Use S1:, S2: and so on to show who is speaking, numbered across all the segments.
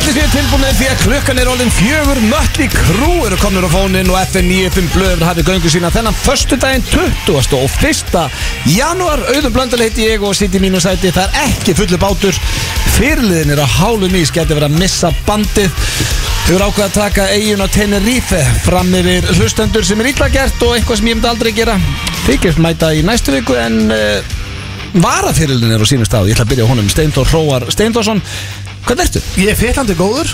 S1: tilbúinir því að klukkan er orðin fjögur Mötli Krú eru komnir á fónin og FN95 blöður hafið göngu sína þennan Föstudaginn 20. og 1. januar Auðun Blöndal heiti ég og sitt í mínu sæti Það er ekki fullu bátur Fyrirliðin er á hálum ís Gæti verið að missa bandið Þau eru ákveð að taka eigin á Tenerife Fram yfir hlustendur sem er illa gert Og eitthvað sem ég myndi aldrei gera Þykist mæta í næstu viku en uh, Varafyrirlin er á sínum stað Ég ætla að byrja á honum Steindór Hróar Steindórsson Hvernig ertu?
S2: Ég er fyllandi góður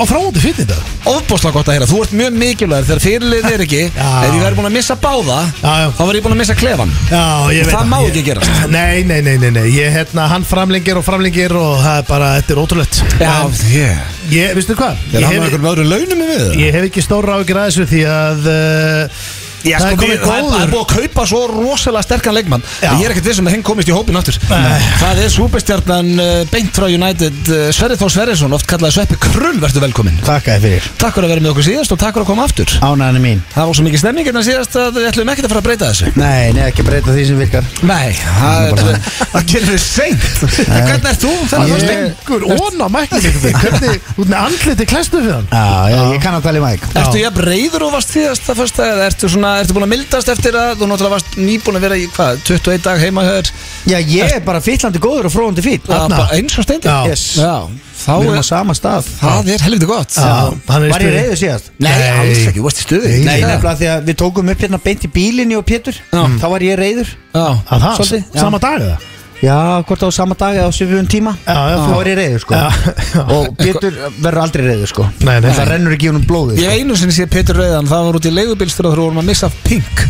S2: og fráandi fyrir þetta
S1: ofbúslega gott að heyra, þú ert mjög mikilvægur þegar fyrirlið er ekki,
S2: Já.
S1: ef ég væri búin að missa báða
S2: Já, já.
S1: þá var ég búin að missa klefan
S2: Já, ég veit
S1: Það má
S2: Ég-
S1: ekki gerast.
S2: Nei, nei, nei, nei, nei Ég, hérna, hann framlengir og framlengir og það er bara, þetta er ótrúlegt En
S1: yeah.
S2: Ég, veistu hvað?
S1: er
S2: Ég
S1: hann með
S2: hef,
S1: einhverjum öðrum launum við það?
S2: ég hef ekki stóra ágjur að þessu því að uh,
S1: Já,
S2: Það
S1: sko,
S2: er komið
S1: við- það er- það er
S2: góður.
S1: búið að kaupa svo rosalega sterkan leikmann
S2: Já.
S1: að ég er ekkert þessum að henn komist í hópin áttur
S2: Nei.
S1: það er súbestjarnan beint frá United uh, Sverri Þór Sverrisson, oft kallaði Sveppi Krull verður velkominn
S3: Takk að þið fyrir
S1: Takk fyrir að vera með okkur síðast og takk fyrir að koma aftur
S3: Ánæðan er mín
S1: Það var svo mikið stemming hérna síðast að við ætlum ekkert að fara að breyta þessu
S3: Nei, nei, ekki breyta því sem virkar
S1: Nei, það,
S3: bara
S1: er- það gerir við seint En Hvernig er þú? Þannig að
S3: Ég-
S1: þú
S2: Lengur óna mækni Hvernig, út með andliti klæstu fyrir hann
S3: Já, já, ég kann að tala í mæk
S1: Ertu ég breyður og varst þvíðast það fyrsta eða ertu, svona, ertu búin að mildast eftir að þú náttúrulega varst nýbúin að vera í hvað, 21 dag heima hér
S3: Já, ég er bara fyllandi góður og fróðandi fýtt
S1: eins og steindi
S2: Já.
S3: Yes.
S1: Já, þá
S3: Við erum
S1: er,
S3: á sama stað
S1: það er helviti gott
S2: Já, hann er í
S3: Var ég
S2: stuði.
S3: reyður síðast?
S1: Nei,
S2: Nei.
S1: alls ekki, þú varst í stuði
S3: Nei,
S1: Já.
S3: nefnilega því að við tókum upp hérna beint í bílinni og Pétur
S1: Já.
S3: Þá var ég reyður
S1: Já,
S2: Að það,
S3: Svolítið, já.
S2: sama dag eða?
S3: Já, hvort á sama dag eða á svifjum tíma
S2: Já, já,
S3: Þá
S2: þú-
S3: var ég reyður sko
S2: Já, já.
S3: Og Pétur verður aldrei reyður sko
S2: Nei, nei.
S3: Það rennur ekki í honum blóðið
S1: Ég
S3: sko.
S1: einu sinni sé Petur Rauðan, það var út í leigubilstur og þú vorum að missa Pink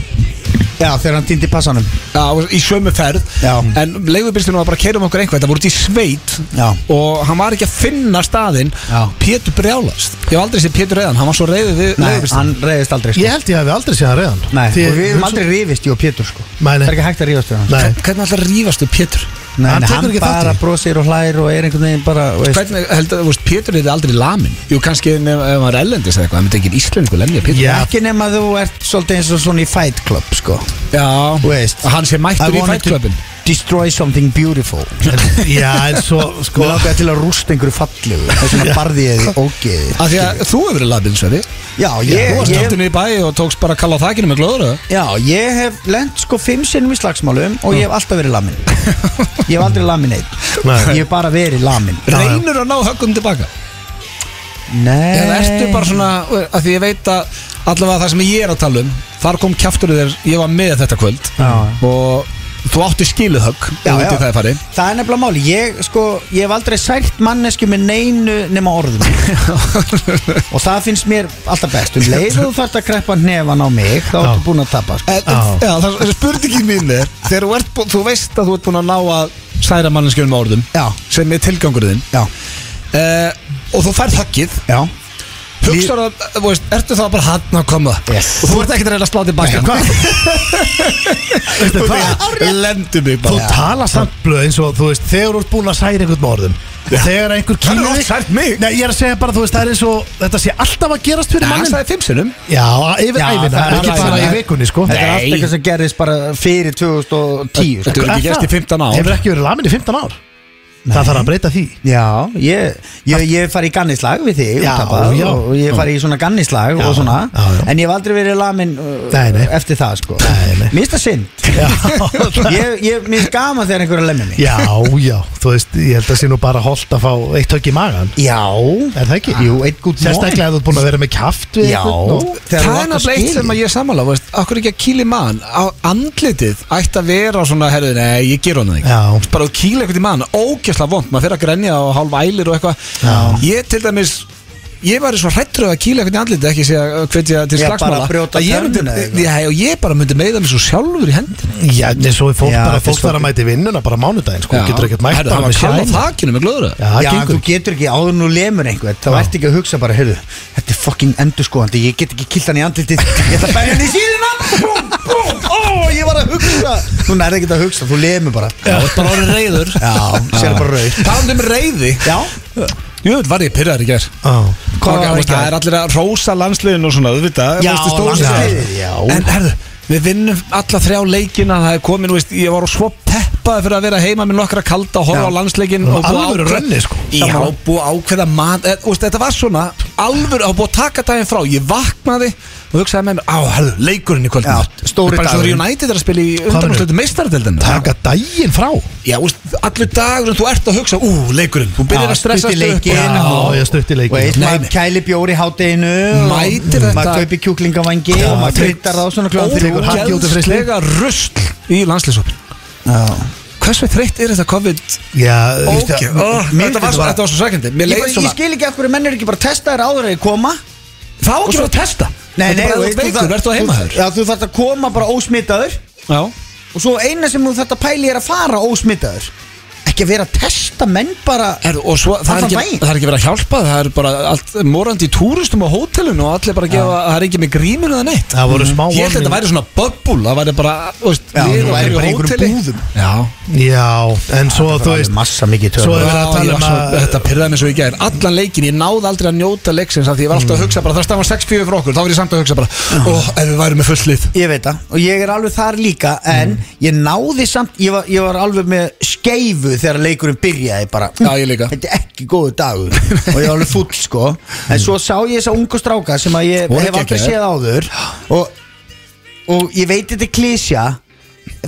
S3: Já, þegar hann týndi passanum
S1: Já, í sömu ferð
S3: Já.
S1: En leigubilsturinn var bara að keira um okkur einhvern Það voru út í sveit
S3: Já.
S1: Og hann var ekki að finna staðinn
S3: Já.
S1: Pétur brjálast Ég hef aldrei sé Pétur Rauðan, hann var svo reyðið við
S3: Nei,
S1: leigubilsturinn
S3: hann reyðist aldrei sko
S2: Ég held ég hafi aldrei séð hann reyðan
S3: Nei,
S2: Því,
S3: og við höfum aldrei rifist, ég og Pétur sko
S2: Nei, nei.
S3: Það er ekki hægt að rifast við hann
S2: Nei,
S1: Hvernig alltaf rífast við Pétur?
S3: Nei,
S2: Hann
S3: hann,
S2: tekur
S3: hann
S2: ekki þátt í
S3: bara
S2: því.
S3: brosir og hlær og er einhvern veginn bara veist,
S1: Hvernig heldur þú, veist, Pétur er aldrei lamin Jú, kannski ef ef hann er ellendis eða eitthvað Það myndi engin íslendingu lemja Pétur
S2: Já.
S3: ekki nema þú ert svolítið eins og svona í Fight Club sko Þú
S1: Já.
S3: veist,
S1: Að hann sé mættur
S3: I
S1: í
S3: wanted to
S1: fætklöpin
S3: Destroy something beautiful
S2: en- já, en svo sko
S3: Mér langaði til að rústa einhverju fallegu Þess vegna barði ég því ógeði
S1: Af því að þú hefur verið lamin, Sverri
S3: Já,
S1: Þú
S3: ég,
S1: varst
S3: ég,
S1: aftur niður í bæ og tókst bara að kalla á þakinu með glóður eða?
S3: já, ég hef lent sko fimm sinnum í slagsmálum og ég hef alltaf verið lamin Ég hef aldrei lamin einn
S2: Nei.
S3: Ég hef bara verið lamin
S2: Já, já.
S1: Reynir að ná höggum tilbaka
S3: Nei
S1: Eða ertu bara svona, að því ég veit að allavega það sem ég er að tala um Þar kom kjaftur þér, ég var með þetta kvöld
S3: Já.
S1: Og þú átti skiluð högg
S3: Já,
S1: ef út í
S3: já.
S1: Það er farið
S3: Það er nefnilega máli, ég sko, ég hef aldrei sært mannesku með neinu nema orðum og það finnst mér alltaf best um leið og þú þarft að kreppa hnefann á mig þá ertu búin að tapa sko.
S1: En,
S2: Já.
S1: Eh, já, það er spurningin mín er Þegar þú, ert, bú- þú veist að þú ert búin að ná að særa manneskjörnum orðum
S3: Já.
S1: sem er tilgangurðin
S3: Já,
S1: uh, og þú færð höggið
S3: já,
S1: hugstar að, eh, þú veist, ertu þá bara hann að koma
S3: Yes.
S1: og þú ert ekkert að reyna að slá tilbaka
S2: Veistu hvað?
S1: lendu mig
S2: Þú
S1: bara
S2: tala samt blöð eins og þú veist Þegar þú ert búin að særa einhvern með orðum Þegar einhver
S1: Hann
S2: kýlur
S1: hefur oft sært mig.
S2: Nei, ég er að segja bara, þú veist, það er eins og Þetta sé alltaf að gerast fyrir
S1: hann
S2: mannin
S1: sagði fimm sinnum
S2: Já, yfir
S3: Já,
S2: æfina,
S3: það er
S2: ekki
S1: alveg
S2: bara í
S1: ævina.
S2: vikunni, sko
S3: þetta er allt
S1: Nei.
S3: eitthvað sem gerðist bara fyrir 2010
S1: Þetta
S3: sko.
S1: er- hefur ekki
S2: Er
S1: gerst í
S2: það?
S1: 15 ár.
S2: Hefur ekki verið lamin í 15 ár Það þarf að breyta því
S3: Já, ég, ég, ég fari í gannislag við þig
S2: Já,
S3: og tapað
S2: já.
S3: og ég fari í svona gannislag
S2: Já,
S3: og svona
S2: já, já.
S3: en ég hef aldrei verið lamin uh,
S2: Nei, nei.
S3: eftir það sko
S2: Nei, nei.
S3: Mér finnst það synd Ég, ég minnst gaman þegar einhver er að lemja mig
S2: Já, já, þú veist, ég held að sé nú bara Holt að fá eitt högg í magan
S3: Já,
S2: Er það ekki?
S3: Jú, eitt gútt
S2: Sérstaklega ef þú ert búin að vera með kjaft við
S3: Já.
S2: einhvern og-
S3: Þegar
S1: það
S3: þú
S1: er
S3: átt að
S1: náttúrulega eitt
S3: skilja.
S1: sem að ég sammála þú veist, okkur ekki að kýli mann á andlitið ætti að vera svona, herðu, nei, ég ger honum þig
S2: Já.
S1: bara að kýla eitthvað í mann, ógæsla vond maður fyrir að grenja og hálfa ælir og eitthvað ég til dæmis ég var svo hrættur að kýla eitthvað í andlitið ekki sé að hvetja til
S3: Já, bara
S1: slagsmála
S3: að brjóta
S1: Að ég myndi-
S3: tennuna eða eitthvað.
S1: Já, og ég bara myndi meiða mig svo sjálfur í hendina
S2: Já, en svo er fólk
S3: Já,
S2: bara,
S3: þetta er
S2: fólk þarf að
S3: svolítið.
S2: mæti vinnuna bara á mánudaginn, sko,
S1: Já.
S2: getur ekkert mætt
S1: Herðu,
S2: bara
S1: hann var
S2: með
S1: kall á
S2: shine.
S1: þakinu með glöðra
S2: Já, það
S3: Já, en
S2: gengur
S3: þú getur ekki áður nú lemur einhvern þá ert ekki að hugsa bara, heyrðu, þetta er fucking endurskoðandi ég get ekki kilt hann í andlitið ég ætla að bæra hann í síðuna Búm, búm, ó, ég var að hugsa þú nærði ekki að hugsa, þú lemur bara
S1: Já, þú ert bara orðin reyður
S3: Já, sér bara rauð
S1: Talandi um reyði
S3: Já,
S1: Jú, þetta var ég pyrraður í gær
S2: Já.
S3: Hvað var
S1: Það
S3: í gær?
S1: er allir að rósa landsliðin og svona, þú veit að
S3: Já,
S1: veistu, stóru-
S3: landsliðið, já.
S1: En herðu, Við vinnum alla þrjá leikina Það er komin, þú veist, ég var svo peppaði fyrir að vera heima með nokkra kalda og horfa
S3: Já.
S1: á landsleikin
S2: Það
S1: og
S2: var
S1: búið að
S2: alvöru
S1: ákveða-
S2: renni, sko.
S1: Já,
S3: Sammála.
S1: búið að ákveða mat eð, úst, Þetta var svona, alvöru að búið að taka daginn frá Ég vaknaði og hugsaði með mér Á, herðu, leikurinn í kvöldin
S3: Já, stóri
S1: Bara svo
S3: dagurinn.
S1: United er að spila í
S2: meinarðu?
S1: undanúrslitum meistaradeildarinnar.
S2: Taka daginn frá
S1: Já, úst, allur dagurinn þú ert að hugsa Ú, leikurinn, þú byrjar
S3: Já,
S1: að stressa
S3: stutt í leikinn
S2: Já,
S3: og-
S2: ég stutt í leikinn.
S3: Og eitt
S1: Nei, nei.
S3: maður kæli bjóri hátteginu
S1: Mætir þetta-
S3: Maður kaupi kjúklingavangi
S2: Já,
S3: og maður
S2: tekur-
S3: kryddar þá svona klóðan þrjú
S2: hakið út í frysli.
S1: Ógæðslega rusl í landslýsopin Hversu þreytt er þetta COVID
S2: Já, þú veist,
S1: okay.
S2: já,
S1: oh,
S2: mér
S1: þetta, var,
S2: finnst
S1: svo- þetta var svo sækindi Mér
S3: Ég,
S1: leið
S3: bara, ég
S1: svona
S3: skil ekki af hverju menn er ekki bara að testa þér áður að þér koma
S1: Það var ekki
S3: Og
S1: bara að testa
S3: Nei,
S1: Þetta
S3: nei,
S1: er bara
S3: og
S1: að
S3: veist,
S1: þú veikur, verður þú heimaður
S3: Já, þú þarft að koma bara ósmitaður
S1: Já
S3: Og svo eina sem þú þarft að pæli er að fara ósmitaður Ekki að vera að testa menn bara
S1: Er, og svo, það, er
S3: Allan
S1: ekki,
S3: daginn.
S1: það er ekki verið að hjálpa það er bara allt morandi í túristum og hótelun og allir bara að gefa, það er ekki með gríminu eða neitt
S2: Það voru smá
S1: ég held að þetta væri svona bubble, það væri bara þú veist,
S3: Já,
S1: lið
S3: þú
S1: og hverju
S3: væri bara í einhverjum
S1: hóteli.
S3: búðum.
S1: já,
S2: Já, en svo þú veist
S3: massa mikið
S2: Svo
S1: Já,
S2: er verið að tala
S1: ég
S2: um
S1: var svo,
S2: að-
S1: þetta pyrraði mér svo í gær Allan leikin, ég náði aldrei að njóta leiksins af Því ég var alltaf að hugsa bara, það stafan 6-4 fyrir okkur Þá var ég samt að hugsa bara, ó, ef við værum með fullt lið
S3: Ég veit það og ég er alveg þar líka en
S1: Mhm.
S3: ég náði samt, ég var, ég var alveg með skeifu þegar leikurinn byrjaði bara
S1: Já, ég líka.
S3: Þetta er ekki góðu dagur og ég var alveg full sko en svo sá ég þessa ungu stráka sem að ég
S1: Voru
S3: hef aldrei
S1: geggjaðir.
S3: séð áður og, og ég veit þetta er klísja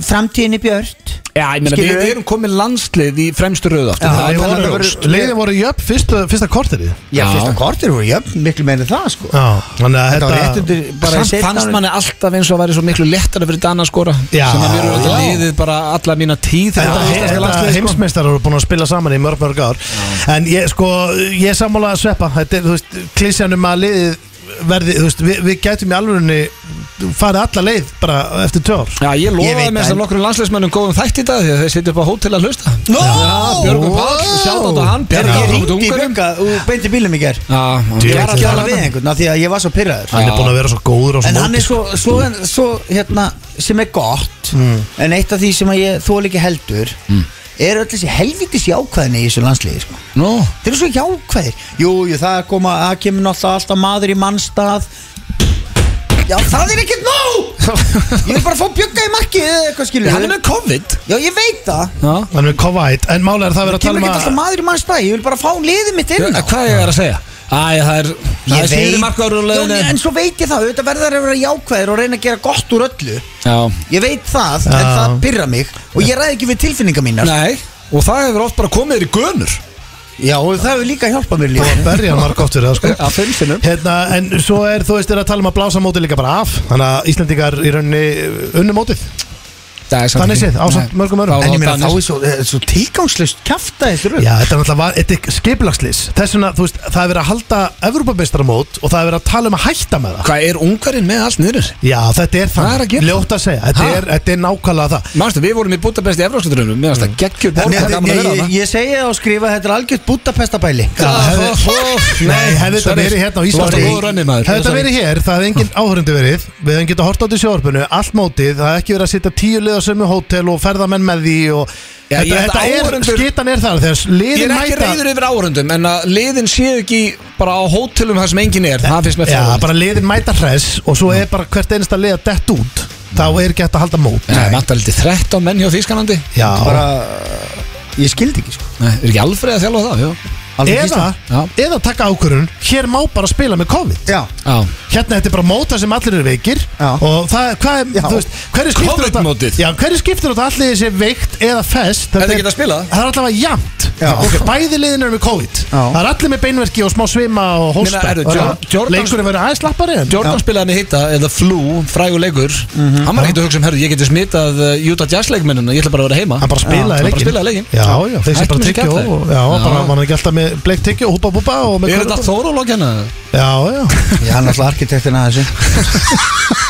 S3: framtíðin er björt
S1: Já, ég meina, við,
S3: Skilurðu?
S1: við erum komið landslið í fremstu röð aftur
S3: Já,
S1: Það er
S3: ég
S1: alveg
S3: var-
S1: ljóst.
S3: ljóst.
S2: Leiðin voru jöfn fyrsta, fyrsta korterið
S3: Já,
S1: Já.
S3: fyrsta kortir voru jöfn, miklu meira en það sko
S2: Já, þannig að
S3: Þetta var rétt
S2: þetta
S3: undir bara í
S1: Samt
S3: seinna
S1: fannst
S3: ári-
S1: manni alltaf eins og að væri svo miklu lettar fyrir Dana að skora
S2: Já,
S1: sem að við erum þetta
S2: já.
S1: liðið bara alla mína tíð
S2: Þetta,
S1: þetta íslenska
S2: þetta
S1: landslið, sko.
S2: heimsmeistar eru búin að spila saman í mörg mörg ár En ég sko, ég er sammála að sveppa Þetta er, þú veist, klísjan um að liðið verði, þú veist, við, við gætum í alvörunni farið alla leið bara eftir tvö ár sko.
S1: Já, ég
S3: Ég veit
S1: lofaði með þess
S3: það.
S1: að nokkur landsleismennum góðum þætt í dag því að þeir sitja upp á hótel að hlusta
S3: Nó!
S1: Björgum Pál, sjátt á hann
S3: Ég
S1: Björgum Pál,
S3: ringdi í bjögga og beinti bílum í ger Ég var að
S1: Björgum
S3: tala við einhvern af því að ég var svo pyrraður
S2: Hann er búin að vera svo góður á
S3: En hann
S2: móti,
S3: er svo, svo, svo hérna, sem er gott
S2: Mm.
S3: En eitt af því sem að ég þól ekki heldur Er öll þessi helvitis jákvæðinni í þessu landsliði sko.
S1: Nú,
S3: Þeir eru svo jákvæðir Jú, jú, það er koma, það kemur náttúrulega alltaf maður í mannstað Já, það er ekkert nóg Ég vil bara fá bjögga í markið eða eitthvað skilur
S1: hann er með COVID
S3: Já, ég veit það
S1: Já
S2: Hann er kovæt, en málega er það verið að
S3: Kemur
S2: tala um
S3: ekkert alltaf
S2: að
S3: maður í mannstað Ég vil bara fá liðið mitt inn
S1: Já, Hvað ég er að segja? Æ, það er Það
S3: Ég
S1: er síður
S3: veit-
S1: markaður úr
S3: Já, En
S1: leiðinu
S3: svo veit ég það, auðvitað verðar að vera jákvæðir og reyna að gera gott úr öllu
S1: Já
S3: Ég veit það, en
S2: Já.
S3: það pyrra mig Og ég ræði ekki við tilfinningar mínar
S1: Nei Og það hefur oft bara komið þér í gönur
S3: Já, og það hefur líka hjálpað mér líka
S2: að berja marg oft fyrir það sko
S1: Að fimm sinnum
S2: Hérna, en svo er, þú veist, er að tala um að blása mótið líka bara af Þannig að Íslendingar í rauninni eh, unnu mótið Þannig séð, ásamt mörgum öðrum.
S3: En ég meina, þá er svo, eh, svo tilgangslust kjafta þessu röð
S2: Já, þetta er náttúrulega var, þetta er skipulagslýs Þess vegna, þú veist, það er verið að halda Evrópameistaramót og það er verið að tala um að hætta með það
S1: Hvað er ungarinn með allt niður?
S2: Já, þetta er
S1: Hvað er að
S2: það,
S1: gera?
S2: ljótt að segja Þetta
S1: Ha?
S2: er, þetta er nákvæmlega það
S1: Mástu, við vorum í Budapest í Evrópskjöldrunum Mér finnst það geggjur
S3: En
S1: borg
S3: ég,
S1: það er gaman að
S3: ég,
S1: vera
S3: ég,
S1: þarna.
S3: ég segi það og skrifa að Þetta er algjört búttapestabæli
S2: Já, hefði-
S1: Ó, ó,
S2: Nei, hefði þetta
S1: sorry.
S2: verið hérna á
S1: Þú varst á
S2: Íslandi
S1: góðu rönni, maður.
S2: Hefði þetta
S1: Sorry.
S2: verið hér, það hefði engin áhörundu verið Við hefðum getað hort á þessu orpunu, allt mótið Það hefði ekki verið að setja tíu lið á sömu hótel og ferðamenn með því og
S1: Já, ég
S2: Þetta,
S1: held að
S2: þetta er,
S1: áhorfendur-
S2: skitan er þar Þegar
S1: Ég er
S2: liðin
S1: ekki
S2: mæta
S1: reyður yfir áhörundum En að liðin séu ekki bara á hótelum Það sem engin er, það finnst mér
S2: Já,
S1: frábært.
S2: bara liðin mæta hress og svo er bara hvert einasta lið að dett út Þá er ekki hægt að halda mót
S1: Nei, vantar lítið 13 menn hjá Þýskalandi
S2: Já,
S3: Bara, ég skildi ekki sko
S1: Nei, er ekki Alfreð að þjálfa það, já
S3: Alveg
S2: eða,
S3: Ísland.
S1: Já.
S2: eða taka ákvörun hér má bara spila með COVID
S3: Já,
S1: Já,
S2: hérna þetta er bara móta sem allir eru veikir
S3: Já.
S2: og það, hvað, er-
S3: Já.
S2: þú veist hverju skiptir
S1: COVID-mótið.
S2: já, hverju skiptir þetta allir sé veikt eða fest
S1: Er
S2: þetta
S1: þið geta að spila?
S2: það er allavega jæmt
S3: Já.
S2: okay. bæði liðin eru með COVID
S3: Já.
S2: það er allir með beinverki og smá svima og hósta
S1: Meina, eru Jor- Jordan-
S2: leikurinn verður aðeins lappari en
S1: Jordan spilaði hann í hitta eða flú, frægu leikur Hann var ekkert að hugsa um, herru, ég geti smitað uh, Utah Jazz leikmennina, ég ætla bara að vera heima
S2: hann bara spilaði
S1: Hann
S2: leikin
S1: bara spilaði leikin
S2: já, já, þeir sem
S1: Hættum
S2: bara
S1: þessu
S2: tyggja
S1: kjaftæði.
S2: og já,
S1: Já.
S2: bara mann er ekki alltaf með bleikt tyggja og húpa búpa og með
S1: Er þetta
S2: körfubolta.
S1: Þórólók hérna?
S2: já, já
S3: ég hann alltaf arkitektin að þessu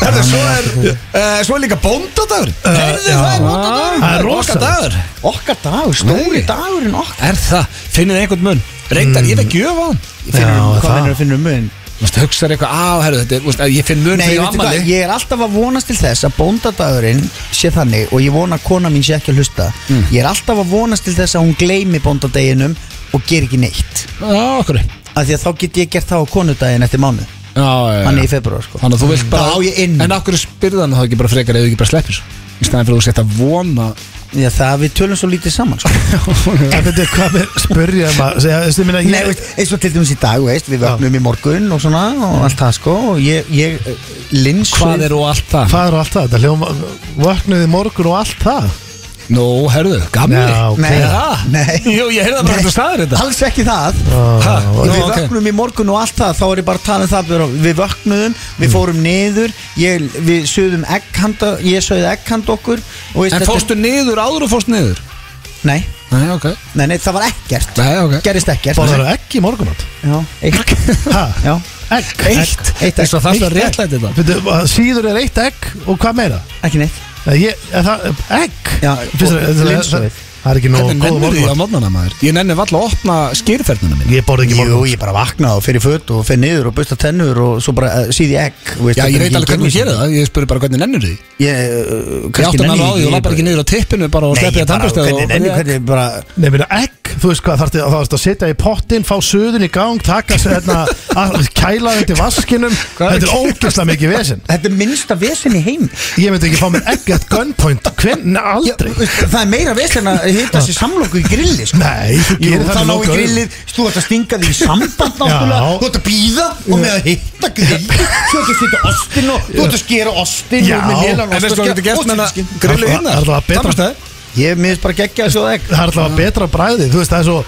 S1: Þetta svo er, uh, svo er líka bóndadagur Herðu Eh, það er bóndadagur
S2: Það er rosa.
S1: dagur
S3: Okkar dagur, stóri
S1: Nei.
S3: dagurinn okkar
S1: Er það, finnir þið einhvern mun Reyndar, ég veit gjöf á hann
S3: Ég finnur,
S2: Já,
S3: Hvað
S2: það.
S3: mennur að finnur mun?
S1: Þú veist, hugsaður eitthvað, á, herru, þetta er, þú veist, ég finn mun
S3: Nei,
S1: fyrir
S3: veitu hvað,
S1: ammali
S3: ég er alltaf að vonast til þess að bóndadagurinn sé þannig og ég vona að kona mín sé ekki að hlusta
S1: Mm.
S3: Ég er alltaf að vonast til þess að hún gleymi bóndadaginum og ger ekki neitt
S1: Já, okkur
S3: af því að þá get ég gert það á konudaginn eftir mánu
S1: já, já.
S3: hann er í februar sko
S1: Þannig að þú vilt bara
S3: Þá á ég inni.
S1: En akkur spyrði hann þá ekki bara frekar eða ekki bara sleppir svo? Í staðan fyrir að þú setja vona
S3: Já, það við tölum svo lítið saman sko.
S2: En þetta er hvað með spurja um að segja, veistu, ég meina, ég-
S3: Nei, veist, eins og til dæmis í dag, veist, við vöknum í morgun og svona og allt það sko og ég, ég lins
S1: Mm. hvað er og allt það
S2: Hvað er og allt það? Þetta hljóma, vöknuði morgun og allt það
S1: Nú, herðu, gamli
S2: Já, ok.
S3: Nei,
S1: það?
S3: nei.
S1: Jú, ég heyrði það bara þetta staðir þetta
S3: Alls ekki það
S1: Ha,
S2: Ó,
S1: Nú,
S3: Við
S1: ok.
S3: vöknum í morgun og allt það Þá er ég bara að tala um það Við- Við vöknum,
S1: Mm.
S3: við fórum niður ég, Við sögðum egghanda Ég sögði egghanda okkur og veist,
S1: En
S3: þetta-
S1: fórstu niður, áður og fórstu niður
S3: Nei,
S1: Nei, ok
S3: nei, nei, það var ekkert
S1: Nei, ok
S3: Gerist ekkert
S2: Borðar þú ekki morgumat?
S3: Já, eitt
S2: Ha?
S3: Já,
S2: Egg?
S3: Eitt. Eitt
S1: Þess að það er réttlætið þetta
S2: Veitu, að Síður er eitt egg og hvað meira?
S3: ekki neitt
S2: Nei, Ég, er það, egg?
S3: Já,
S2: Fyrst,
S3: og
S2: er, það,
S3: linsuð.
S2: það, það er ekki nóg
S1: Hvernig
S2: góð
S1: nennir því á
S2: morgumat
S1: mótnana maður? Ég nenni valla að opna skýrferðnuna mín
S2: Ég borði ekki
S3: Jú,
S2: morgumat
S3: ég bara vakna og fer í föt og fer niður og busta tennur og svo bara uh, síði egg veist,
S1: Já,
S3: þetta
S1: ég
S3: er
S1: veit
S3: ekki
S1: alveg hvernig þú
S3: geimvísindi.
S1: gerir það Ég spurði bara hvernig nennir því Ég
S3: Ég, uh, kannski
S1: átti hann alveg
S3: nenni
S1: á því
S3: ég
S1: og lappar
S3: bara-
S1: ekki niður á tippinu bara og
S3: Nei,
S1: sleppið
S3: ég
S1: að
S3: bara,
S1: tannbörsta
S3: hvernig nenni, hvernig bara
S2: Nei, minna, egg, þú veist hvað, þarf það þarfst að setja í pottinn, fá suðun í gang, taka sér hérna, að- kæla þetta í vaskinum,
S1: Hvað er-
S2: þetta er ógeðslega mikið vesinn.
S3: Þetta er minnsta vesen í heim
S2: Ég myndi ekki fá mér egg at gunpoint, hvern, aldrei.
S3: Það er meira vesen að hitta sér samlóku í grilli sko.
S2: Nei, þú
S3: Jú,
S2: gerir
S3: þá
S2: það
S3: ná
S2: nógu
S3: í
S2: öðru.
S3: grillið, þú ert að stinga því í samband náttúrulega,
S2: Já.
S3: þú ert að býða og með að hitta grillið, þú ert að setja ostin og þú ert að skera ostin
S2: Já.
S3: og með helan
S1: En veistu hvað getur gert með það grillið hérna.
S2: Það er
S1: hinnar?
S2: alltaf betra.
S1: Tannburstaði?
S3: Ég miðist bara geggja þessu að ekki
S2: það er alltaf betra bræði þú veist það er svo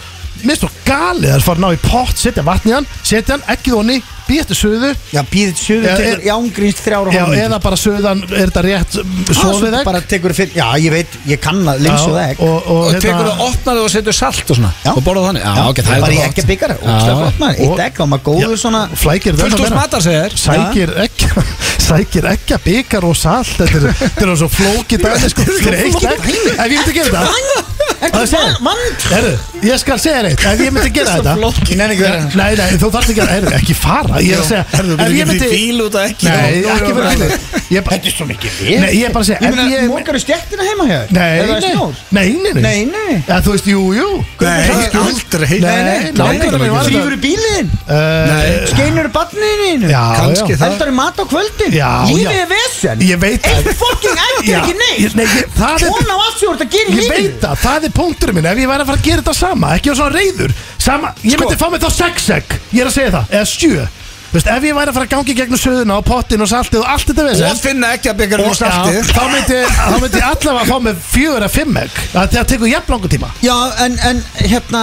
S2: mér er svo galið það er fara að ná í pott setja vatn í hann setja hann ekkið honni býttu suðu
S3: Já, býðið sjöðu
S2: Já,
S3: tekur
S2: er-
S3: í ángríns þrjára
S2: já, Ah, eða bara suðan er þetta rétt sofið
S3: bara
S2: ekki
S3: tekur fyrir, já ég veit, ég kann að linsu það ekki
S2: og, og,
S1: Og tekur það,
S2: hérna,
S1: opnar það og setur salt og svona
S3: Já.
S1: Og borða þannig Já, ok, það er
S3: bara í
S1: gott.
S3: ekki byggar,
S1: Já.
S3: ógstlega flott maður,
S2: Og-
S3: eitt ekki, þá er maður góður
S2: Já,
S3: svona
S2: flækir þetta
S1: Fullt
S2: ennþá
S1: úr
S2: meira.
S1: matar, segir þær.
S2: sækir ekki sækir ekki að byggar og salt þetta er, þetta er svo flókið dæmi sko þetta er eitt egg ef ég myndi gera þetta
S3: Ertu
S2: segir-
S3: mann
S2: herru ég skal segja þeitt ef ég myndi gera þetta
S3: Ég nenni ekki verið
S2: Nei, nei, þú þarfst ekki að, heyrðu, ekki fara Ég er að segja,
S1: Herðu,
S2: ef
S1: við
S2: ég
S1: getum
S2: myndi
S1: því bíl út að ekki
S2: Nei,
S1: Jú, jú,
S2: ekki
S1: jú,
S2: fyrir
S1: jú.
S2: allir Ég bara-
S3: Þetta er svo mikið
S2: Nei, ég er bara að segja
S3: Ég meina,
S2: ef ég-
S3: mókar þú stjættina heima hér?
S2: Nei,
S3: Er það
S2: nei,
S3: snjór?
S2: nei, nei, nei
S3: Nei, nei.
S2: Eða, Þú veist, jú, jú
S3: Nei,
S2: Það er-
S1: aldrei.
S2: Nei, nei,
S1: Nei, nei,
S2: langar
S1: nei,
S2: mig var
S1: nei.
S3: Þrýfur
S2: þetta
S3: í bílinn?
S2: Eh,
S3: Skeinur í badnininn?
S2: Já,
S1: Kannski
S2: já
S1: það
S3: Eldar í mat á kvöldin?
S2: Já,
S3: Lífið
S2: já.
S3: er vesen
S2: Ég veit það.
S3: Eitt fokking ætt er
S2: Já,
S3: ekki
S2: ég-
S3: neitt
S2: Nei, ég- það er
S3: Svona á allt sem þú ert að gera í
S2: Ég veit
S3: lífið
S2: það, það er punkturinn minn Ef ég væri að fara að gera þetta sama, ekki á svona reyður sama, Ég
S3: Sko.
S2: myndi fá mig þá sex egg Ég er að segja það, eða sjö Veist, ef ég væri að fara að gangi gegnum söðuna og pottin og saltið og allt þetta veist
S1: Og finna ekki að byggja um
S2: Já,
S1: saltið
S2: þá myndi, þá myndi ég allavega fá með fjögur að fimm egg Það það tekur jafn langan tíma
S3: Já, en, en hérna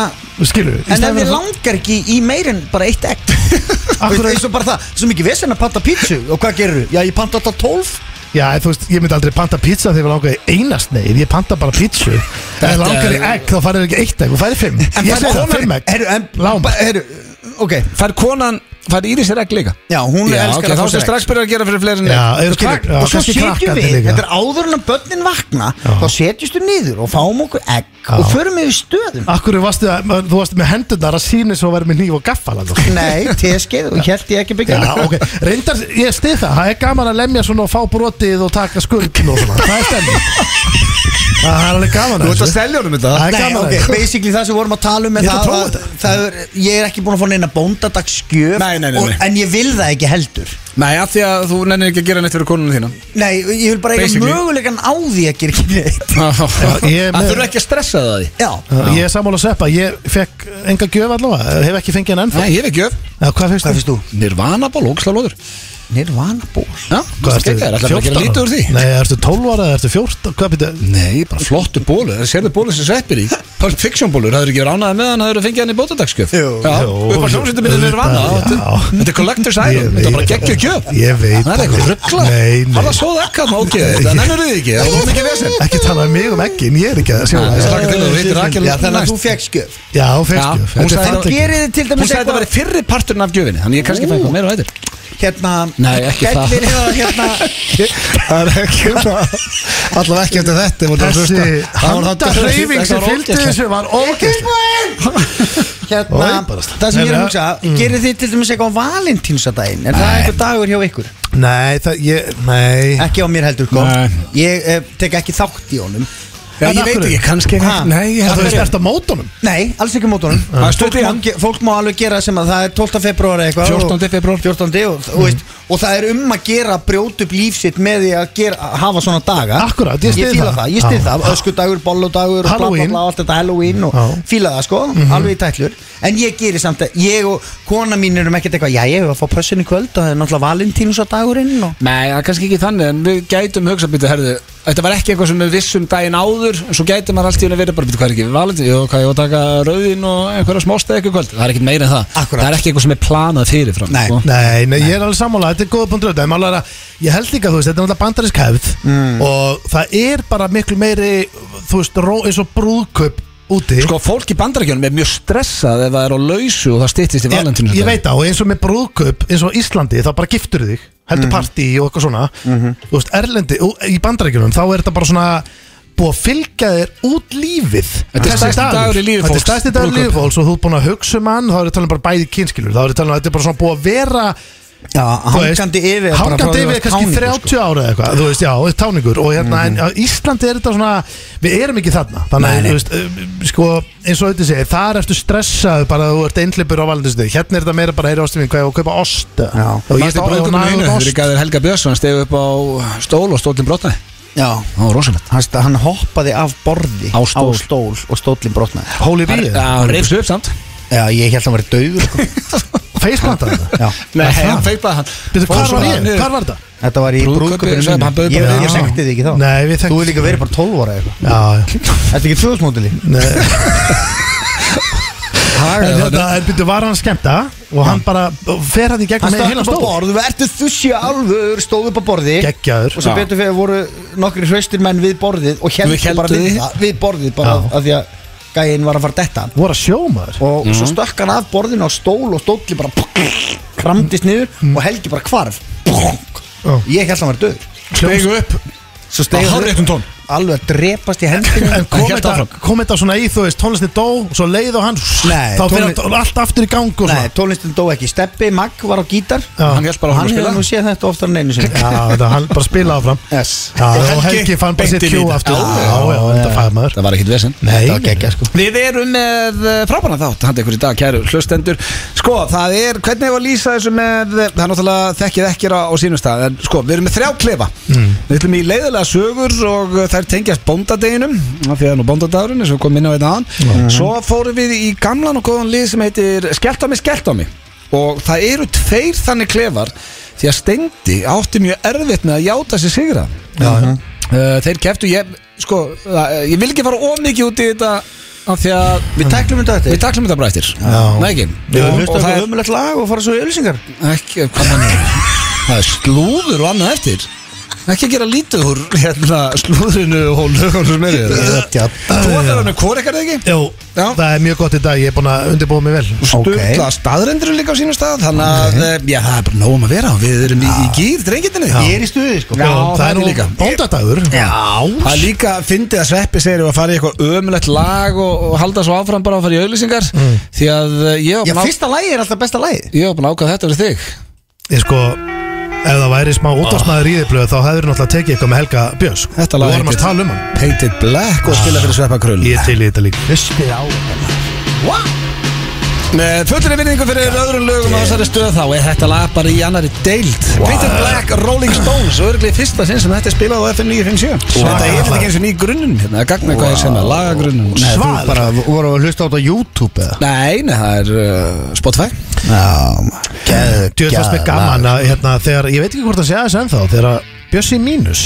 S2: Skilur við?
S3: En ef þið langar ekki í meirinn bara eitt egg
S2: Akkur-
S3: Veist, eins og bara það, svo mikið vesen að panta pítsu Og hvað gerirðu? Já, ég panta alltaf 12
S2: Já, en þú veist, ég myndi aldrei panta pizza þegar ég langar í einast neyr Ég panta bara pizza En
S1: Þetta
S2: langar í
S1: er-
S2: egg, þá farir ekki eitt egg Þú farir fimm Ég segi það, fimm egg
S3: Heru, en,
S2: Lám.
S3: ba- heru, Ok,
S1: Fær konan, fær Íris er ekki líka
S3: já, hún
S1: Já,
S3: elskar
S1: ok, þá
S3: að fá
S1: sem
S3: sér egg
S1: strax byrjar að gera fyrir fleiri en
S2: Já,
S1: einn.
S2: eru
S1: Krak-
S2: krak- já,
S3: og svo
S2: kannski
S3: setjum
S2: krakkarnir
S3: við,
S2: líka.
S3: þetta er áður en að börnin vakna þá setjumst við niður og fáum okkur egg og förum við stöðum
S2: Akkur varstu, að, þú varstu með hendunar að síni svo verið með nýf og gaffala þú.
S3: nei, teskeið og held ég ekki byggja
S2: Já, ok Reyndar, ég stið það, það er gaman að lemja svona og fá brotið og taka skurðin og svona Það er stemning Það er alveg gaman
S1: Þú ert
S2: að
S1: að
S2: þessu
S1: selja honum þetta
S2: Það er
S3: Nei,
S2: gaman að
S3: ok,
S2: þessu
S3: basically það sem við vorum að tala um er
S2: Ég ætla að
S3: það,
S2: prófa
S3: að, það er, Ég er ekki búin að fá neina bóndadagsgjöf
S1: Nei, nei, nei,
S3: og-
S1: nei.
S3: En ég vil það ekki heldur
S1: Nei, af því að þú nennir ekki að gera neitt fyrir konunum þína
S3: Nei, ég vil bara eiga
S1: Basically.
S3: mögulegan á því að gera ekki neitt
S2: ég er
S1: Það
S2: með-
S1: þurfa ekki að stressa það því
S3: Já,
S2: Ég er sammála að sveppa, ég fekk enga gjöf allavega, hef ekki fengið hann ennþá
S1: Nei, ég er ekki öf
S2: Eða, Hvað finnst
S3: hvað finnst þú?
S1: Nirvana ból, ógslag lóður
S3: Nirvana ból
S1: Já,
S2: Hvað
S1: það er alltaf að gera lítið úr því
S2: Nei, ertu 12 ára eða ertu 14? Hvað byrja?
S1: Nei, bara flottu bólu, það sérðu bólu sem sveppir í Pulp Fiction bólur, það eru ekki verið ánæðið með hann það eru fengið hann í bótadagskjöf Já,
S3: Jú.
S2: Jú.
S1: og bara hljómsveitum minnum er vana
S2: Já.
S1: Þetta er collector's item, þetta er bara geggjur gjöf
S2: Ég veit
S1: Það er eitthvað
S2: það.
S1: ruggla
S2: Nei, nei.
S1: Hann var svoð ekki hann, ok, þetta nennur þið ekki Það var mikið vesinn
S2: Ekki tala um mig um ekkin, ég er ekki að sjá
S1: Ég slaka til þú, hittir Rakel
S3: Já, þannig að
S1: næst.
S3: þú fekkst gjöf
S2: Já, hún finnst
S1: Já,
S2: gjöf
S1: hún
S2: Þetta
S1: sagði það-
S2: er falleg gjöf.
S3: Gerið þið til
S1: Hún
S3: dæmis
S1: sagði þetta
S3: eitthvað
S1: væri fyrri parturinn af gjöfinni Þannig ég kannski fæ eitthvað meira á hættir
S3: Hérna
S1: Nei, ekki
S3: gæti
S1: það.
S3: verið að, hérna,
S1: Það er ekki Allavega ekki eftir þetta voru að
S2: Þessi
S1: hlusta. Það voru þetta-
S2: handarreyfing sem
S1: þetta var
S2: fylgdi
S1: ógeðslegt.
S2: þessu var ógæst
S3: hérna,
S2: Oj, bara slag.
S3: það sem ég er að
S2: Nei,
S3: hugsa
S2: nei.
S3: gerir þið til dæmis eitthvað á valentínsadaginn er það einhver dagur hjá ykkur?
S2: Nei, það, ég, nei
S3: ekki á mér heldur sko. gott
S1: Nei.
S3: ég eh, tek ekki þátt í honum
S1: Já, ég
S2: af
S1: veit
S2: hverju?
S1: ekki, kannski ekki.
S2: Ha? Nei, ég
S1: Af
S2: held að
S1: hverju?
S2: það er stert á mótunum
S3: Nei, alls ekki á mótunum
S2: Ah.
S1: Það er stutt
S3: fólk,
S1: í
S3: má
S1: hann.
S3: ge- fólk má alveg gera sem að það er 12. februar eitthvað
S1: 14.
S3: og-
S1: febrúar.
S3: 14. Og, og, veist,
S2: Mm.
S3: og það er um að gera að brjóta upp líf sitt með því að gera, hafa svona daga
S2: Akkúrat, ég styð
S3: Ég fíla
S2: það.
S3: það, ég stið
S2: Já.
S3: það, öskudagur, bolludagur og bla, bla,
S2: Halloween.
S3: bla, allt þetta Halloween og
S2: Já. Mhm.
S3: fíla það sko, alveg í tætlur en ég gerir samt að, ég og kona mín erum ekkert eitthvað, já ég hef að fá pössin í kvöld og það er náttúrulega valentínusadagurinn og
S1: Nei, það er kannski ekki þannig en við gætum hugsa býtu, herðu Þetta var ekki eitthvað sem við vissum daginn áður en svo gætum maður allt í henni verið bara býtu hvað er ekki valandi Jó, hvað ég var að taka rauðin og einhverja smásteg eitthvað kvöld Það er ekkit meira en það
S3: Akkúrat.
S1: Það er ekki eitthvað sem er planað fyrirfram
S3: Nei.
S1: sko.
S2: Nei, nei, ég er alveg sammála, þetta er góða punktur þetta, en málið er að ég held líka, þú veist, þetta er alltaf bandarísk hefð
S1: Mm.
S2: og það er bara miklu meiri þú veist, ró, eins og brúðkaup úti
S1: Sko, fólk í bandarækjunum er mjög stressað ef það er á lausu og það styttist í
S2: ég,
S1: valentinu
S2: ég veit það, og eins og með brúðkaup eins og á Íslandi, þá bara giftur þig heldur
S1: Mm.
S2: partí og eitthvað svona
S1: Mhm.
S2: þú veist, Erlendi, og, í bandaríkjunum þá er þetta bara svona búið að fylgja þér út lífið
S1: Þetta er
S2: Þessi
S1: stærsti dagur í lífi
S2: Þetta
S1: fólks,
S2: er stærsti dagur í lífi
S1: brúðkaup.
S2: fólks og þú ert búin að hugsa um hann, þá er þetta talað bara bæði kynskilur þá er þetta talað að þetta er bara svona búið að vera
S3: já,
S2: Þú veist,
S3: hangandi yfir bara frá
S2: hangandi
S3: því að
S2: yfir
S3: þú
S2: kannski
S3: varst táningur,
S2: 30
S3: sko. Mhm.
S2: ára eða eitthvað þú veist, já, og táningur og hérna, en á Íslandi er þetta svona við erum ekki þarna, þannig
S3: Nei,
S2: að,
S3: nei.
S2: þú veist, um, sko, eins og auðvitað segir þar ertu stressað bara að þú ert einhleipur á valendistu, hérna er þetta meira bara heyri ástum mín hvað ég á að kaupa ost
S3: Já.
S2: og ég
S1: Manstu
S2: er bara að
S1: brúðkaupinu
S2: naga
S1: mínu,
S2: út
S1: þegar
S2: ost
S1: Gæður Helga Björnsson stegu upp á stól og stólinn brotnaði
S3: Já,
S1: Það var rosalegt
S3: Hann, sta- hann hoppaði af borði
S1: Á stól.
S3: og stólinn brotnaði
S2: hóli bíð,
S1: Það reyfst upp samt
S3: Já, ég held að hann verið dauður sko.
S2: feisplanta þetta
S3: Já,
S1: Nei,
S2: það?
S1: hann feitlaði hann
S2: Býttu,
S1: Fór
S2: hvar
S1: svo
S2: var
S1: bara
S2: ég?
S1: niður.
S2: Hvar var þetta?
S3: þetta var í
S1: Brúðkaupinu
S3: brúðkaupinu
S1: sem hann
S3: mínu.
S1: bauð
S3: Ég
S1: bara í.
S3: veit ég þekkti þig ekki þá
S2: Nei, við
S3: Þú
S2: þekktum
S3: er líka verið bara 12 ára eitthvað
S2: Já, já
S3: Þetta er ekki þjóðsmótili
S2: En þetta, en býttu, hérna var hann skemmta og hann bara fer hann í gegnum
S3: Hann
S2: með
S3: stóð
S2: hérna
S3: upp á
S2: stól
S3: borð, þú ertu þussi alvör Stóð upp á borði
S2: geggjaður
S3: Og sem
S1: Já.
S3: betur fyrir voru nokkri hraustir menn við borðið Og
S1: Við
S3: heldur
S1: héldu
S3: bara við,
S1: því.
S3: það, við borðið Bara
S2: Já.
S3: af því að gæinn var að fara að detta
S2: voru að sjómaður
S3: Og
S1: Mhm.
S3: svo stökk hann af borðinu á stól Og stóli bara Kramdist niður og helgi bara hvarf Ég held að hann verið döður
S1: Stegu upp
S3: Svo
S1: Á
S3: steig hann
S1: hárréttum tón
S3: upp Alveg að drepast í hendinu
S2: En
S1: Hann
S2: kom
S1: hélt
S2: þetta,
S1: áfram.
S2: kom þetta svona í, þú veist, tónlistin dó og svo leið og hann,
S3: Nei,
S2: þá fyrir
S3: tónli-
S2: tónli... allt aftur í gang og
S3: Nei,
S2: svona
S3: tónlistin dó ekki Steppi Magg var á gítar
S2: Já.
S1: Hann hjálpar á hann að
S3: Hann hefur
S1: spila
S3: nú séð þetta oftar en einu sinni
S2: Já, þetta hann bara spila áfram
S3: yes.
S2: Já,
S1: Og
S2: og
S1: Helgi
S2: Helgi fann bara
S1: beint
S2: sitt
S1: inn í
S2: kjú
S1: þetta.
S2: aftur
S1: Já,
S2: Já, já, þetta fæði maður
S1: Það var ekkit vesinn
S2: Nei,
S3: Þetta var geggjað, sko.
S1: Við erum með frábæna þátt handa ykkur í dag, kæru hlustendur Sko, það er, hvernig hefur að lýsa þessu með það er náttúrulega þekkið ekkir á, á sínum stað en sko, við erum með þrjá klefa Við ætlum í leiðilega sögur og uh, þær tengjast bóndadeginum af því að það er nú bóndadagurinn eins og við komum inn á þetta aðan Svo fórum við í gamlan og góðan lið sem heitir Skeltami, Skeltami og það eru tveir þannig klefar því að Steindi átti mjög erfitt með að játa sig sigra Uh, þeir keftu, ég, sko, uh, ég vil ekki fara of mikið út í þetta af því að
S3: Við tæklum þetta
S1: við
S3: eftir
S1: taklum þetta bara eftir
S2: Já.
S1: Nei ekki
S2: Við höfum
S1: Og
S3: Hlusta
S1: það
S3: það
S1: er
S3: ömulegt lag og fara svo í ölsingar
S1: ekki, hvað mann er um. það er slúður og annað eftir ekki að gera lítið úr hérna, slúðurinu og lögunum sem er í þér. Þú ætlar að vera með hvor ekkert eða ekki
S2: Jú,
S1: Já.
S2: það er mjög gott í dag, ég er búin að undirbúa mig vel
S1: Sturla staðrendur líka á sínum stað Þannig að, eh, já, það er bara nógum að vera og Við erum í, í gýr, drengitinni
S3: Ég er í stuði sko
S1: Já, það
S2: það
S1: er
S2: er
S1: líka.
S2: nú bóndadagur
S1: Það er
S2: Já
S1: líka að fyndið að Sveppi segir ef að fara í eitthvað ömulegt lag og, og halda svo áfram bara að fara í auðlýsingar því að eh, ég
S3: Já,
S1: var búin á-
S3: fyrsta lagi er alltaf besta lagi
S1: ég var búin að ákvæða þetta fyrir þig
S2: Ég sko, ef það væri smá útvarsmaður í þið blöð þá hefur náttúrulega tekið eitthvað með Helga Björns sko.
S1: Þetta
S2: Við
S1: lag
S2: vorum að
S1: heitir-
S2: tala um hann
S1: Painted Black og spila fyrir Sveppa Krull
S2: Ég er til í þetta líka
S3: Hlustið á
S1: Með fullinni vinningu fyrir öðrum lögum á þessari stöð þá er þetta lag bara í annari deild Painted Black, Rolling Stones og örglið fyrsta sinn sem þetta er spilað á FM 957 Þetta er eitthvað ekki eins og ný grunnum hérna, að gagna hvað ég sem að laga grunnum
S3: Nei, þú
S2: Svaðalegt.
S3: bara voru að hlusta á þetta á YouTube eða
S1: Nei, nei, það er uh, Spotify
S3: Já,
S2: Djöðu fannst mér gaman að hérna, þegar, ég veit ekki hvort það sé aðeins ennþá þegar að Bjössi Mínus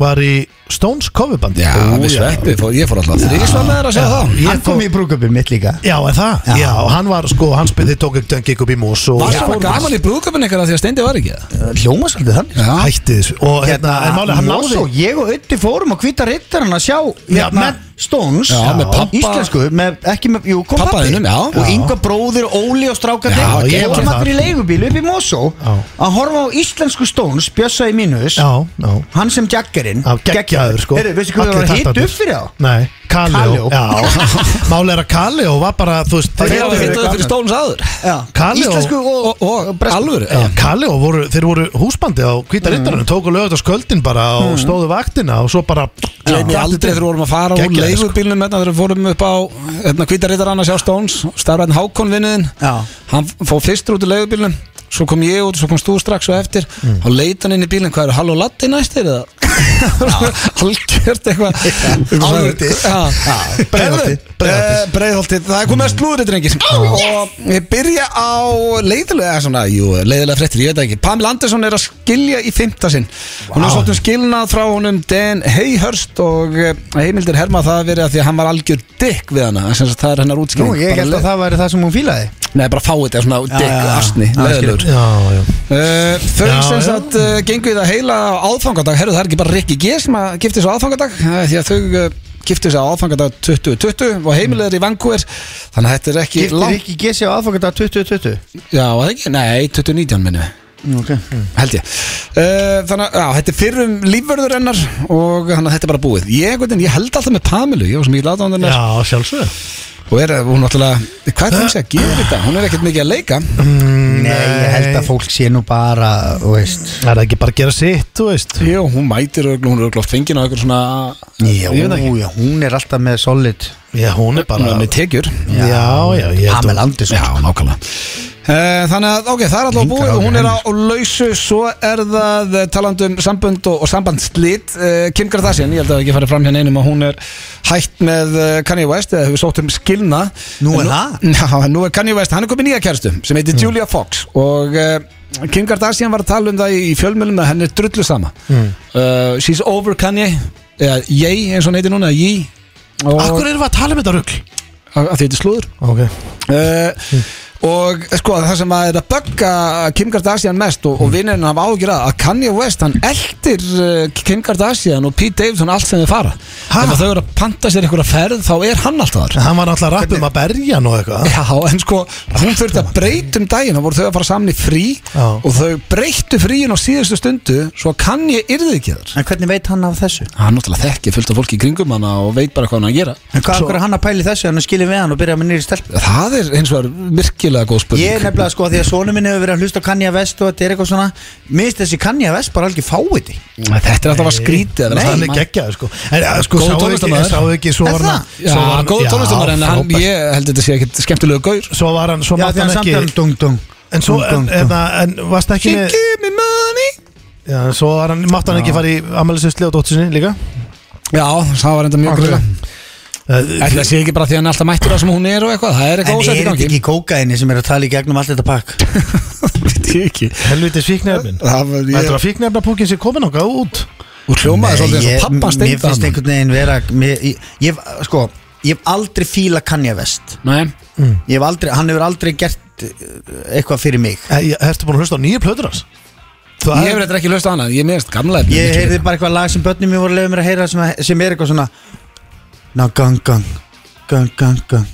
S2: var í Stones coverbandi
S1: Já, við Sveppi, fór- ég fór alltaf þrísvað með þér að segja það
S3: Hann kom í brúköpi mitt líka
S2: Já, er það? Já, hann var sko, hann spilði tók eitthvað gikk upp í mús og
S1: Var það gaman í brúðköpun eitthvað því að Steindi var ekki það?
S3: Hljóma svolítið þannig sko.
S1: Já,
S2: hætti þessu og hérna, en máli, hann náði
S3: Mosso, ég og Ötti fórum að hvita rittarinn að sjá
S2: Já,
S3: hérna,
S2: na-
S3: Stones
S1: Já, með pabba-
S3: Íslensku, með, ekki með, jú, kom
S1: Pabba
S3: pabbi
S1: þínum, já.
S3: Og ynga bróðir, Óli og strákandi
S1: Já,
S3: Og
S1: ég
S2: var
S3: kem
S2: þar.
S3: allir í leigubíl upp í Mosso
S2: Já.
S3: Að horfa á íslensku Stones, Bjössa í mínus
S2: Já, já
S3: Hann sem Jaggerinn
S2: Já, geggjaður geggjaður sko
S3: Heyrðu, veistu hvað
S2: Allir
S3: það var hitt
S2: taktarnir.
S3: upp fyrir þá?
S2: Nei, Kaleo,
S3: Kaleo.
S2: Já, Mál er að Kaleo var bara, þú veist
S1: Þeir hafa
S2: þeir-
S1: hitt það fyrir stólins áður
S2: Kaleo-
S3: Íslensku og,
S1: Og, og alvöru
S2: Já, Kaleo voru, þeir voru húsbandi á Hvíta Rittarinn, tóku lögut á sköldin bara og stóðu vaktina og svo bara
S1: Gleimi aldrei þegar við vorum að fara úr
S2: Geggjaði, sko.
S1: leigubílnum hérna, þegar við fórum upp á hérna, hvítarittar annars hjá Stones starfræðin Hákon vinnuðinn
S3: Já.
S1: hann fóð fyrstur út úr leigubílnum svo kom ég út, svo kom Stú strax og eftir og leit hann inn í bílinn, hvað eru Halló Latti næstir eða algjört eitthvað
S3: Álverdi. Breiðholtið,
S1: Breiðholti Breiðholti, Eh, það er komið að slúður þetta rengir
S3: Oh,
S1: og ég byrja á leiðilega svona, jú, leiðilega fréttir, ég veit það ekki Pamela Andersson er að skilja í fymta sinn hún er svolítið skilnað frá honum Dan Hayhurst og eh, heimildir herma það að verið að því að hann var algjör dick við hana, þess að það er hennar
S3: Nú,
S1: útskilning
S3: ég
S1: Bara
S3: held
S1: le-
S3: að það væri það sem hún fílaði
S1: Nei, bara fáið þetta, svona dick,
S3: já, já.
S1: astni,
S3: Já, ég skil.
S1: leðilegur
S2: Já, já
S1: Uh, þau
S2: Já,
S1: sem
S2: já.
S1: sagt uh, gengu í það heila á aðfangadag herru það er ekki bara Rikki G sem að gifti sig á aðfangadag uh, því að þau uh, gifti sig á aðfangadag 2020 og heimilegur í Vancouver þannig að þetta er ekki
S3: Giftir
S1: langt
S3: ekki Gessi á aðfangandag 2020
S1: já, er það ekki, nei, 2019 minnum við
S3: Ok
S1: held ég uh, þannig að já, þetta er fyrrum lífverður hennar og þannig að þetta er bara búið ég, einhvern veginn, ég held alltaf með Pamilu ég var svo mikið láta á hennar
S2: Já, sjálfsög
S1: og er, eh, hún náttúrulega hvað er hún sé að gera þetta, hún er ekkert mikið að leika
S2: Mm.
S3: Nei, ég held að fólk sé nú bara, þú veist
S2: Það er ekki bara að gera sitt, þú veist
S1: Jó, hún mætir örugglega- hún er örugglega oft fengin á einhver svona
S3: Já,
S1: ég veit það ekki.
S3: já, hún er alltaf með solid
S2: Já, hún er
S1: Hún
S2: bara
S1: er með tekjur
S2: Já, já, ég held
S3: Pamela Andersson
S1: Já, nákvæmlega sko. Eh, Þannig að, ok, það er alltaf
S3: Engar
S1: búið og hún
S3: áhyggjur
S1: er á á lausu, svo er það eh, talandi um sambönd og, og sambandslit uh, Kim Kardashian, ég held að það ekki farið fram hérna einum að hún er hætt með eh, Kanye West eða hefur sótt um skilna
S3: Nú er
S1: En
S3: það? Mm.
S1: Já, nú er Kanye West, hann er komið nýja kæristu sem heitir Julia Fox og uh, Kim Kardashian var að tala um það í, í fjölmjölum að henn er drullu sama
S3: Mm.
S1: Eh, She's over Kanye eða Ye, eins og hann heitir núna, Ye og
S2: Akkur erum við að tala um þetta rugl?
S1: að því þetta er slúður
S2: Ok
S1: Eh, og sko það sem að er að bögga Kim Kardashian mest og, og vinnirinn hafa ágjur að að Kanye West hann eldir uh, Kim Kardashian og Pete Davidson allt sem þau fara
S2: Ha?
S1: ef að þau eru að panta sér einhverja ferð þá er hann alltaf þar
S2: Hann var náttúrulega rapp um að berja nú eitthvað
S1: Já, en sko, hún þurfti að breyta um daginn þá voru þau að fara saman í frí
S2: Já.
S1: og þau breyttu fríin á síðustu stundu svo kann ég yrði ekki þar
S3: En hvernig veit hann af þessu?
S1: Hann náttúrulega þekki fullt af fólki í kringum hana og veit bara hvað hann á að gera
S3: En hvað Svo... er hann að pæli þessu? Hann skilir við hann og byrja með nýri stelp
S1: Það er eins og er virkilega góð spurning
S3: Ég er nefnilega sko því að sonu minn hefur verið að hlusta á Kanye West og þetta er eitthvað svona Minnst þessi Kanye West bara alveg fáið því
S1: Þetta er alltaf að skrítið að vera
S2: Nei, hann
S1: þannig.
S2: er geggjaður sko En eh, sko,
S1: Góð
S2: sáu ekki,
S1: tónlistarmaður.
S2: sáu ekki Svo
S3: Er
S2: var hann
S3: það?
S1: Já,
S2: svo var hann-
S1: góð
S2: Já,
S1: tónlistamæður en hann,
S2: frábær.
S1: ég held að þetta sé ekkert skemmtilegu gaur
S2: Svo var hann, svo
S3: Já
S2: mátt
S3: því hann
S2: hann
S3: samt er hann
S2: ekki
S3: dung dung
S2: En svo,
S3: Dung,
S2: en,
S3: dung,
S2: en, en varst ekki með
S1: me money
S2: Já, en svo var hann, mátt hann ekki fara í Amalisustli og dóttu sinni líka
S1: Já, það var enda mjög
S3: Akkur.
S1: grilla
S2: Eh,
S1: Þetta sé ekki bara því að hann er alltaf mættur það sem hún er og eitthvað Það er
S3: En
S1: eitthvað
S3: er
S1: ósætt í
S3: þetta
S1: gangi
S3: ekki kókaini sem er að tala í gegnum allt þetta pakk?
S1: Veit ég ekki
S2: Helvitis fíknefnin
S1: Það var
S2: Þetta
S1: ég
S2: var fíknefnapúkin sem komin okkar út
S1: Úr hljómaði svolítið eins og
S3: Nei,
S1: pappan
S3: ég- Mér
S1: steinda
S3: finnst
S1: hann
S3: einhvern veginn vera mér, ég, ég, hef- Sko, ég hef aldrei fíla Kanye West
S1: Nei,
S3: Ég hef aldrei, hann hefur aldrei gert uh, eitthvað fyrir mig
S2: Eh, ég- Ertu búin að hlusta á nýju plöður hans? Það
S1: ég hef reyndar ekki löst á hana Ég meðist gamla efni
S3: Ég
S1: miklu
S3: heyrði
S1: meira.
S3: bara eitthvað lag sem börnum mér voru að leiða mér að heyra sem, sem er eitthvað svona Ná gang gang Gang gang gang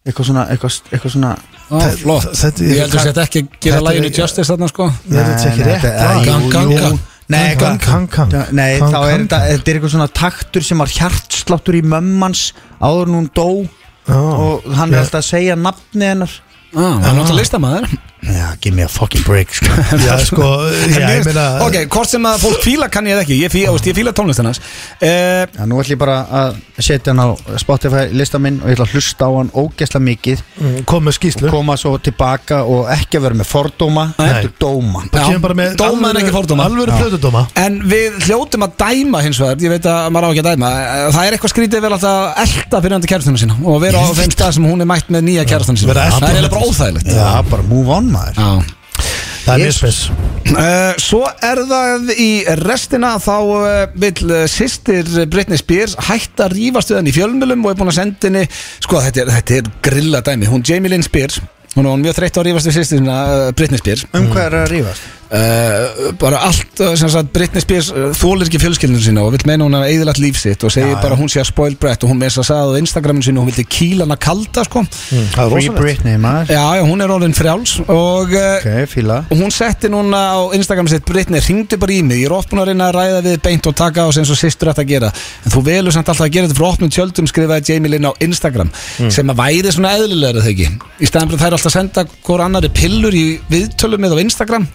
S3: Eitthvað svona, eitthvað, eitthvað svona
S1: Ó, Flott
S2: þetta-
S1: Ég heldur þetta ekki að gera
S2: Þetta-
S1: læginu Justice þarna sko
S2: Nei, þetta er ekki rétt lag.
S1: Gang, gang, gang.
S3: Nei, gang,
S2: gang, gang.
S3: Nei,
S2: Gang,
S3: þá er
S2: gang,
S3: þetta,
S2: gang.
S3: þetta er eitthvað svona taktur sem var hjartsláttur í mömmans áður en hún dó
S2: Já.
S3: og hann
S2: Já.
S3: er alltaf að segja nafni hennar
S1: Á, Það er náttúrulega listamæður
S3: Já, give me a fucking break sko.
S2: Já, sko, já, ég meina
S1: Ok, hvort sem að fólk fíla kann ég það ekki Ég fí- þú veist, ég fíla tónlist hennas Eh,
S3: Já, nú ætlum ég bara að setja hann á Spotify lista minn og ég ætla að hlusta á hann ógeðslega mikið
S2: mm, Kom með skýslu
S3: koma svo tilbaka og ekki að vera með fordóma
S1: Nei.
S3: heldur dóma
S1: Já,
S2: Kemur bara með
S1: dóma en
S2: alvöru-
S1: ekki fordóma.
S2: Alvöru plöðudóma
S1: En við hljótum að dæma hins vegar Ég veit að maður á ekki að dæma eh, Það er eitthvað skrítið vel að elda fyrirandi kærastanu sína Og vera á þeim stað sem hún er mætt með nýja kærastanu sína
S2: Vera að
S1: Það
S2: elta
S1: er
S2: hana.
S1: eiginlega bara óþægilegt
S3: Já, bara move on maður
S1: Já.
S2: Það er mjög
S3: Yes.
S2: spes
S1: Eh, Svo er það í restina Þá eh, vill eh, systir Britney Spears hætta að rífast við hann í fjölmjölum Og er búin að senda henni Sko þetta er, þetta er grilla dæmi Hún Jamie Lynn Spears Hún er hún mjög þreytt á að rífast við systir eh, Britney Spears
S3: Um hvað er að rífast?
S1: uh, bara allt uh, sem sagt Britney Spears uh, þólir ekki fjölskyldinu sína og vill meina hún að eigðilegt líf sitt og segir bara hún sé að spoil brett og hún með þess að sagði á Instagraminu sínu hún vildi kýla hana kalda sko
S2: Það er
S3: Free
S2: rosalegt
S3: Britney maður
S1: já, já, hún er orðin frjáls og uh,
S3: Ok, fíla
S1: Og hún setti núna á Instagram sitt Britni, ringdu bara í mig, ég er ofnur að reyna að ræða við beint og taka á sem svo sýstur ætti að gera en þú velur samt alltaf að gera þetta frá opnum tjöldum skrifaði Jamie Lynn á Instagram
S2: Hmm.
S1: sem að væri svona eðlilegra þau ekki í staðan fyrir þær alltaf að senda hvort annari pillur í viðtölum með á Instagram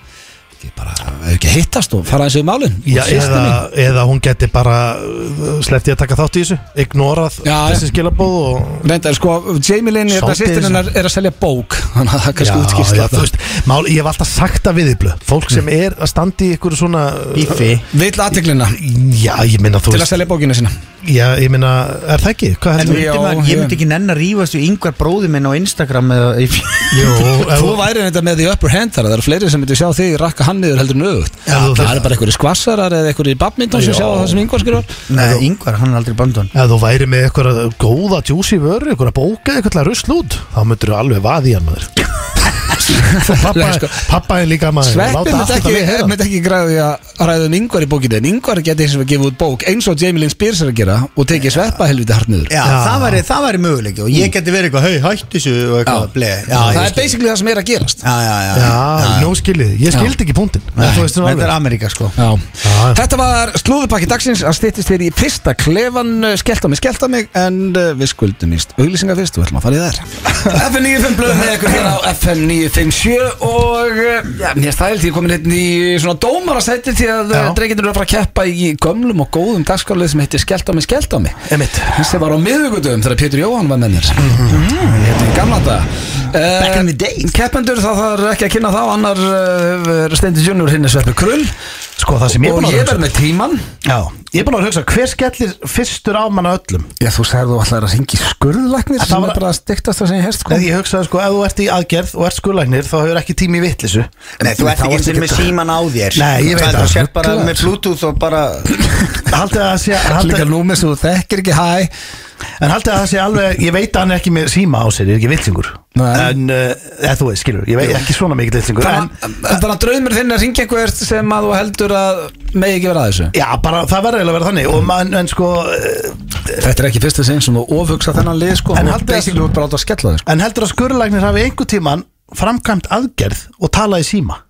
S1: ekki bara, hefur ekki að hittast og fara eins og í málin
S2: Já,
S1: Og systir
S2: eða,
S1: mín.
S2: eða hún geti bara uh, sleppti að taka þátt í þessu Ignorað
S1: Já,
S2: þessi
S1: já.
S2: skilabóð og
S1: Reyndar, sko, Jamie Lynn, þetta
S3: Svolítið
S1: sýstir
S3: þessu.
S1: hennar er að selja bók þannig að það kannski útskýrst
S2: já, þú veist, mál, ég hef alltaf sagt að viðiblu Fólk sem er að standa í ykkur svona uh,
S3: Bífi
S1: Vill aðteglina
S2: Já, ég minna þú
S1: til að selja bókina sína
S2: Já, ég minna, er það ekki? Hvað
S3: En
S2: heldur
S1: Já,
S3: myndi maður,
S1: já.
S3: ég myndi ekki nenn að rífast við yngvar bróði minn á Instagram eða í fjö
S2: Jú, ef-
S1: Þú væri reynda með því upper hand þar Það eru fleiri sem myndi sjá þig rakka hann niður heldur nöðugt
S2: Já, þú
S1: Það
S2: veist.
S1: eru bara einhverjir skvassarar eða einhverjir badminton sem sjá það sem yngvar skrifar
S3: Nei, yngvar, hann er aldrei bandun
S2: Ef þú væri með eitthvað góða djúsi vörur, eitthvað bóka, eitthvað rusl út þá myndir þú alveg vaði í hann maður pappa,
S1: Nei, sko.
S2: pappa er líka maður
S1: Sveppi
S2: láta allt
S1: myndi
S2: þetta
S1: ekki,
S2: vera.
S1: myndi ekki græði að ræða um yngvar í bókinu En yngvar geti eins og að gefa út bók eins og Jamie Lynn Spears er að gera og tekið sveppa helviti hart niður
S3: Já, Það, væri, það væri möguleik og ég geti verið eitthvað, hei, hættu þessu og eitthvað, ble Já,
S1: Það
S3: ég
S1: er
S3: skil.
S1: basically það sem er að gerast
S3: Já, já, já,
S2: Já, nú skiljið, ég
S1: Já.
S2: skildi ekki púntin
S3: Nei, Þetta er Ameríka sko
S1: Já.
S2: Já.
S1: Þetta var slúðupakki dagsins að styttist þér í fyrsta klefan uh, skellta mig, skellta mig en uh, við skuldum íst auglýsingar fyrst og við ætlum að fara í þær FM 95 blöðum með ykkur hér á FM 957 og uh, já, mér stæl því ég komin hérna í svona dómar að setja því að
S2: Já.
S1: drengindur eru að fara að keppa í gömlum og góðum dagskálega sem heitir skellta mig, skellta mig
S2: Emitt
S1: sem var á miðugudum þegar Pétur Jóhann var mennir hérna í gamla dag Back
S3: in the day.
S1: Keppendur það þarf ekki að kynna þá annar uh, Steindi Junior hinn er Sveppi Krull
S2: Sko það sem ég er
S1: og
S2: búin að
S1: ég
S2: hugsa
S1: verð með tíman
S2: Já, ég er búin að hugsa, hver skellir fyrstur á manna öllum?
S1: Já, þú sagði þú alltaf að ringi skurðlagnir
S2: Það
S1: sem
S2: var-
S1: er bara að stiktast það sem ég herst sko.
S2: Nei, ég hugsaði sko, ef þú ert í aðgerð og ert skurlæknir þá hefur ekki tími í vittlisu
S3: Nei, þú ert ekki eins og með síman á þér
S2: Nei, ég veit
S3: það
S2: það.
S3: Þú sér bara
S1: Rugglaður.
S3: með bluetooth og bara
S2: Haldið að það sé haldið,
S1: Líka númið sem þú þekkir ekki hæ
S2: En haldið að það sé alveg, ég veit að hann er ekki með síma á sér, ég er ekki viltingur
S1: Nei.
S2: En, uh, eða þú veist, skilur, ég veit ekki svona mikið viltingur en,
S1: Þannig að draumur þinn er að ringi einhvert sem að þú heldur að megi ekki vera að þessu
S2: Já, bara það verður eiginlega að vera þannig og man, en sko, eh,
S1: Þetta er ekki fyrsta sinn sem þú ofugsa þennan lið sko,
S2: En
S1: og
S2: haldið að-
S1: basically þú ert bara átt að skella þig sko.
S2: en heldur að skurðlæknir hafi einhver tíman framkvæmt aðgerð og talað í síma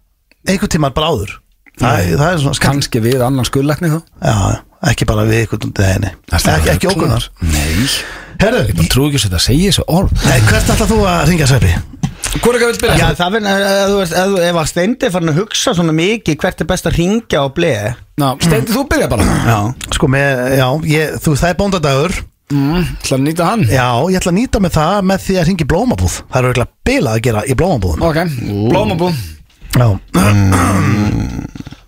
S2: einhver tíman bara áður það, það er svona skall
S1: Kanski við annan skurðlagni þá
S2: Já, ekki bara við einhvern deginni
S1: Ertu
S2: ekki, ekki
S1: ruglaður?
S2: ókunnar
S1: Nei,
S2: Herðu,
S1: ég trú ekki að þetta segja þessu orð
S2: nei, hvert ætlar þú að ringa Sveppi?
S1: Hvor er ekki að vil byrja?
S3: Já, það verður, ef þú veist, ef þú- ef að steindi farin að hugsa svona mikið hvert er best að ringja og ble
S1: Ná, Steindi, þú byrja bara
S3: Já
S2: Sko, með, já, ég, þú, það er bóndadagur
S1: mm, ætla að nýta hann
S2: Já, ég ætla að nýta með það með því að ringa í blómabúð Það eru eiginlega bilað að gera í blómabúðum
S1: Ok, blómabú
S2: Já,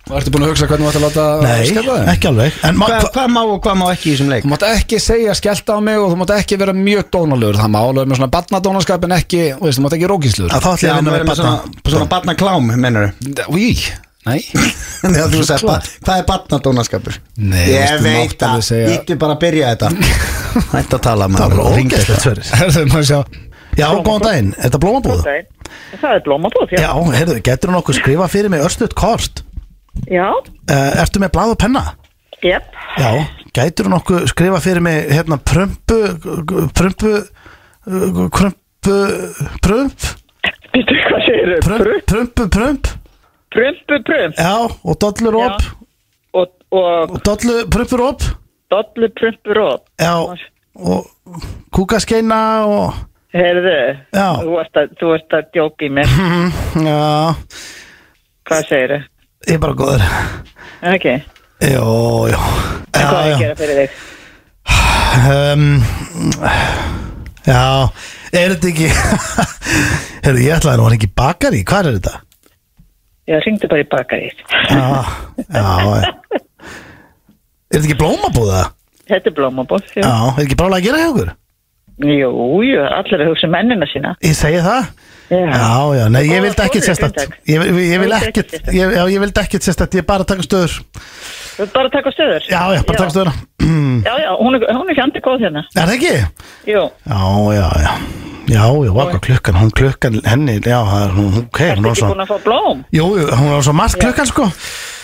S1: Ertu búin að hugsa hvernig þú ætti að láta
S2: nei,
S1: skella þig?
S2: ekki alveg En ma-
S3: Hvað
S2: hva-
S3: hvað má og hvað má ekki í þessum leik?
S1: Þú mátt ekki segja skellta á mig og þú mátt ekki vera mjög dónalögur Það má alveg með svona barnadónaskap en ekki, þú veist, þú mátt ekki rókislugur
S2: að þá ætla
S3: Já,
S2: ég að
S3: maður
S2: vinna með
S3: verður með
S2: batna
S3: svona, svona batnaklám, mennur
S1: Í, nei
S3: Já, þú sagði, ba hvað er batnadónaskapur?
S1: Nei, veistu,
S3: ég veit
S1: mátt alveg
S3: það,
S1: segja-
S3: íttu bara að byrja þetta Hætt að tala
S2: Það
S3: maður
S2: var
S3: Hringdu
S2: ógæstlegt
S3: eitthvað.
S2: sverðis
S1: Herðu, maður sjá
S2: Já, góðan daginn, er þetta blómabúð?
S4: Góðan daginn. Það er blómabúð, já.
S2: Já, heyrðu, getur hún okkur skrifa fyrir mig örstuðt kort?
S4: Já,
S2: Uh, ertu með blað og penna?
S4: jep.
S2: Já Gætur hún okkur skrifa fyrir mig hérna prömpu prömpu uh, krömpu prömp
S4: Býttu, hvað segir þau?
S2: prömp, prömpu prömp
S4: Prumpu, prump.
S2: Já, og dollur
S4: Já.
S2: op
S4: Og, og
S2: og dollu, prömpur op
S4: dollu, prumpu, róp.
S2: Já, og kúkaskeina og
S4: Heyrðu,
S2: Já.
S4: þú ert að, þú ert að djóka í mér.
S2: Já,
S4: Hvað segir þau?
S2: ég er bara góður
S4: En ekki,
S2: Jó, jó
S4: en hvað er
S2: Já,
S4: að
S2: já,
S4: gera fyrir þig?
S2: um, já er þetta ekki Heyrðu, ég ætlaði nú að ekki bakari Hvað er þetta?
S4: Já, ringdu bara í bakarið.
S2: Já, já Er þetta ekki blómabúða?
S4: Þetta er blómabúð,
S2: Já,
S4: já.
S2: er ekki brálega að gera hjá okkur?
S4: Jú, jú, allir að hugsa um mennina sína.
S2: Ég segi það?
S4: Já.
S2: Já, já, nei, ég
S4: Og-
S2: vildi
S4: og
S2: ekkert
S4: við
S2: sérstætt
S4: Grindavík.
S2: Ég, ég, ég vil
S4: Og við
S2: ekkert,
S4: sérstakt.
S2: ég, já, ég vildi ekkert sérstætt Ég er bara að taka um stöður
S4: Þú ert bara að taka stöður?
S2: Já, já, bara að taka um stöður Er
S4: Já, já, hún er, hún er fjandi góð hérna.
S2: það ekki?
S4: Jú,
S2: Já, já, já Já, já,
S4: Og-
S2: hvað klukkan, hún klukkan henni, já, það er hún, ok, hún
S4: Ertu
S2: var
S4: ekki
S2: svo
S4: búin að fá blóm?
S2: Jú, jú, hún var svo margt klukkan, sko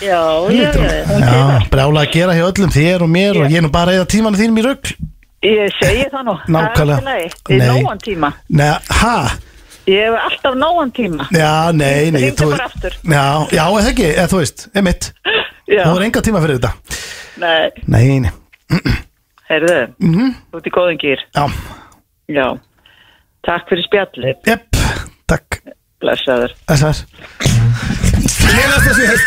S4: Já, já, já, já, hún
S2: Já,
S4: kemur.
S2: brjála að gera hjá öllum, þér og mér og
S4: Já.
S2: ég er nú bara að reyða tímanu þínum í rugg
S4: Ég segi það nú.
S2: Nákvæmlega.
S4: Það er alltaf leið.
S2: Nei.
S4: Nóan tíma.
S2: Nei, hæ?
S4: Ég hef alltaf nóan tíma.
S2: Já, nei, nei
S4: Hringdu
S2: þú-
S4: bara aftur.
S2: Já, já, eða ekki, eða þú veist, emitt
S4: Já,
S2: Þú er enga tíma fyrir þetta
S4: nei,
S2: Nei, nei,
S4: heyrðu,
S2: Mhm.
S4: þú ert í góðum gýr.
S2: já,
S4: Já, takk fyrir spjallið,
S2: jepp, takk,
S4: blessaður.
S2: þessar
S1: Lélegasta sem ég heilt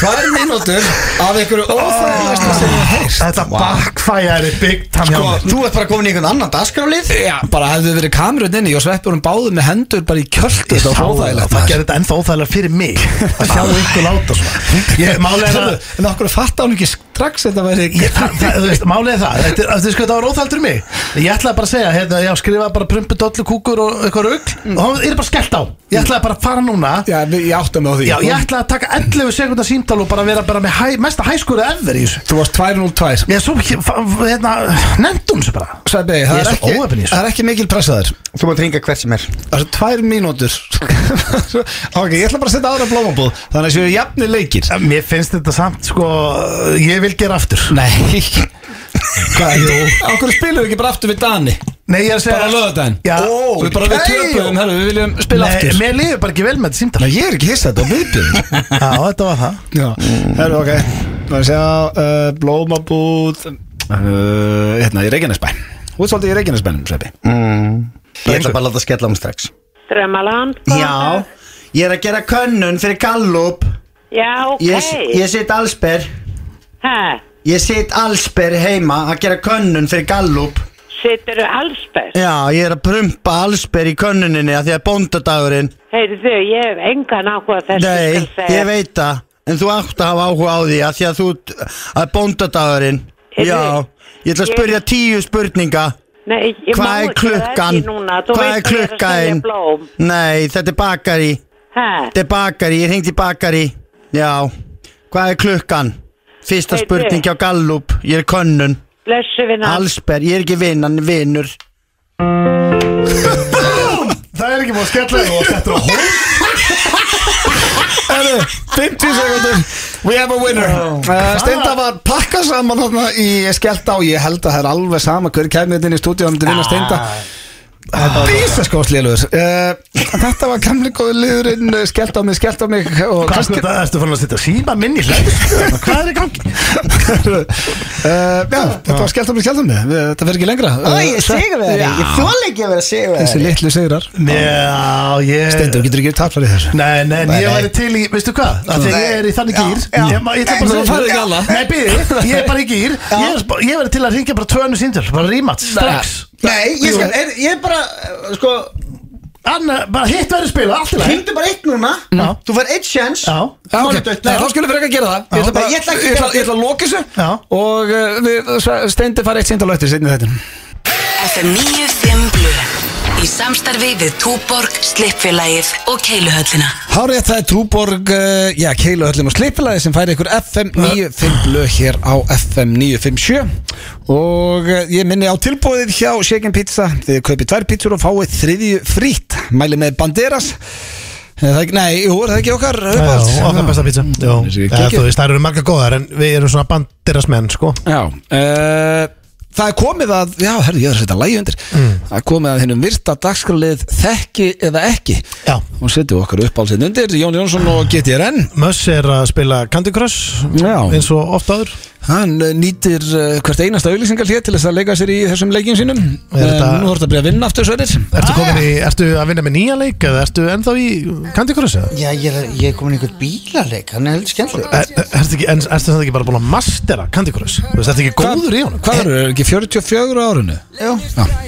S1: Tvær mínútur af einhverju óþægilegasta sem ég heilt
S2: Þetta backfire er big time hjá
S3: Sko,
S2: mér
S3: þú ert bara komin í einhvern annan dagskrálið
S1: Já, bara hefðu verið kamerun inni og sveppunum báðu með hendur bara í kjöldu
S2: Ég sá
S1: Þetta var
S2: Það
S1: óþægilegt
S2: það gerði þetta ennþá óþægilega fyrir mig að sjá ykkur láta svona Ég- Málið er
S1: Hörðu,
S2: að
S1: En okkur fatta hún ekki strax þetta væri
S2: Ég, það, það, þú veist, málið er það, þetta, þetta, sko, þetta var óþældur mig Ég ætlaði bara að segja, hérna, ég skrifaði bara prumpu, dollu, kúkur og eitthvað rugg Og það er bara skellt á Ég ætlaði bara að fara núna
S1: Já, við- ég átta mig á því
S2: Já, ég ætlaði að taka 11 sekundar símtal og bara vera bara með hæ, mesta hæskuru ever í þessu
S1: Þú varst 202
S2: Ég svo, hérna, nefndum þessu bara
S1: Sveppi, það,
S2: Ég er
S1: er
S2: svo
S1: ekki-
S2: óheppinn í þessu.
S1: það er ekki mikil pressaður
S3: Þú mátt ringa hvert sem er
S1: Það er tvær mínútur Ok, ég ætla bara að setja aðra blómabúð Þannig að séu jafni leikir
S2: Mér finnst þetta samt, sko, ég vil gera aftur
S1: Nei Hvað, jú Okkur spilum við ekki bara aftur við Dani
S2: Nei, ég er að segja
S1: Bara löðudaginn
S2: Já,
S1: Ó, Við bara við hérna. töpum, herru, við viljum spila
S2: Nei,
S1: aftur
S2: mér líður bara ekki vel með þetta símtal
S1: Nei, ég er ekki hissað, þetta var viðbjöðum
S2: Já, þetta var það
S1: Já, herru, ok Það er að segja uh, blómabúð uh, Hérna, í Reykjanesbæ Þú ert svolítið í Reykjanesbænum, Sveppi
S3: Ég ætla bara að láta skella um strax
S5: Drömmaland
S3: Já, ég er að gera könnun fyrir Gallup
S5: Já, ok
S3: Ég, ég sitt allsber
S5: Ha,
S3: Ég sitt allsber heima að gera könnun fyrir Gallup
S5: Sitturðu allsberg?
S3: Já, ég er að prumpa allsber í könnuninni að því að bóndadagurinn
S5: Heyrðu, ég hef engan áhuga á þessu
S3: Nei,
S5: skal segja.
S3: ég veit það En þú átt að hafa áhuga á því að því að þú að bóndadagurinn
S5: Heyrðu,
S3: Já, ég ætla að
S5: ég-
S3: spurja tíu spurninga
S5: Nei, ég
S3: Hvað
S5: má
S3: er
S5: ekki, það er
S3: klukkan?
S5: ekki núna. Þú
S3: Hvað er
S5: veist að ég að
S3: klukkan?
S5: selja blóm.
S3: Nei, þetta er bakari
S5: Ha,
S3: Þetta er bakari, ég hringdi í bakari Já, hvað er klukkan? Fyrsta
S5: Heyrðu.
S3: spurning hjá Gallup Ég er könnun,
S5: blessu við nátt
S3: allsber Ég er ekki vinnan, vinnur
S2: Það er ekki búin að skella þig og þetta er að hóla
S1: Herru, 50 sekundur We have a winner uh, Steinda var pakkað saman þarna í Skelta og ég held að það er alveg sama hver kæmið þetta inn í stúdíu og hann myndi vinna Steinda Vísa sko slélugur uh, Þetta var gamli góðu liðurinn uh, Skellt á mig, skellt á mig og
S2: Hvað er þetta? Erstu fann að setja síma minn í hlæðisku? Hvað er í gangi?
S1: uh, Já, þetta var skellt á mig, skellt á mig Við- Þetta fer ekki lengra Uh, Já.
S3: þól ekki að vera
S1: Þessi
S3: sigurvegari
S1: litlu sigrar
S2: Já, ég...
S1: Steindur getur ekki taplar í þessu
S2: Nei, nei, en
S3: Nei,
S2: ég
S3: nei.
S2: væri til í, veistu hvað? Af því að ég er í þannig
S3: Já,
S2: gýr
S3: já.
S2: Ég ma- ég ætla
S3: Nei,
S1: þú
S2: bara að segja-
S1: færð ekki alla.
S2: Nei, byrði, ég er bara í gýr Ég er sp- Ég væri til að ringja bara tvönu síndur Bara rímat, strax
S3: Nei, ég, skal, er, ég er bara, uh, sko
S2: Anna, bara hitt verður spila, allt í lagi
S3: Hringdu bara eitt núna
S2: Já.
S3: Þú fær eitt sjens
S2: Já.
S1: Já, ok.
S3: Mánudag,
S1: Nei, þá skulum við ekki að gera það Ég ætla, bara,
S3: Ég
S1: ég
S3: ætla ekki að
S1: ætla,
S3: gera
S1: ég ætla að loka þessu
S2: Já.
S1: og uh, við, Steindi fara eitt síndal eftir seinni þetta
S6: FM 95 Blu Í samstarfi við Túborg, Slippfélagið og Keiluhöllina
S1: Hárið það er Trúborg, uh, já, Keilu Höllum og Sleipilagi sem færi ykkur FM 95 blöð hér á FM 957 og uh, ég minni á tilbúið hjá Shaken Pizza þið kaupið tvær pizzur og fáið þriðju frýtt mæli með Banderas Er það ekki- Nei, jú, er það ekki okkar uppáhalds?
S2: Já, okkar besta pizza Já,
S1: er sér ekki
S2: Eh,
S1: ekki.
S2: Þú veist, það eru marga góðar En við erum svona bandirasmenn, sko
S1: Já uh, Það er komið að, já, herrðu, ég er að setja lægi undir
S2: Mm.
S1: Það er komið að hinnum virta dagskralið þekki eða ekki
S2: Já.
S1: Og setjum okkar upp alls hérna undir, Jón Jónsson og GTRN
S2: Möss er að spila Candy Crush
S1: Já.
S2: Eins og oft áður
S1: Hann eh, nýtir uh, hvert einasta auðlýsingar hér til þess að leika sér í þessum leikin sínum um,
S2: Er þetta-
S1: Nú voru þetta að byrja að vinna aftur sverir
S2: Ertu, komin
S1: Ah.
S2: í, ertu að vinna með nýja leik Eða ertu ennþá í Candy Crush? eða?
S3: Já, ég er, ég er komin í einhvern bílaleik Hann er heldur skemmtileg
S2: Er, er, Eh, ertu ekki, en, ertu það ekki bara búin að mastera Candy Crush? Þú veist, ertu ekki góður í honum? Eh,
S1: Hvað eru, er ekki 44 á árinu?
S3: Já.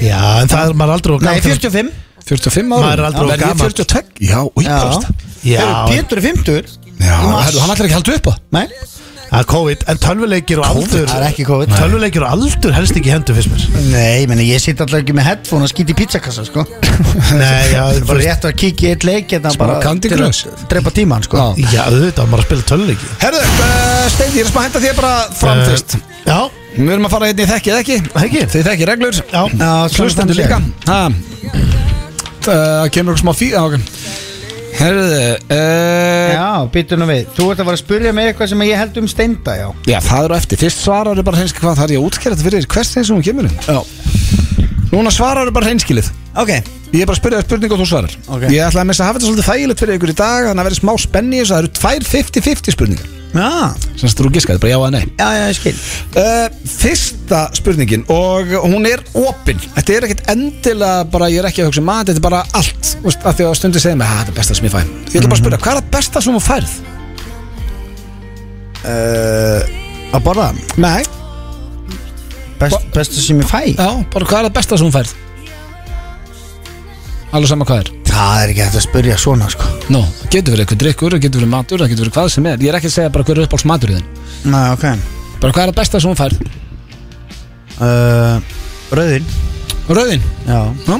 S2: Já, en það er maður er aldrei og
S3: Nei, 45
S1: 45
S2: Maður er
S1: árinu?
S2: aldrei of
S1: Verð ég
S2: gamall.
S1: 42? Já, új,
S3: Já.
S1: bara
S2: Já,
S3: Heyrðu, Pétur er 50
S1: Já,
S3: Í mars.
S1: herru, hann ætlar ekki að halda upp á
S3: Nei,
S2: það er COVID En tölvuleikir og aldur
S3: Það er ekki COVID. Nei.
S2: Tölvuleikir og aldur helst ekki í hendur fyrst mér
S3: Nei meni, ég sitt alltaf ekki með headphone og skýt í pizzakassa sko
S2: Nei, já,
S3: Það er
S2: þú
S3: bara
S2: veist
S3: rétt að kíkja í eitt leik hérna bara
S1: Candy
S3: til að
S1: Crush.
S3: Drepa tíman sko
S1: Já.
S2: Já, auðvitað, maður að spila tölvuleiki
S1: Herðu, uh, Steindi, ég er að spara að henda þér bara fram fyrst
S2: Eh, Já,
S1: Við erum að fara hérna í þekkið ekki
S2: Ekki.
S1: Þið þekkið reglur
S2: já
S3: Já, svona
S1: Hlustendur
S3: þannig.
S1: líka ha. uh, það kemur okkur smá fí á, okay. Herðu uh, já.
S3: Já, býttu nú við Þú ert að fara að spurja mig eitthvað sem ég held um steinda, já
S1: það er á eftir Fyrst svaraðu bara hreinskilið hvað þarf ég að útskjæra þetta fyrir Hvers þeim sem hún kemur inn já. Núna svaraðu bara hreinskilið
S3: Ok
S1: Ég er bara að spyrja þér spurningu og þú svarar
S3: Ok.
S1: Ég ætla að missa að hafa þetta svolítið þægilegt fyrir ykkur í dag Þannig að verði smá spenni í þessu Það eru tvær 50-50 spurningar
S3: Já,
S1: Sem þess að þú giskaði, bara já að nei
S3: já, já, ég skil
S1: Uh, fyrsta spurningin og hún er opin þetta er ekkert endilega bara ég er ekki að hugsa maður þetta er bara allt þú veist, af því að stundir segja mig "Ha, þetta er besta sem ég fæ ég ætla bara að spyrja hvað er það besta sem þú færð
S3: Að borða
S1: nei
S3: Best, Bestu sem ég fæ
S1: já bara hvað er það besta sem þú færð alveg sama hvað er
S3: Það er ekki hægt að spurja svona, sko
S1: no. getur verið eitthvað drikkur það getur verið matur það getur verið hvað sem er ég er ekki að segja bara hver er uppáhalds matur í þinn
S3: Næ, ok
S1: bara hvað er það besta sem þú færð
S3: uh, Rauðin
S1: rauðin
S3: Já
S1: já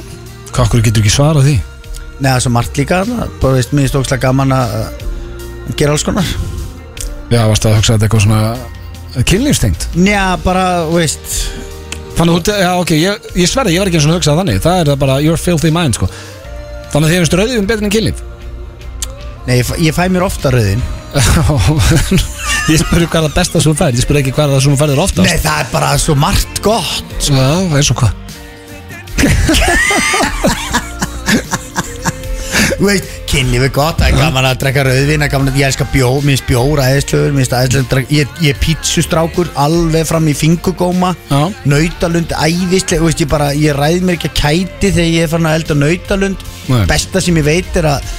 S1: hvað okkur getur ekki svarað því
S3: Nei, það er svo margt líka þarna. Bara veist, mér stókslega gaman að uh, gera alls konar
S1: já varst að hugsa að þetta er eitthvað svona eh, kynlífstengt
S3: Já, bara, þú veist
S1: Þannig að þú, já ok, ég, ég sverði, ég var ekki eins og hugsað þannig Það er það bara your filthy mind sko Þannig að þið finnst rauðum betur en kynlíf
S3: Nei, ég fæ, ég fæ mér ofta rauðin
S1: Ég spurði hvað er það besta sem þú færð Ég spurði ekki hvað er það sem þú færðir oftast
S3: Nei, það er bara svo margt gott
S1: Já, eins og hvað
S3: Þú veist, kynlíf er gott, það er gaman að drekka rauðvina, gaman að ég elska bjór, mér finnst bjór aðeinslugur, mér finnst aðeinslugur, að drekka- ég, ég er pítsustrákur, alveg fram í fingugóma,
S1: Já.
S3: nautalund, æðislega, þú veist, ég bara, ég ræð mér ekki að kæti þegar ég er farin að elda nautalund,
S1: Nei.
S3: besta sem ég veit er að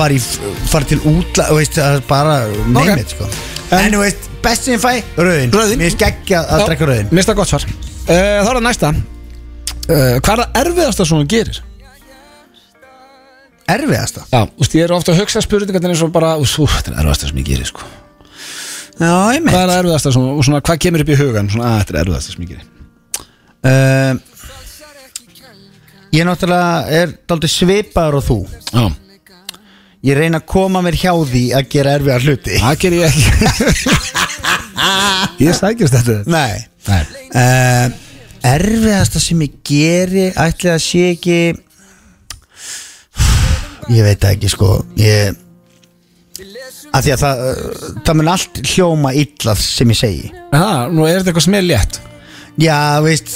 S3: fara, í, fara til útla, þú veist, það er bara,
S1: Ok.
S3: neymið, sko. En, þú veist, best sem ég fæ, rauðin,
S1: Rauðin.
S3: mér finnst geggja að drekka rauðin.
S1: Mista gott svar uh, Þá er það næsta uh, Hvað er það erfiðasta sem þú gerir?
S3: Erfiðasta.
S1: Já, úst, ég er ofta að hugsa spurningarnir eins og bara úst, úf, Þetta er erfiðasta sem ég gerir sko
S3: Já, ég
S1: Hvað er það erfiðasta sem, og svona, hvað kemur upp í hugan? Svona, að, þetta er erfiðasta sem ég gerir
S3: Uh, ég náttúrulega er daldið svipaður og þú
S1: Já,
S3: Ég reyna að koma mér hjá því að gera erfiðar hluti
S1: það gerir ég ekki Ég sækist þetta
S3: Nei
S1: Nei
S3: uh, Erfiðasta sem ég geri ætli að sé ekki Ég veit það ekki sko Ég að Því að það, uh, það mun allt hljóma illa sem ég segi
S1: Já, nú er þetta eitthvað sem er létt
S3: Já, veist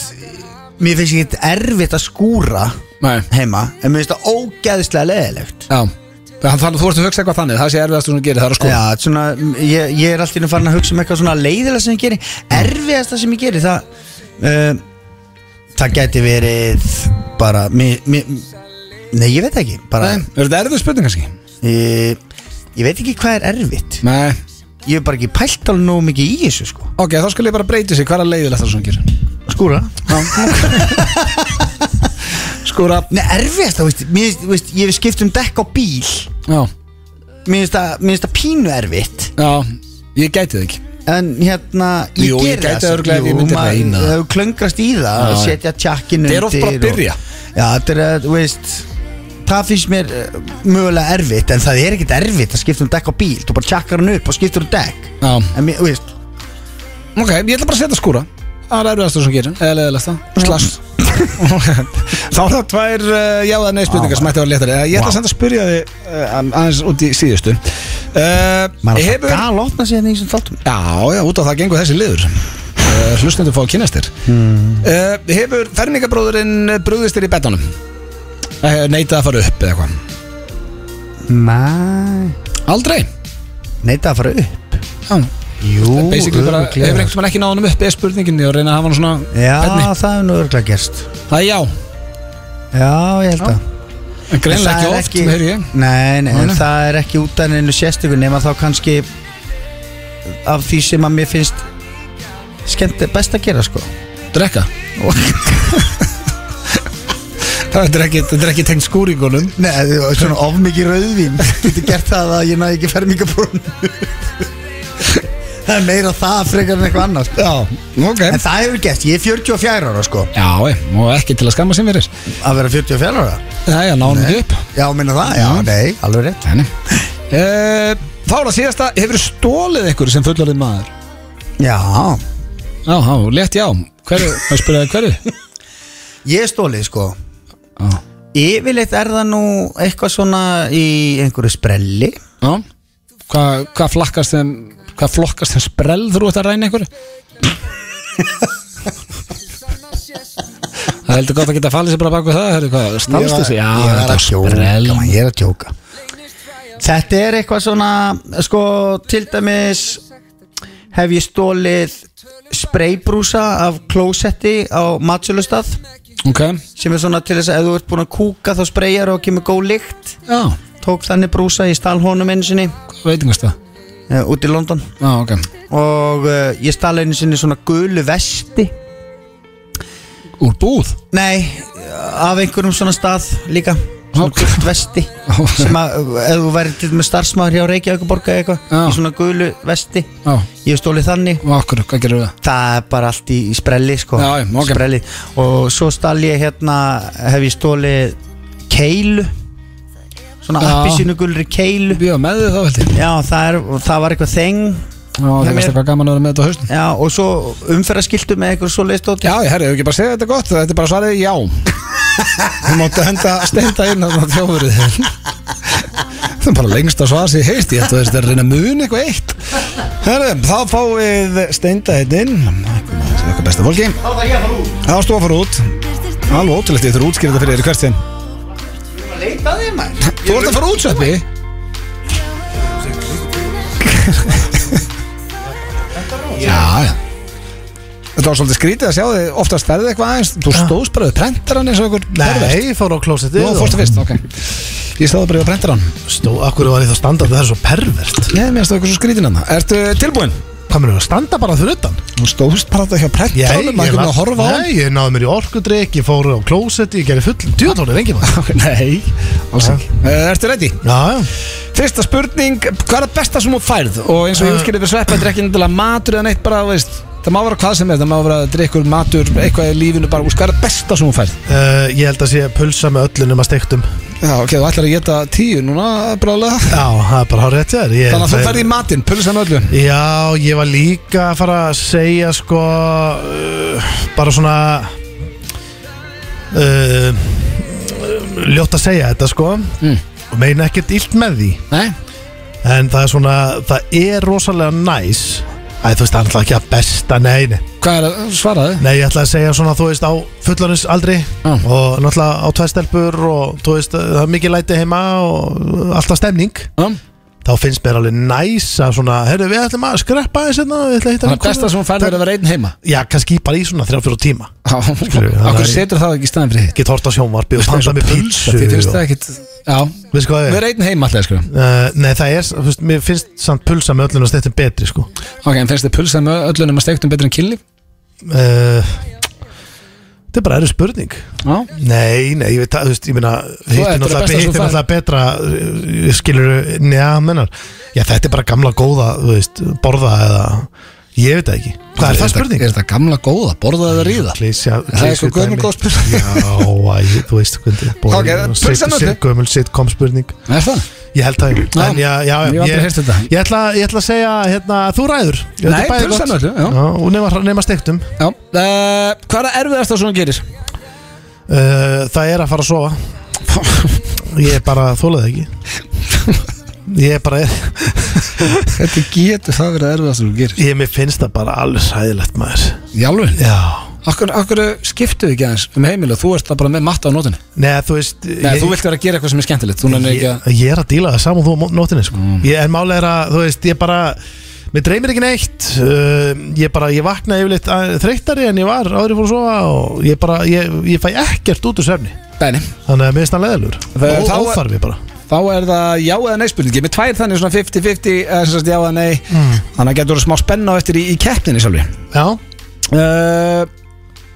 S3: Mér finnst ekki erfitt að skúra
S1: Nei
S3: heima En mér finnst það ógeðslega leðilegt
S1: Já Þannig að þú ert að hugsa eitthvað þannig, það sé erfiðast sem þú gerir, það er að skoða
S3: Já, þetta er svona, ég, ég er alltaf inn að fara að hugsa um eitthvað svona leiðilega sem ég geri Erfiðasta sem ég geri Það, uh, það gæti verið bara mi, mi, Nei, ég veit það ekki bara,
S1: Nei, er þetta erfið spurning kannski?
S3: ég, ég veit ekki hvað er erfitt
S1: Nei
S3: Ég hef bara ekki pælt alveg nógu mikið í þessu sko
S1: Ok, þá skulle ég bara breyti sig, hvað er leiðilegt það sem þú gerir?
S3: Skúra
S1: Skúra
S3: Nei, erfiðasta, veist, mér, finnst- veist, ég hef skipt um dekk á bíl
S1: Já,
S3: Mér finnst það- mér finnst það pínu erfitt
S1: já, ég gæti þig ekki
S3: En hérna, ég
S1: Jú, ég
S3: geri
S1: gæti
S3: það
S1: örugglega ef ég myndi reyna það.
S3: Það hefur klöngrast í það
S1: Já,
S3: að
S1: já.
S3: setja tjakkinu
S1: Þetta er oft bara að
S3: undir og-
S1: byrja.
S3: Já, þetta er að, þú veist Það finnst mér uh, mögulega erfitt En það er ekkert erfitt að skipta um dekk á bíl Þú bara tjakkar hann upp og skiptur um dekk
S1: Já
S3: En mér, þú veist
S1: Ok, ég ætla bara að setja skúra Það er erfiðast það sem þú gerir, eða leiðilegast það Slass Þá er það tvær uh, já eða nei spurningar sem ætti að vera léttari Eh, Ég ætla að senda að spyrja þig uh, aðeins út í síðustu uh,
S3: Maður er
S1: Hefur
S3: alltaf gal opna sér nýjum sem þáttum
S1: Já, já, út á það gengur þessi liður uh, Hlustundur fá að kynast þér
S3: Hmm.
S1: uh, Hefur fermingabróðurinn brúðist þér í betanum? Uh, neita að fara upp eða eitthvað
S3: Nei
S1: Aldrei
S3: Neita að fara upp
S1: Já,
S3: Jú,
S1: basically bara
S3: örugglega.
S1: Hefur einhvern veginn ekki náðunum upp eða spurninginni og reyna að hafa hann svona
S3: Já,
S1: Benni?
S3: það er nú örglega gerst
S1: Það er já,
S3: Já, ég held að
S1: en greinlega
S3: En það
S1: ekki
S3: er
S1: oft, ekki... heyr ég
S3: Nei, nei, en
S1: Nei.
S3: það er ekki út af neinu sérstöku nema þá kannski af því sem að mér finnst skemmt best að gera sko
S1: Drekka Það er ekki, þetta er ekki tengt skúringunum
S3: Nei, svona of mikið rauðvín getur gert það að ég næ ekki fermingabrún Það er meira það frekar en eitthvað annars
S1: Já, ok
S3: En það hefur gert, ég er 44 ára sko
S1: Já, eh, og ekki til að skamma sem verið
S3: að vera 44 ára
S1: Það er náðunum upp
S3: Já, minna það, já,
S1: Mm.
S3: nei, alveg rétt
S1: Þannig uh, Þá er það síðasta, hefur stólið ykkur sem fullorðið maður?
S3: Já,
S1: Já, já, létt já Hverju, maður spyrjaði hverju?
S3: ég er stólið sko
S1: Já,
S3: Yfirleitt er það nú eitthvað svona í einhverju sprelli
S1: Já Hvað hva flakkast þeim Hvað flokkast þeim sprell þrú þetta að ræna einhverju? Það er heldur gott að geta falið sér bara baku það Hörðu hvað, stannst þessi? Já,
S3: Ég er
S1: þetta
S3: að
S1: er
S3: djóka,
S1: sprell
S3: man, ég er að djóka Þetta er eitthvað svona sko, til dæmis hef ég stólið spraybrúsa af klósetti á matsölustað
S1: Ok
S3: sem er svona til þess að ef þú ert búin að kúka þá sprayjar og kemur góð lykt
S1: Já,
S3: tók þannig brúsa í stalhónum einu sinni
S1: hvað veitingast það?
S3: uh, út í London
S1: Já, ok
S3: og uh, ég stal einu sinni svona gulu vesti
S1: Úr búð?
S3: Nei, af einhverjum svona stað líka Svona
S1: Ok.
S3: gult vesti sem að, ef þú væri til með starfsmaður hjá Reykjavíkuborg eða eitthvað,
S1: Já.
S3: í svona gulu vesti
S1: Já,
S3: ég hef stólið þannig
S1: og okkur, hvað gerir það?
S3: það er bara allt í, í sprelli sko
S1: Já, já, ok.
S3: sprelli. og svo stal ég hérna hef ég stólið keilu svona
S1: Já.
S3: appisínu keilu
S1: Bíða með þið þá held ég
S3: já, það, er, og það var eitthvað þeng
S1: Já, það
S3: Hjá
S1: er
S3: mér.
S1: eitthvað gaman að vera með þetta á hausnum
S3: já, og svo umferðaskiltu með eitthvað svo leistótt
S1: Já, ég herri, hefur ekki bara segið þetta gott Þetta er bara svarið já Þú máttu henda steinda inn að það þjófurið Það er bara lengsta svar sem ég heist Ég held að þetta er að reyna mun eitthvað eitt Herri, þá fáum við steinda hérna inn Það er okkar besta fólki Það stóð að fara út Alveg ótrúlegt, ég þurf að útskýra þetta fyrir þér í hvert sinn Þú ert að fara út, Sveppi Já, já Þetta var svolítið skrítið að sjá þig oftast ferðið eitthvað aðeins Þú stóðst bara við prentaran eins og einhver pervert.
S2: Nei, ég fór á klósettið
S1: Nú fórstu fyrst, ok Ég stóð bara við prentaran
S2: Stó, akkur var ég þá standað, það er svo pervert
S1: Nei, mér stóð eitthvað svo skrítin hann Ertu tilbúinn?
S2: Hvað mér að standa bara fyrir utan?
S1: Þú stóðst bara þetta hjá prentaranum Maður kunni að horfa á hann
S2: nei, ég náði mér í orkudrykk, ég fór á klósettið, ég gerði full Djóðlónið, engi maður
S1: Ok, Nei, alls ekki Eh, Ertu ready?
S2: Já, já
S1: Fyrsta spurning, hvað er það besta sem þú færð? Og eins og ég útskýrði fyrir sveppa, þetta er ekki endilega matur eða neitt bara, þú veist Það má vera hvað sem er, það má vera drikkur, matur, eitthvað í lífinu bara, þú veist, hvað er það besta sem þú færð?
S2: Uh, ég held að sé pulsa með öllu nema steiktum
S1: Já, ok, þú ætlar að geta tíu núna, brálega
S2: Já, það er bara hár rétt þér ég,
S1: Þannig að þú ferði í matinn, pulsan öllu
S2: Já, ég var líka að fara að segja sko uh, bara svona uh, ljótt að segja þetta sko
S1: Mm.
S2: og meina ekkert illt með því
S1: Nei,
S2: en það er svona, það er rosalega næs Æ, þú veist, það er alltaf ekki að besta, nei, nei
S1: hvað er það, svaraði?
S2: Nei, ég ætla að segja svona, þú veist, á fullanins aldri
S1: Já.
S2: og náttúrulega á tvæstelpur og þú veist, það er mikið læti heima og alltaf stemning
S1: Já,
S2: þá finnst mér alveg næs að svona, herru við ætlum að skreppa aðeins hérna, við ætlum að hitta
S1: þannig að besta sem þú færð er að vera einn heima
S2: Já, kannski bara í svona 3-4 tíma
S1: Já, okkur setur það ekki í staðin fyrir hitt
S2: Get hort á sjónvarpi og panta með pítsu
S1: Þið finnst
S2: og-
S1: það ekkit, já,
S2: Veist hvað það er?
S1: vera einn heima alltaf, sko
S2: Uh, nei, það er, þú veist, mér finnst samt pulsa með öllum og stettum betri, sko
S1: Ok, en finnst þið pulsan með öllunum að steiktum betur um en kynlíf?
S2: uh, Þetta er bara erið spurning
S1: Já,
S2: Nei, nei, ég veit það, þú veist, ég meina
S1: þetta er
S2: Hittir
S1: það
S2: náttúrulega,
S1: besta sem
S2: hittir
S1: þú
S2: náttúrulega betra uh, Skilur, neða, mennar Já, þetta er bara gamla góða, þú veist, borða eða Ég veit það ekki Hvað er það spurning?
S1: Er þetta gamla góða, borða eða ríða?
S2: klísja
S1: Það er eitthvað gömul góð spurning.
S2: Já, æ, þú veist hvernig
S1: Ok, pulsa með öllu.
S2: Gömul sitcom spurning
S1: Er það?
S2: Ég held það
S1: Já.
S2: En já, já,
S1: Ég hef aldrei heyrt þetta.
S2: ég, ætla, ég ætla að segja, hérna, þú ræður Ég
S1: Nei,
S2: veit bæði
S1: pulsa með
S2: gott.
S1: öllu, já.
S2: Og nema, nema stektum uh,
S1: Já, uh, hvað er það erfiðast að svona gerir?
S2: Uh, Það er að fara að sofa Ég er bara þólað ekki Ég er bara
S1: Þetta getur það verið erfiðast að svona gerir
S2: Ég mér finnst það bara alveg sæðilegt maður
S1: Jálfur,
S2: Já
S1: okkur, okkur skiptuðu ekki aðeins um heimil og þú ert það bara með matta á nótunni
S2: Nei, þú veist
S1: Nei,
S2: ég-
S1: þú vilt vera að gera eitthvað sem er skemmtilegt Þú nennir ekki
S2: ég, ég er að díla það saman þú á mó- nótinni sko. ég, en málega er að, þú veist, ég bara mér dreymir ekki neitt uh, ég bara, ég vakna yfirleitt að- þreyttari en ég var áður fór að sofa og ég bara, ég, ég fæ ekkert út úr svefni
S1: að Bæni
S2: þannig að mér finnst það leðalur
S1: Það-
S2: og
S1: þá-
S2: óþarfi bara
S1: Þá er það já eða nei spurning Ég er með tvær þannig svona 50-50 eða sem sagt já eða nei Þannig að getur það smá spenna á eftir í, í keppninni sjálfri
S2: já,
S1: uh,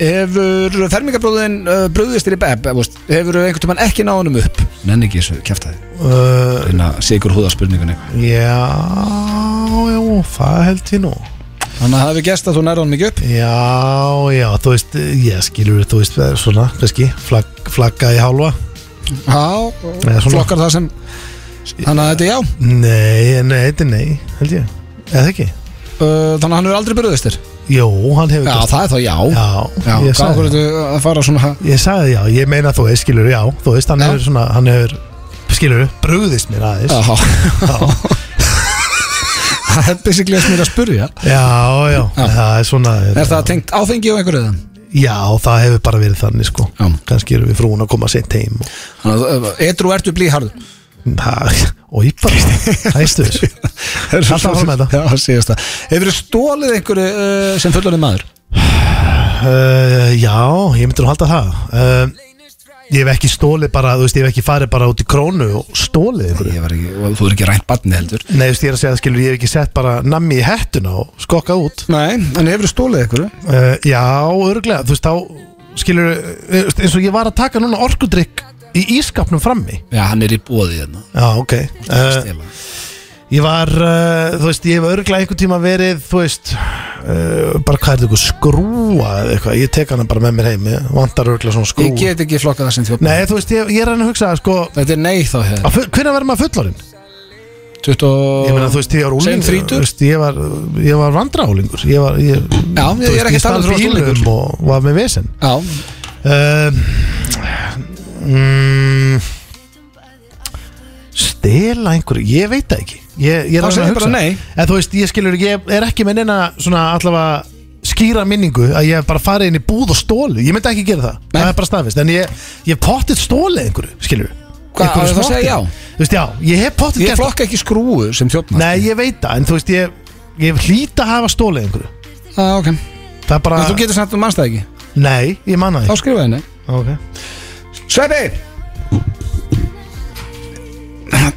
S1: Hefur fermingabróðin uh, brúðist þér í beb eða, veist, Hefur einhvern tímann ekki náð honum upp Nenni ekki þessu kæfta þið
S2: uh,
S1: Þannig að sigur húða spurningunni
S2: já já, það held ég nú
S1: Þannig að það hefur gest að þú nærða honum ekki upp
S2: já, já, þú veist ég skilur, þú veist, það er svona kannski, flag, flagga í hálfa
S1: Já,
S2: Eða svona.
S1: flokkar það sem Þannig að þetta er já
S2: nei, nei, þetta er nei held ég, eða ekki
S1: Eh, Uh, Þannig að hann hefur aldrei brúðist þér
S2: Jó, hann hefur
S1: Já,
S2: gert
S1: það er þá já
S2: Já,
S1: já
S2: ég
S1: Hvað
S2: sagði
S1: okkur ertu að fara svona
S2: Ég sagði já, ég meina þú veist, skilur, já Þú veist, hann
S1: Já.
S2: hefur svona, hann hefur Skilur, brugðist mér aðeins
S1: Já Það er basically að mér að spurja
S2: Já, já,
S1: Já.
S2: það er svona
S1: Er það tengt áfengi og einhverju það?
S2: Já, það hefur bara verið þannig sko
S1: Já.
S2: Kannski erum við frún að koma seint heim og,
S1: Þannig að eh, Edru ertu blíharð
S2: það, og ég bara Hæstu þessu Alltaf að fara með þetta.
S1: Já, síðast það Hefur þið stólið einhverju uh, sem fullorðin maður?
S2: uh, Já, ég myndi nú halda það uh, Ég hef ekki stólið bara, þú veist, ég hef ekki farið bara út í krónu og stólið ykkur
S1: Ég var ekki, þú er ekki rænt batni heldur
S2: Nei, þú veist, ég er að segja, skilur, ég hef ekki sett bara nammi í hettuna og skokkað út
S1: Nei, en hefur þið stólið einhverju?
S2: Uh, já, örglega, þú veist, þá skilur, eins og ég var að taka núna orkudrykk í ískapnum frammi
S1: Já, hann er í bóði hérna
S2: Já, ok uh,
S1: Stela.
S2: Ég var, uh, þú veist, ég hef örglega einhvern tíma verið, þú veist uh, bara hvað er þetta, eitthvað skrúa eða eitthvað, ég tek hana bara með mér heim ég vantar örglega svona
S1: Ég
S2: skrúa
S1: get ekki flokkað það sem þjópa
S2: Nei, þú veist, ég, ég er hann að hugsa, sko
S1: Þetta er nei þá hefur
S2: hvernig verður maður fullorinn?
S1: 20
S2: Ég meina, þú veist, ég var
S1: Segjum
S2: úlingur
S1: þrítugt.
S2: þú veist, Ég var, ég var vandrálingur Ég var, ég,
S1: Já, ég
S2: þú
S1: er ekki að tala um
S2: stal
S1: þú varst
S2: bílum
S1: unglingur.
S2: og var með vesen
S1: Já,
S2: Um, mm, stela einhverju, ég veit það ekki ég, ég er
S1: Þá
S2: að reyna
S1: segir
S2: að
S1: bara
S2: hugsa.
S1: nei.
S2: en þú veist, ég skilur ekki, ég er ekki með neina svona allavega skýra minningu að ég hef bara farið inn í búð og stóli ég myndi ekki gera það,
S1: Nei.
S2: það er bara staðfist en ég, ég hef pottið stólið einhverju, skilur
S1: Hvað, á ég þá að segja já?
S2: þú veist, já, ég hef pottið
S1: ég
S2: gert það
S1: flokka ekki skrúu sem þjópa
S2: nei, ég veit það, en þú veist, ég, ég hef hlýta að hafa stólið einhverju
S1: ah, okay.
S2: það er bara,
S1: En þú getur samt að mannst það ekki
S2: nei, ég manna
S1: Þá
S2: það
S1: skrifaði henni
S2: okay.
S1: Sveppi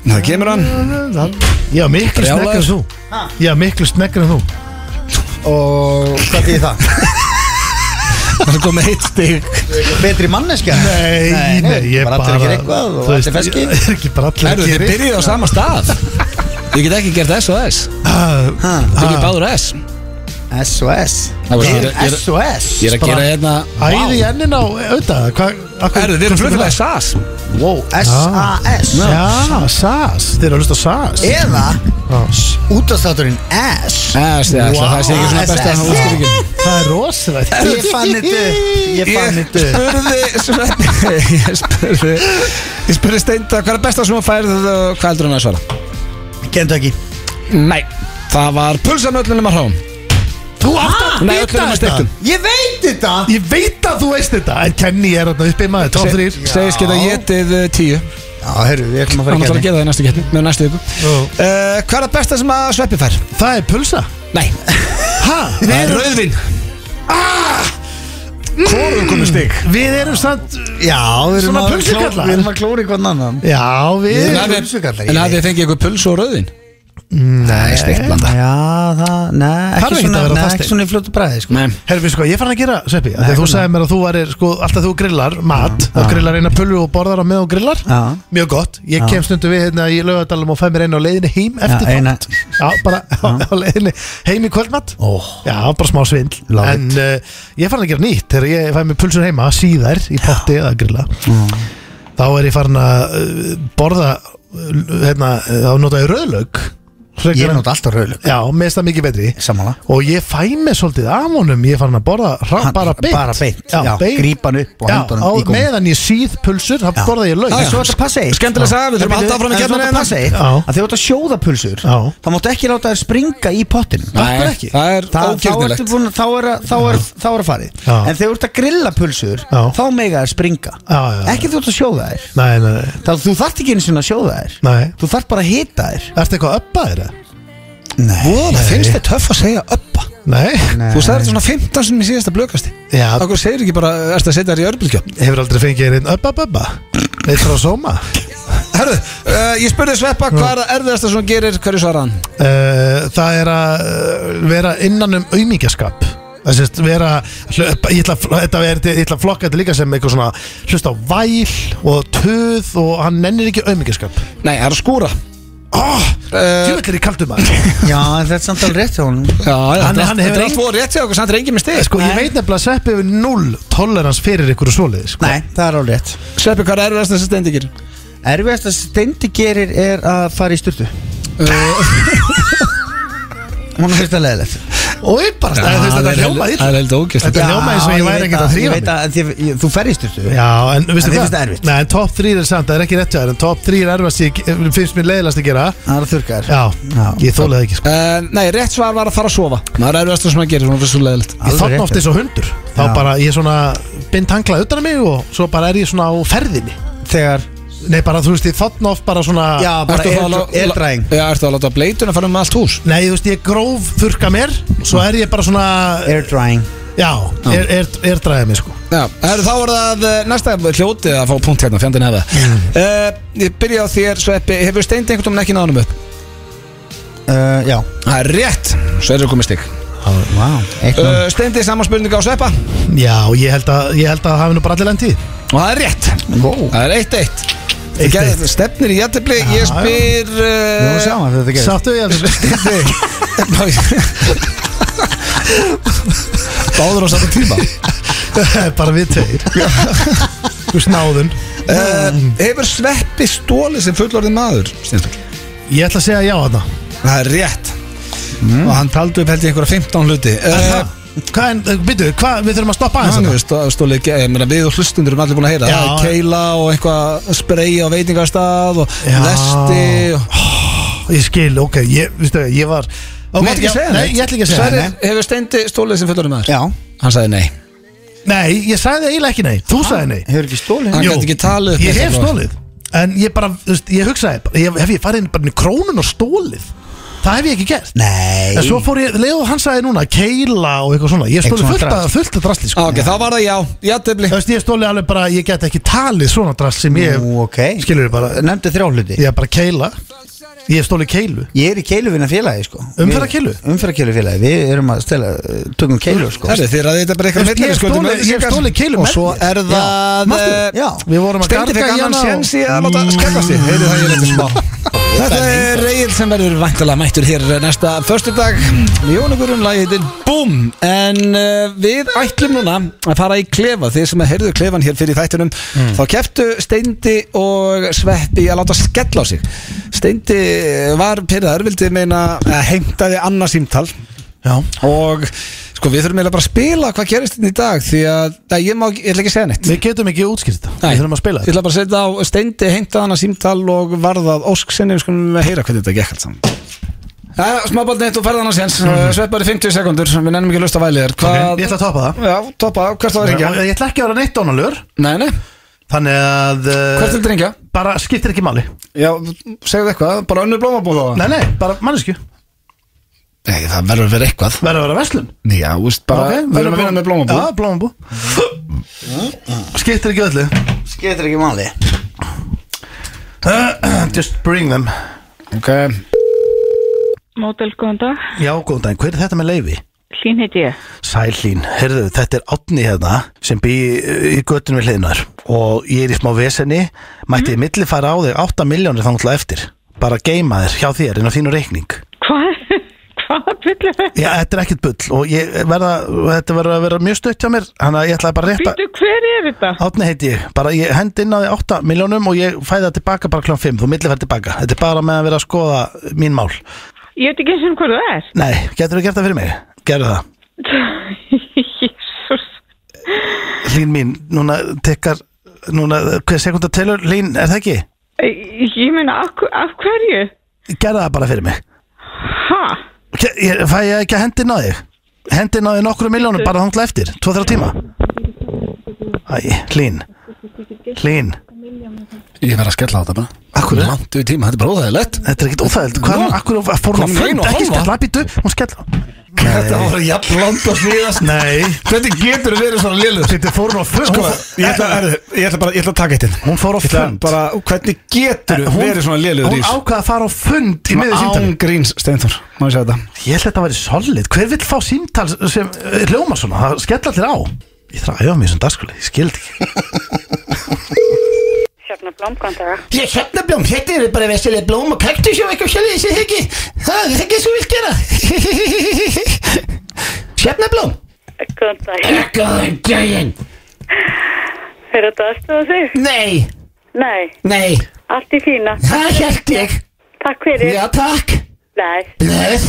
S1: Það kemur hann
S2: ég var miklu
S1: Brjálaður.
S2: snekkar en þú ég var miklu snekkar en þú
S3: Og hvað þýðir það?
S1: Það er komið eitt stig
S3: Betri manneskja?
S2: Nei, nei, ég
S3: bara
S2: bara
S3: Allir að gera eitthvað og
S2: þú veist,
S3: allir feski
S2: ég er ekki bara allir
S1: Erðu þið byrjuð á sama stað Ég get ekki gert S og S
S2: byrja
S1: Þið byrjuð báður S
S3: SOS
S1: Það var-
S3: Ég
S1: ég er-
S3: er SOS
S1: Ég er að gera hérna
S2: Æði í ennin á auðvitað hvað- af hverju-
S1: Erðu þið eru flugfélagi SAS
S3: Wow, S-A-S
S2: Ah. Já, SAS, þeir eru að hlusta á SAS
S3: Eða útastátturinn S
S1: S, já, ætla, það sé ekki svona
S3: Wow,
S1: besta
S3: SS.
S1: útskýringin
S2: Það er rosalega
S3: Ég fann þetta upp, Ég fann
S1: Ég
S3: þetta
S1: spurði
S3: upp.
S1: Sveppi Ég spurði Ég spurði Steinda Hvað er besta sem að færið og hvað heldur hann að svara?
S3: Kentucky
S1: Nei Það var pulsan öllunum að hráum
S2: Þú átt að
S1: Nei, öllum
S2: vita
S1: að
S2: þetta
S1: steiktum
S3: Ég veit þetta
S2: Ég veit að þú veist þetta En Kenny er þarna uppið maður, top 3
S1: Segist geta getið eh, tíu
S3: Já, herru, við ætlum að
S1: Hann ætlar að
S3: fara ekki
S1: gera það í næstu keppni með næstu viku uh, Hvað er það besta sem að sveppi fær?
S2: Það er pulsa
S1: Nei,
S2: Ha?
S1: það er rauðvin Hvorum komið stig?
S2: Við erum samt
S3: Já, við erum
S2: Svona
S3: að
S2: pulsukallar.
S3: kló- Við erum að klóri hvern annan
S2: Já, við
S3: Nei.
S1: En hafið
S3: pulsukallar, ég
S1: en
S3: veit.
S1: hafið þið fengið eitthvað puls og rauðvin? Nei, steikt blanda
S3: Já, það, neð,
S2: Þarf
S3: ekki
S2: ekki
S3: svona,
S2: að vera
S3: neð,
S2: fastir.
S3: ekki svona í fljótu bræði sko.
S1: Nei,
S2: Herfi, sko, ég fann að gera, Sveppi Þegar þú sagði mér að þú varir, sko, alltaf þú grillar mat Þá grillar eina pullu og borðar á með og grillar
S3: Já.
S2: Mjög gott, ég kem stundum við hérna í laugadalum og fæ mér eina á leiðinni heim eftir
S3: Já, eina-
S2: þátt Já, bara á, á leiðinni heim í kvöldmat
S3: Ó.
S2: Já, bara smá svindl
S3: Love
S2: En uh, ég fann að gera nýtt Þegar ég fæ mér pulsur heima síðar í potti eða að grilla Þá er ég farin að uh, borða uh, hérna, uh, þá nota ég rauðlaug
S3: Ég er náttúrulega alltaf rauðlug
S2: Já, mest það mikið betri
S3: Samanlega
S2: og ég fæ mig svolítið af honum ég er farin að borða rá,
S3: Hann-
S2: bara beint
S3: bara beint, já,
S2: beint.
S3: grípa hann upp og
S2: Já,
S3: henda honum
S2: á,
S3: í góm.
S2: meðan ég síð pulsur þá
S3: Já.
S2: borða ég laug
S3: En svo þetta passa eitt
S1: Skemmtilega saga, við þurfum að halda áfram í
S3: En
S1: keppninni
S3: svo þetta
S1: hérna.
S3: passa eitt
S2: Já.
S3: Að þegar þú ert að sjóða pulsur
S2: Já.
S3: Þá máttu ekki láta þær springa í pottinum
S1: Nei,
S3: Akkur ekki.
S1: það er
S3: Þa- þá
S1: ógirnilegt.
S3: ertu búin- Þá er að- þá er- þá er að farið
S2: Já.
S3: En þegar þú ert að grilla pulsur
S2: Já.
S3: Þá mega þær springa
S2: Já, já, já.
S3: Ekki þú ert að sjóða þær
S2: nei, nei, nei,
S3: Þá þú þarft ekki einu sinni að sjóða þær
S2: Nei.
S3: Þú þarft bara að hita þær
S2: ertu eitthvað að uppa þér? eða?
S3: Nei
S1: Voða, finnst þið töff að segja uppa
S2: nei,
S1: Þú sagði þetta svona 15 sem í síðasta blökasti
S2: Já.
S1: Akkur segir ekki bara, ertu að setja þér í örbylgjöp
S2: hefur aldrei fengið einn uppa bubba neitt frá sóma
S1: Herðu, uh, ég spurði Sveppa hvað er það erfiðasta sem hún gerir, hverju svarar hann?
S2: uh, það er að uh, vera innan um aumingjaskap það sést vera hlöp, ég, ætla, að fl- þetta er, ég ætla að flokka þetta líka sem eitthvað svona hlust á væl og töð og hann nennir ekki aumingjaskap
S1: Nei, það er að skúra
S2: oh,
S1: Eh,
S2: tjúvill er í kaldum maður
S3: Já, en þetta er samt alveg rétt hjá honum
S1: Já, já,
S2: Hann-
S1: þetta
S2: hann
S1: er allt-
S2: hefur
S1: þetta er allt
S2: engu-
S1: voru rétt hjá okkur, samt er engin með stig
S2: Sko, ég veit nefnilega að Sveppi hefur null tolerans fyrir ykkur og svoleiði sko.
S3: Nei, það er alveg rétt
S1: Sveppi, hvað er erfiðast þessi steindi gerir?
S3: Erfiðast að steindi gerir er að fara í styrtu Hún finnst það leðilegt
S2: og ég bara, það, það, það hljómaði illa
S1: Það er heldur ógæst
S2: Þetta hljómaði eins og ég væri ekkert að þrífa
S3: Ég veit að þið, ég, þú ferðist þessu
S2: Já, en veistu
S3: En þér
S2: hvað?
S3: finnst það erfitt?
S2: Nei, en top 3 er samt, það er ekki rétt hjá þér En top 3 er erfast, ég finnst mér leiðilegast að gera
S3: Það er að þurrka þér
S2: Já, ég þólið það ekki sko.
S1: Uh, nei, rétt svar var að fara að sofa Það er erfiðast sem maður gerir, svona fyrst svo leiðilegt
S2: Ég
S3: Alveg
S2: þarna
S3: rétt
S2: oft eins og hundur Þá
S3: Já.
S2: bara, ég svona bind hanglað utan að mig Og svo bara er ég svona á ferðinni
S3: Þegar
S2: Nei, bara, þú veist, ég þarna oft bara svona
S3: Já,
S1: Ertu þá að
S3: bara
S1: lá-
S3: eldræðing
S1: Já, ertu að láta bleituna fara um allt hús
S2: Nei, þú veist, ég gróf þurka mér Svo er ég bara svona
S3: Airdrying
S2: Já, er, er, er dræðið mig sko
S1: Já, heru, þá er það eh, næsta hljótið að fá punkt hérna, fjandinn hefa uh, Ég byrja á þér, Sveppi Hefur steindi einhvern veginn ekki náðunum upp?
S3: uh, Já
S1: Það er rétt, svo er það komið stig
S3: Vá Eitt
S1: uh, Steindi saman spurninga á Sveppa Og
S2: Já, ég held að, ég held að það hafi nú bara allir lendið
S1: það er rétt,
S3: Vó
S1: það er 1-1
S2: Eitt,
S1: Gerð-
S2: eitt.
S1: Stefnir í jættibli,
S2: Já, já.
S1: ég spyr
S3: Við vorum
S1: uh,
S3: saman þegar þetta gerist
S2: Sáttu ég að
S1: Báður á saman tíma
S2: Bara við tveir Þú snáðun
S1: uh, Hefur Sveppi stólið sem fullorðin maður? Steindur
S2: Ég ætla að segja já þarna
S1: Það er rétt Og hann taldi upp held ég einhverja 15 hluti uh,
S2: Hvað en, byrju, hvað, við þurfum að stoppa aðeins
S1: Þannig
S2: þarna
S1: við stó, stólið, ge- ég meina við og hlustundur erum allir búin að heyra
S2: Já.
S1: Það er keila og eitthvað sprei á veitingastað og
S2: Já.
S1: vesti og...
S2: Ég skil, ok, ég, veistu, ég var
S1: Þú
S2: Ok,
S1: mátt ekki
S2: já,
S1: segja
S2: Nei, ég ætla ekki að segja
S1: Sverrir,
S2: það,
S1: Hefur Steindi stólið sem fullorðin maður?
S3: Já
S1: Hann sagði nei
S2: nei Nei, ég sagði eiginlega ekki nei, þú sagði nei
S3: Hefur ekki stólið
S1: Hann
S2: Jú,
S1: gæti ekki talið upp
S2: Ég
S1: þetta
S2: hef
S1: bara.
S2: stólið En ég bara, þú veist, ég hugsaði bara ég, Hef ég farið inn bara inn í krónun og stólið Það hef ég ekki gert
S3: Nei
S2: En svo fór ég, leðu hann sagði núna, keila og eitthvað svona Ég
S3: Eitthvað
S2: stólið fullt
S3: svona
S2: að, fullt að drasli
S1: Á,
S2: sko.
S1: Ah, Ok, þá var það já, jættibli
S2: Þú veist, ég stólið alveg bara, ég get ekki talið svona drast sem ég
S3: Nú, ok
S2: Skilur þið bara,
S3: Nefndi þrjá hluti
S2: ég er bara keila Ég hef stólið keilu
S3: Ég er í keiluvinna félagi sko
S2: Umferðarkeilu?
S3: Umferðarkeilu félagi Við erum að stela Tökum keilur sko
S1: Herri, þið ræðið þetta bara eitthvað
S2: Ég hef
S1: milliríkaskuldum,
S2: stólið- ég hef
S1: upplýsingar.
S2: stólið keilum
S1: Og svo
S2: með þér.
S1: er
S2: Já.
S1: það
S2: Manstu?
S1: eh,
S3: Já.
S2: Við vorum að
S1: Steindi fekk annan
S2: garga Jana og- Mm.
S1: séns í að láta skella sig Heyrðu það ég leitt smá Þetta er Egil sem verður vantilega mættur hér næsta förstudag Jónugurinn lagið heitir BOOM En uh, við ætlum núna að fara í klefa Þið sem að heyrðu klefan hér fyrir þættunum Þá keftu Steindi og Sveppi að láta skella á sig Steindi var pyrraður, vildi meina að heimtaði annað símtal
S2: Já
S1: Og sko við þurfum eiginlega bara að spila hvað gerist hérna í dag Því að nei, ég, má, ekki- ég ætla ekki að segja neitt
S2: Við getum ekki útskýrt þetta,
S1: Nei.
S2: við þurfum að spila
S1: Ég
S2: þetta
S1: ætla bara að setja á steindi, heimta hana símtal og varðað ósk sinni Við skulum heyra hvernig þetta gekk allt saman Jæja, smábarn eitt og ferðan hans Jens mm. Sveppar í 50 sekundur, við nennum ekki að lusta vælið þér
S2: Mhm. Ok, Ég ætla að toppa það
S1: Já, toppa, hvert á að ringja?
S2: Ég ætla ekki að vera neitt dónalur
S1: Nei, nei,
S2: Þannig að uh,
S1: hvert viltu ringja?
S2: Bara skiptir ekki máli
S1: Já, segðu eitthvað, bara önnur blómabóð á það
S2: Nei, nei, bara mannesku
S1: Nei, það verður verið eitthvað
S2: Verður að vera verslun
S1: Já, úst, bara,
S2: Ok,
S1: við erum að vinna með blómabóð
S2: Já, blómabú Skiptir ekki öllu
S3: Skeitir ekki máli
S2: Just bring them
S1: Ok,
S4: Mótel, góðan dag.
S2: Já, góðan daginn, hver er þetta með leifi?
S4: Hlín heiti ég.
S2: Sælín, heyrðu, þetta er átni hérna sem bý í- í göttunum við hliðnar og ég er í smá vesenni mætti
S4: Mhm.
S2: ég milli fara á þig 8 miljónir þangla eftir bara geima þér hjá þér inn á þínu reikning
S4: Hvað? Hvað byrjuðu þetta?
S2: Já, þetta er ekkert bull og ég verða, þetta verður að vera mjög stutt hjá mér þannig að ég ætlaði bara rétt að
S4: Býtu, hver er þetta?
S2: Átni heiti ég, bara ég hend inn á þig 8 miljónum og ég fæði það tilbaka bara klán 5 þú milli fær tilbaka, þetta er bara með að vera að skoða mín mál.
S4: Ég veit ekki eins og hvað það er.
S2: Nei, getur þú gert það fyrir mig? Gerðu það.
S4: Jésús.
S2: Lín mín, núna tekkar, núna, hver sekundar telur, Lín, er það ekki?
S4: Ég ég meina, af, hver- af hverju?
S2: gerða það bara fyrir mig
S4: Ha?
S2: Ke- ég, Fæ ég ekki að hendin á þig Hendin á þig nokkru miljónum bara þangla eftir 2-3 tíma Æ, hlín Hlín,
S1: ég verð að skella á þetta bara
S2: akkur er
S1: Langt við tíma, þetta er bara óþægilegt
S2: Þetta er ekkert óþægild Hvað er akkur fór hún
S1: Kom,
S2: að
S1: ein
S2: fund
S1: og
S2: Ekki
S1: hálfa.
S2: skella, býtu, hún skella
S1: Þetta var jafn langt að svíðast
S2: Nei,
S1: Hvernig getur þið verið svona liður?
S2: þetta fór hún á fund
S1: Sko,
S2: Hún
S1: ég ætla, herðu, ég ætla bara, ég ætla að taka eitt inn
S2: Hún fór á
S1: Ég ætla
S2: fund.
S1: bara, Hvernig getur
S2: hún-
S1: verið svona lélugur í
S2: Hún
S1: þessu?
S2: ákvað að fara á fund í miður
S1: Án
S2: símtali
S1: gríns, Steinþór, má ég segja þetta
S2: Ég held að þetta væri solid Hver vill fá símtal sem eh, hljóma svona Það skella allir á Ég þarf að æfa mér sem dagskóli, ég skildi ekki
S5: Sjöfna blómkvæmdaga.
S7: Ég hérna blóm, þetta eru bara vestilega blóm og kaktus og eitthvað sjálf þessi heggi. Það er ekki svo vilt gera. Hérna blóm.
S5: Góðan dag.
S7: Góðan daginn.
S5: Er þetta aðstofa þig?
S7: Nei,
S5: Nei,
S7: nei,
S5: allt í fína.
S7: það held ég.
S5: Takk fyrir.
S7: Já, takk.
S5: Nei.
S7: Blöð.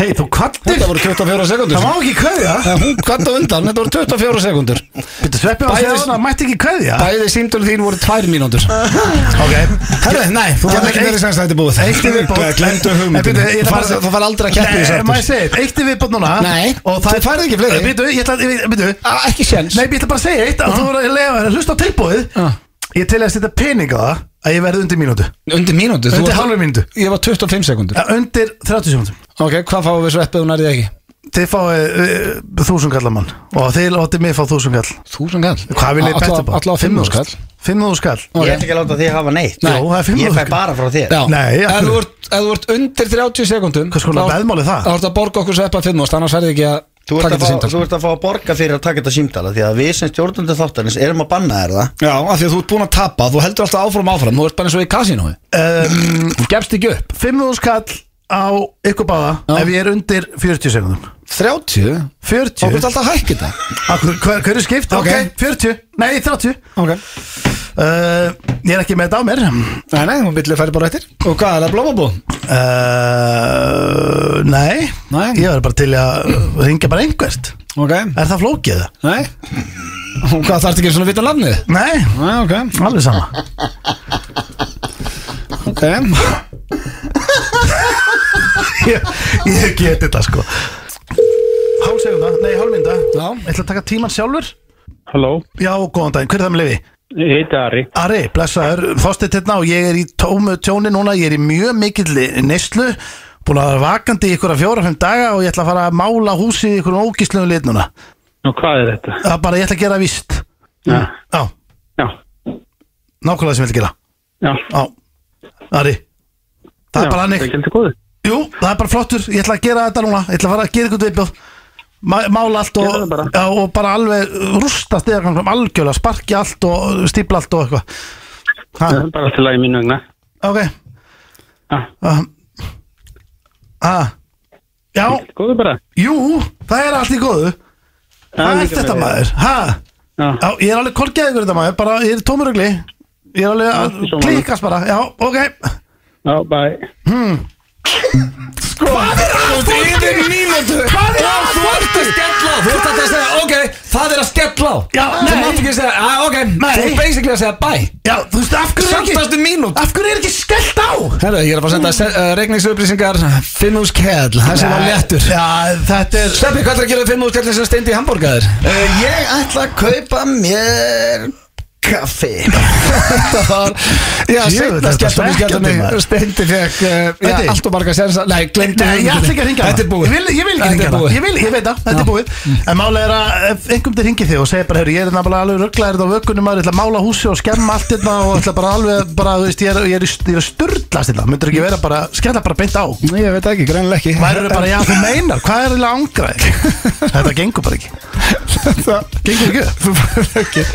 S2: Hei, þú kvartir
S1: Þetta voru 24 sekundur
S2: Það má ekki kveðja
S1: Hún kvart á undan, þetta voru 24 sekundur
S2: Býttu sveppi á
S1: Bæði-
S2: séðan að mætti ekki kveðja
S1: Bæði símtölu þín voru 2 mínútur
S2: Ok
S1: Herðu, nei, þú fær ekki meira sens að þetta er búið
S2: Eitt í viðbót
S1: Glemdu hugmyndinni.
S2: Nei, bíddu, ég
S1: Þú
S2: ætla bara-
S1: færð- Þú fær aldrei að keppa í
S2: Nei,
S1: þessu aftur.
S2: maður segir Eitt í viðbót núna
S1: Nei,
S2: Og það
S1: þið færið ekki fleiri.
S2: Býttu, ég ætla ég- Býttu
S1: Ah, Ekki sens
S2: Nei, ég ætla bara að segja eitt að
S1: Uh-huh.
S2: Þú voru að lega að hlusta á tilbúið
S1: Ah.
S2: Ég til að setja pening á það Að ég verði undir mínútu
S1: Undir mínútu þú
S2: Undir
S1: varst-
S2: halvri mínútu
S1: Ég var 25 sekundur
S2: Ja, Undir 30 sekundum
S1: Ok, hvað fáum við sveppið og nærið ekki?
S2: Þið fáið uh, þúsungallamann Og þið látið mig fá þúsungall
S1: Þúsund kall
S2: Hvað vil ég
S1: Alla-
S2: betta upp á?
S1: alla á 5.000 kall.
S2: 5.000 skall
S1: Ok.
S3: Ég ætla ekki að láta þig hafa neitt
S2: Jó, það er 5.000
S3: Ég fæ
S2: kall.
S3: bara frá þér
S1: Já,
S2: Nei, já.
S1: ef þú ert- ef þú ert undir 30 sekundum
S2: Hvers konar veðmál er það?
S1: Þá ert að borga okkur sveppað 5.000 annars verði ekki að
S3: Þú
S1: taka
S3: ert, að
S1: þetta
S3: fá,
S1: síndal
S3: þú ert að fá að borga fyrir að taka þetta símtala Því að við sem stjórnandi þáttarins erum að banna þér það
S1: Já, af því að þú ert búin að tapa, þú heldur alltaf áfram áfram Þú ert bara eins og í kasinói
S2: um,
S1: Þú gefst ekki upp
S2: 5.000 skall á ykkur báða
S1: Já.
S2: Ef ég er undir 40 sekundum
S1: 30? Og þú ert
S2: 40?
S1: alltaf að hækka þetta
S2: Akkur, hver, hver er skipt? Ok,
S1: Ok.
S2: 40 Nei, 30
S1: Ok
S2: uh, Ég er ekki með þetta á mér
S1: Nei, nei, hún byrjuði að færi bara eftir Og hvað, er það blómabú?
S2: uh, Nei
S1: Nei.
S2: Ég var bara til að ringja bara einhvert
S1: Ok
S2: Er það flókið?
S1: Nei Og hvað, þarfst ekki svona að vita nafnið?
S2: Nei,
S1: Nei, ok
S2: alveg sama
S1: Ok
S2: Ég, ég geti þetta sko Hálf segunda, nei hálf mynda
S1: Já.
S2: Ég ætla að taka tíman sjálfur
S8: Halló,
S2: Já, góðan daginn, hver er það með lifi?
S8: ég heiti Ari
S2: Ari, blessaður, fórstætt hérna og ég er í tómu tjóni núna, ég er í mjög mikill neyslu, búin að vera vakandi í ykkur að fjóra-fem daga og ég ætla að fara að mála húsið í ykkur ógíslegu lit núna.
S8: Nú, hvað er þetta?
S2: Það er bara, ég ætla að gera víst.
S8: Já,
S2: Já,
S8: já,
S2: nákvæmlega sem ég ætla að gera.
S8: já
S2: Já, Ari, það er bara
S8: Það er
S2: hannig.
S8: gældi góðu
S2: Jú, það er bara flottur, ég ætla að gera þetta núna, ég ætla að fara að gera ykkur viðbjóð. Ma- Mála allt og,
S8: Gerðu það bara.
S2: já, og bara alveg rústa stegangum, algjörlega, sparki allt og stípla allt og eitthvað. Ha?
S8: Það er bara til að í mín vegna
S2: Ok
S8: Já.
S2: Ah. Ah. Já,
S8: Gældi góðu bara
S2: jú, það er allt í góðu Hvað er þetta maður? Ha? Já,
S8: Já,
S2: ég er alveg korgjaði ykkur þetta maður bara, Ég er tómurugli Ég er alveg að
S8: Allt í sjónmáli.
S2: klíkast bara Já, ok
S8: já, bæ
S1: Yfir mínútu Hvað er það? Þú ert að skella á Þú ert alltaf að segja, ok, það er að skella á
S2: Já,
S1: Þú
S2: nei.
S1: mátt ekki að segja, ah, ok
S2: Nei.
S1: Þú er basically að segja bye
S2: Já, þú veist, af hverju er ekki
S1: Samtastu mínút
S2: Af hverju er ekki skellt á?
S1: Herra, ég er að fara að senda uh, regningsupplýsingar Finnús Kell, það sem var léttur
S2: Já, þetta er
S1: Steppi, hvað er að gera Finnús Kell sem steindi í hambúrgaðir?
S3: uh, Ég ætla að kaupa mér kaffi
S1: Þetta var, já,
S2: Jöfull,
S1: segna
S2: þetta
S1: skelltum í
S2: svekkjandi,
S1: skelltunni
S2: maður.
S1: Steindi fekk, uh, já,
S2: Veitir.
S1: allt og marga sér Nei, glemdu
S2: Nei, ég ætla ekki að ringja
S1: Þetta er búið
S2: Ég vil, ég vil ekki
S1: Þetta
S2: ringja
S1: er
S2: það
S1: búið.
S2: Ég vil, ég veit það, þetta er
S1: Já.
S2: búið En málega er að ef einhverjum til ringir þig og segir bara, heyrðu, ég er náttúrulega alveg rugglaðir þetta á vökunum maður, ég ætla að mála húsi og skemma allt þetta og ætla bara alveg, bara, þú veist, ég er, ég er, í- ég er sturdlast þetta Myndur ekki vera bara, skella bara beint á
S1: Nei, Ég veit ekki, greinlega ekki
S2: Væru bara, já, þú meinar, hvað er eiginlega ángraði? Þetta gengur bara ekki Gengur ekki upp?
S1: Þú færð ekki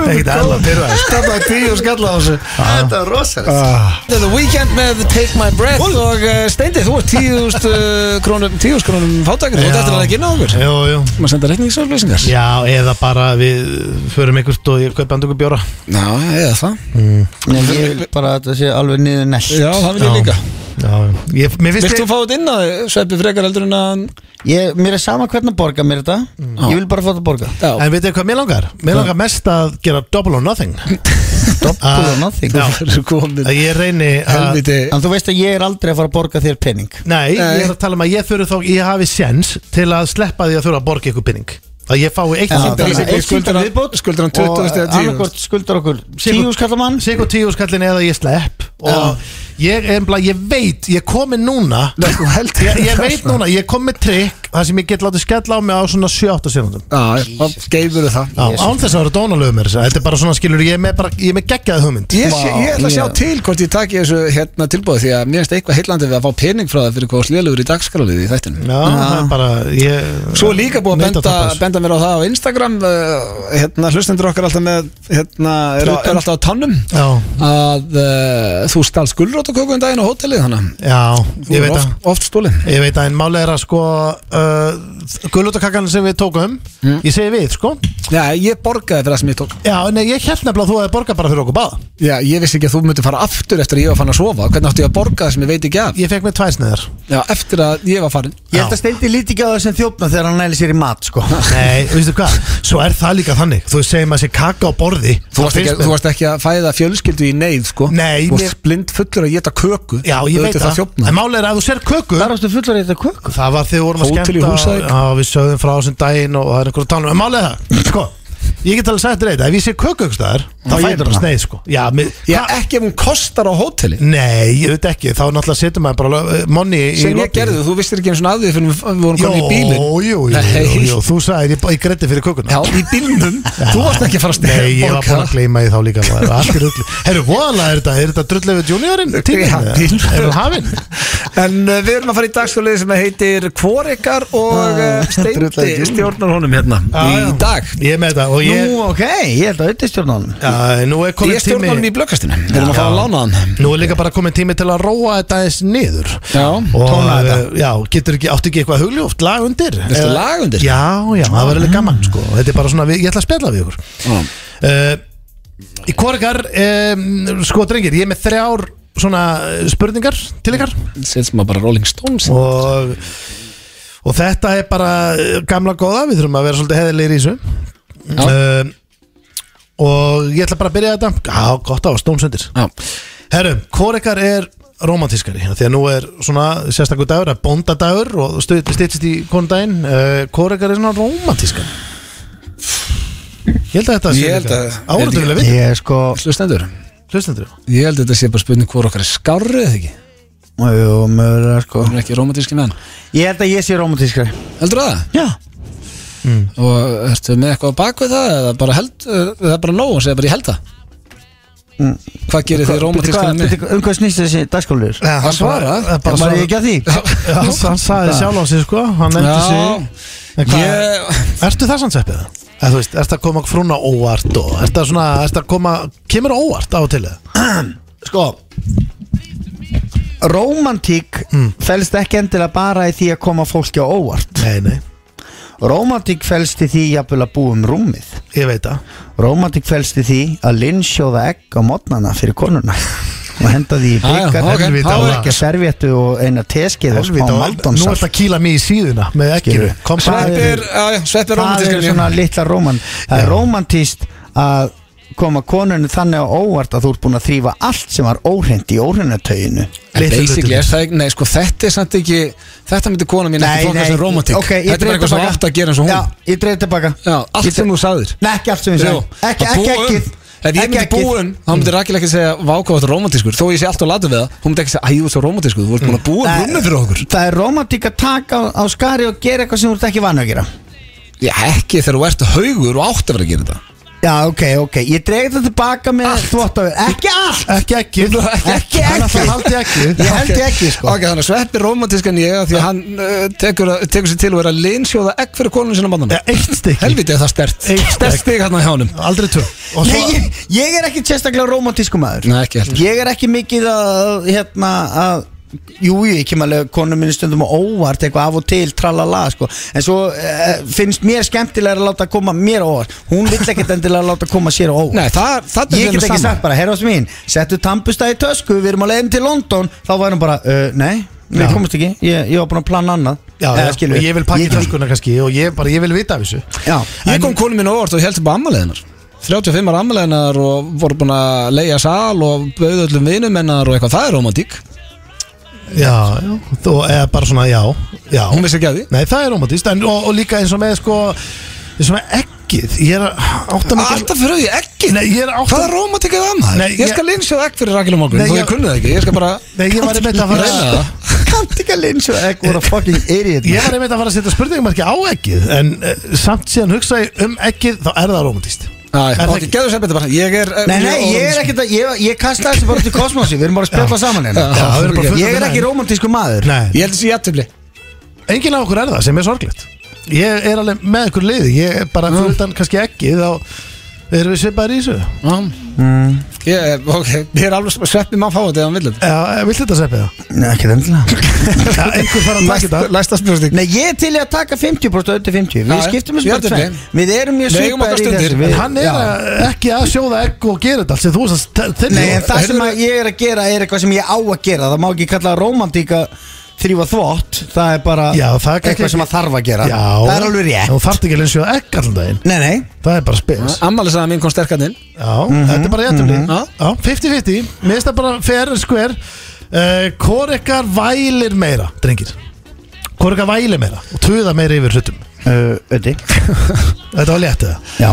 S2: Ekkert eðla, pyrraði
S1: Þetta er tíu skalla á þessu
S2: Ah.
S3: Þetta er rosalegt
S1: Þetta er The Weeknd með Take My Breath og uh, Steindi, þú ert tíðust uh, krónum, tíðust krónum fátakir, þú ert
S2: Já.
S1: eftir að ekki ná okkur
S2: Jú, jú
S1: maður senda reikningsaflýsingar
S2: Já, eða bara við förum einhvert og ég kaupi andungu bjóra
S1: Já, eða það
S3: Nei, ég vil bara að þetta sé alveg niður næst
S1: Já, það vil ég líka
S2: Já, ég, mér finnst
S1: Vilt þú fá þetta inn að sveppi frekar heldur en að
S3: ég, Mér er sama hvernig að borga mér þetta
S1: Mm.
S3: Ég vil bara fá þetta að borga
S1: Já,
S2: En veitu hvað mér langar? Mér langar mest að gera double or nothing
S3: Double or nothing
S2: Já.
S1: það eru komin
S2: Að ég reyni að
S1: Helviti
S3: En þú veist að ég er aldrei að fara að borga þér penning
S2: Nei,
S1: Nei.
S2: ég er að tala um að ég þurfi þá Ég hafi séns til að sleppa því að þurfa að borga ykkur pinning Að ég fái eitt
S3: Já,
S2: síndal
S3: basically.
S1: Basically skuldar hann- skuldar hann 20 eða 10
S3: annarkvort skuldar okkur tíu skallamann
S2: Sigur tíu skallin eða ég slepp Og ég, embla, ég veit, ég komi núna
S1: Nei, þú heldur
S2: Ég, ég veit núna, ég kom með trikk Það sem ég get látið skella á mig á svona 7-8 sekundum
S1: Já, þá geifur það
S2: Já, án þess að vera dónalögum er Þetta er bara svona skilur, ég er með, bara, ég er með geggjaði hugmynd
S1: Ég, sé, ég ætla að sjá
S3: Vá, ég-
S1: til hvort ég taki þessu hérna tilbúið því að mér finnst eitthvað heillandi við að fá pening frá það fyrir hvað slélur í dagskrálið í þættinu
S2: Já, það er bara ég,
S1: Svo er líka búið að
S2: neita
S1: benda,
S2: tapa þessu.
S1: benda mér á það á Instagram uh, hérna hlustendur okkar alltaf með hérna, er, á- er alltaf á tannum
S2: Já,
S1: að uh, þú stál skullrótaköku um daginn á hótelið þannig að
S2: Já,
S1: þú
S2: ég
S1: er
S2: veit að
S1: oft, oft stólið
S2: Ég veit að en málega er að sko uh, uh, gullutakakkan sem við tókum Ég segi við, sko
S1: Já, ég borgaði fyrir það sem ég tók
S2: Já, nei, ég held nefnilega að þú hefði borgað bara fyrir okkur báða
S1: Já, ég vissi ekki að þú myndir fara aftur eftir að ég var fann að sofa Hvernig átti ég að borga það sem ég veit ekki af
S2: Ég fekk mér tvær sneiðar
S1: Já, eftir að ég var farin
S3: Ég held að steindi líti ekki á þessum þjófna þegar hann næli sér í mat sko
S2: Nei, veistu hvað, svo er það líka þannig Þú segir maður sér kaka á borði
S1: Þú
S2: Það
S1: varst, ekki,
S2: finnst mér-
S1: þú varst ekki að fæða fjölskyldu í neyð, sko
S2: Nei,
S1: Þú varst
S2: mér-
S1: mér... blind fullur að geta köku
S2: Já, ég veit
S1: það
S2: það,
S1: þjófna.
S2: en málið er að ef þú sér köku
S3: Þar ástu fullar í þetta köku
S2: Það var þegar við vorum að
S1: Hótel í
S2: skemmta
S1: Húsavík.
S2: Já, við sögðum frá þessum daginn og það er einhverjum tánum En málið er það, sko Ég get alveg sagt þér eitt, ef ég sé köku ykkur staðar Þá
S3: ég
S1: hérna?
S2: fæður
S3: bara.
S2: það sneið, sko Já, mér,
S1: Já, ekki ef hún kostar á hóteli
S2: Nei, ég veit ekki, þá náttúrulega setur maður bara uh, Monni í
S1: Sem ég
S2: lobbí.
S1: gerði, þú vissir ekki eins og að því Fyrir við vorum
S2: Jó,
S1: komin í bílinn
S2: jú, jú, jú,
S1: Nei.
S2: jú, þú sagði, ég, ég greiddi fyrir kökuna
S1: Já, í bílnum Þú varst ekki að fara að stefna
S2: Nei, ég var búin að gleyma því þá líka maður, það er Allt er rugli Herru, voðalega er þetta, er þetta drullið við juniorinn? Tíminn,
S1: Já, tíminn.
S2: eða? er hann hafinn?
S1: En uh, við erum að fara í dagsfjölið sem heitir Kvorikar og
S2: Ah,
S1: uh, Steindi
S3: drullaði
S1: stjórnar honum hérna í dag
S2: Ég er með þetta og ég
S3: Nú ok, ég held að auðvitað honum
S2: Já, nú er
S1: Ég
S2: komin
S1: stjórnar honum
S2: tími
S1: í blökkastinu Við erum að fara að lána hann
S2: Nú er líka bara komin tími til að róa þetta eins niður
S1: Já,
S2: Og,
S1: tóna þetta
S2: eh, Já, getur ekki, áttu ekki eitthvað hugljóft, lag undir
S1: Viltu
S2: Eða-
S1: lag undir?
S2: Já, já, það verður alveg gaman sko Þetta er bara svona, við- ég ætla að spjalla við ykkur
S1: Já.
S2: uh, Í korgar, um, sko drengir, ég er með þrjár svona eh, spurningar til ykkar
S1: Sett sem að bara Rolling Stones
S2: og, og þetta er bara eh, gamla góða, við þurfum að vera svolítið heðilegir í þessu
S1: Já.
S2: uh, Og ég ætla bara að byrja þetta Já, gott á, stónsundir
S1: Já,
S2: Herru, hvor ykkar er romantískari? Því að nú er svona sérstakur dagur, að bóndadagur og styrtist í konundaginn uh, Hvor ykkar er svona romantískari? Ég held að þetta
S1: Ég held að-
S2: Áraðurlega við
S3: Ég er sko
S1: hlustendur
S2: Hlustendur
S1: Ég held að þetta sé bara spurning hvor okkar er skárri eða ekki
S3: Jú, mögulega sko
S1: Hún er ekki romantíski með hann
S3: Ég held að ég sé romantískari
S1: Heldur það?
S3: Já
S1: Og ertu með eitthvað á bakvið það eða bara held eh, Það er bara nóg og segja bara ég held það Hvað gerir þið romantískina með?
S3: Um hvað snýst þessi dagskólir?
S1: Að svara?
S2: bara
S3: Var
S2: svara-
S3: ég ekki að því?
S2: Já, hann, hann sagði sjálf á sig sko Hann nefndi sig En hvað-
S1: Ég,
S2: Ertu það sann seppið? Eða, Eh, þú veist, ertu að koma frúna óvart og ertu að, svona, ertu að koma, kemur óvart á til þið?
S3: Sko Rómantík fælst ekki endilega bara í því að koma fólki á óvart
S2: Nei, nei,
S3: Rómantík fælst í því jafnvel að búa um rúmið
S2: ég veit það
S3: Rómantík fælst í því að linnsjóða egg á mótnana fyrir konuna og henda því í
S1: Já, já,
S3: byggar
S1: ok,
S2: þá
S3: og
S2: er-
S3: ekki servéttu og eina teskið og smá
S2: Helvita, og Nú ertu
S3: maldonsalt
S2: að kýla mig í síðuna með ekkir
S3: Skilur.
S2: Kom
S3: Sveppi
S2: bara
S1: Sveppir, já, já, sveppir
S3: það er
S1: romantískar
S3: svona litla róman það er romantíst að koma konunni þannig á óvart að þú ert búin að þrýfa allt sem var óhreint í óhreinatauðinu
S2: Litlu
S1: Basically,
S2: hlutina.
S1: er það, ekki- nei, sko, þetta er samt ekki Þetta myndi kona mín ekki fólka sem romantík
S3: ok, ég
S1: Þetta er bara
S3: dreif
S1: eitthvað sem
S3: tilbaka.
S1: átt að gera eins og hún
S3: Já, ég dreif tilbaka
S1: Já, allt
S3: Ég dreif-
S1: sem þú sagðir.
S3: Nei, ekki allt sem ég sagði
S1: Jú,
S3: Ekki,
S1: að
S3: ekki,
S1: búa
S3: ekki Mm.
S1: um. Ef ég myndi búa um, þá myndi Rakel ekki segja Vákvátt romantískur, þó ég sé allt og latur við það Hún myndi ekki segja, æ, þú ert svo romantískur, þú ert búin að
S3: Mm.
S1: búa um rúmið fyrir okkur
S3: Það er romantík að taka á, á skari og gera eitthvað sem þú ert ekki vann að gera
S1: Já, ekki þegar þú ert haugur og átt að vera að gera þetta
S3: Já, ok, ok, ég dreif þetta tilbaka með þvóttavir Ekki allt
S2: Ekki ekkir
S1: Ekki
S3: ekki.
S2: Það haldi ekki
S3: Ég held ég ekki, sko
S1: Ok, þannig að sveppi romantískan ég af Því að hann uh, tekur, að- tekur sér til að vera linsjóða Egg fyrir konunum sinna
S2: Ja,
S1: mannum
S2: Eitt stykki,
S1: Helviti er það stert
S2: Eitt
S1: Stert stig hann að hjá honum
S2: aldrei tvö Og
S3: Nei,
S2: svo,
S3: ég, ég er ekki sérstaklega romantísku maður
S1: Nei, ekki heldur.
S3: Ég er ekki mikið að hérna að Jú, jú, ég kem alveg konum minni stundum á óvart eitthvað af og til, tralala sko. en svo eh, finnst mér skemmtilega að láta koma mér á óvart hún vill ekkert endilega láta koma sér á óvart
S1: Nei, það, það
S3: ég get ekki sagt bara, herra ás mín settu tampusta í tösku, við erum á leiðin til London þá var hann bara, uh, nei, við
S2: Já.
S3: komumst ekki ég, ég var búin að plana annað
S2: já, já,
S3: Eða, skilur
S2: og
S3: við,
S2: ég vil pakka í
S3: get
S2: töskuna kannski og ég, bara, ég vil vita af þessu
S3: ekki- Já,
S1: Ég kom konu mín á óvart og held upp á ammaliðinar 35 ára ammaliðinar og voru búin að leia sal og bauð öllum vinum hennar og eitthvað, það er romantík
S2: Já, já, þú, eða bara svona, já, já
S1: Hún vissi ekki að því
S2: Nei, það er romantíst en, og, og líka eins og með sko eins og með ekkið Ég er að átta mig ekki-
S1: Alltaf fyrir því ekki
S2: Nei, ég er átta
S1: Hvaða romantík er það maður?
S2: Nei,
S1: Ég,
S2: ég-
S1: skal linsjóða ekki fyrir Rakel og morgun
S2: Nei,
S1: Þó
S2: ég-
S1: ég kunni það ekki, ég skal bara
S2: Nei, ég var einmitt að
S1: reyna
S2: fara
S1: það
S3: kannti ekki að linsu ekki voru að fucking idiot
S2: Ég var einmitt að fara að setja spurningumarki á ekkið En uh, samt síðan hugsa ég um ekkið Þá er það romantíst
S1: Nei,
S2: Er það
S1: ok,
S2: ekki?
S1: geðu sér betur bara Ég er eh,
S3: Nei, nei, ég er
S1: og-
S3: ekkert að, ég, ég kasta þessu bara til kosmosi, við erum bara að spjalla saman hérna
S1: Já, við erum bara
S2: fullt af
S3: Ég er
S2: menn.
S3: ekki romantísku maður
S2: Nei,
S1: Ég held þessi jættumli
S2: enginn af okkur er það sem er sorglegt Ég er alveg með ykkur liði Ég er bara fyrir utan kannski ekkið Þá erum við svipaðir í þessu
S1: Já, ég, ok, ég er alveg sveppi maður fá þetta ef hann vil þetta
S2: Já, vill þetta seppið það?
S3: Nei, ekki endilega
S2: Já, einhver fara að taka þetta
S1: Læsta spjóðstík
S3: Nei, ég er til í að taka 50% auðvitað 50
S1: Já,
S3: Við
S1: já.
S3: skiptum
S1: Já,
S3: þessu bara
S1: þetta er
S3: tvenn Við erum mjög
S1: Við eigum
S3: svipaðir
S1: okkar
S3: í
S1: stundir,
S3: þessu
S1: en
S3: við,
S2: Hann er
S3: Já.
S2: að, ekki að sjóða egg og gera þetta allt sem þú veist að þenni
S3: Nei, en það
S1: Heyrðu-
S3: sem að ég er að gera er eitthvað sem ég á að gera Það má ekki kalla romantík að þrýfa þvott Það er bara
S2: Já, það er kannski
S3: eitthvað sem
S2: ekki-
S3: að þarf að gera
S2: Já
S3: Það er alveg rétt
S2: Þú þarft ekki að sjóða egg allan daginn
S3: Nei, nei,
S2: Það er bara spes
S1: Ammælisaða mín kom sterkarninn
S2: Já, þetta er bara jættumli
S1: mhm.
S2: Já, 50-50 Mér finnst það bara fair and square uh, Hvor ykkar vælir meira, drengir? Hvor ykkar vælir meira? Og tuða meira yfir hlutum
S3: öði
S2: Þetta var létt eða?
S3: Já,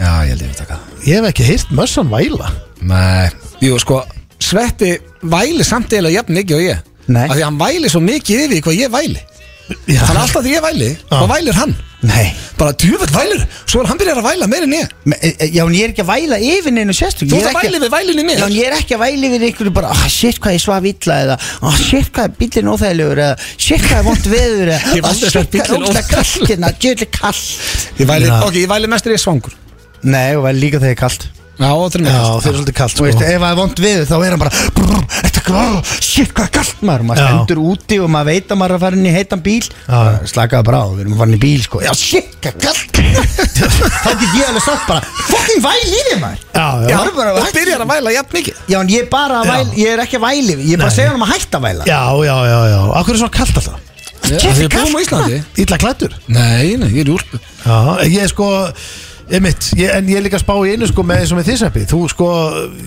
S1: Já, ég held ég við taka það
S2: Ég hef ekki hýrt mössan væla
S1: Nei Jú, sko, Sveppi væli samt eða jafn mikið og ég
S3: Nei.
S1: Af því að hann væli svo mikið yfir í hvað ég væli
S2: Já,
S1: Þannig að alltaf því ég væli, þá vælir hann
S3: nei
S1: Bara djúvöld vælir, svo er hann byrjar að væla meira en ég
S3: Me- e- e- Já, en ég er ekki að væla yfir neinu sérstök
S1: Þú
S3: Ég
S1: ert
S3: er
S1: að
S3: ekki-
S1: væli við vælinu mér
S3: Já, en ég er ekki að væli yfir einhverju bara ah, Shit, hvað ég svaf illa eða ah, Shit, hvað er bíllinn óþægilegur eða Shit, hvað er vont veður eða
S1: Ég hef
S3: ah,
S1: aldrei
S3: shit,
S1: sagt
S3: hvað er
S1: bíllinn
S3: ógeðslega
S1: óþægilegur.
S3: kalt hérna, djöðlega kalt
S1: Ég væli,
S2: Já.
S1: ok, ég væli mest er ég svangur
S3: Nei, og væri líka þegar kalt
S1: Já, það er
S2: Já,
S1: mjög
S2: þeir eru svolítið kalt
S3: Þú veist, ef það er vond veður þá er hann bara brr, Þetta grr, ah, shit, hvað er kalt maður Maður
S2: Já.
S3: stendur úti og maður veit að maður er að fara inn í heitan bíl Bara, Slakaðu bara á, við erum að fara inn í bíl sko Já, shit, hvað er kalt Þá get ég alveg sagt bara, fucking væl í þig maður
S2: Já, já.
S3: Maður er bara að
S1: Og byrjar að væla jafn mikið
S3: Já, en ég er bara að
S2: Já.
S3: væla, ég er ekki að væli Ég er bara að
S2: Nei.
S3: segja hann um að hætta að væla
S2: Já, já, já, já Akkur er svona kalt alltaf?
S1: Þegar ég búum á Íslandi
S2: Ítla klættur?
S1: Nei, nei, ég er í úlpu
S2: Já, ég sko Einmitt, ég, en ég er líka að spá í einu sko með eins og með þíseppi Þú sko,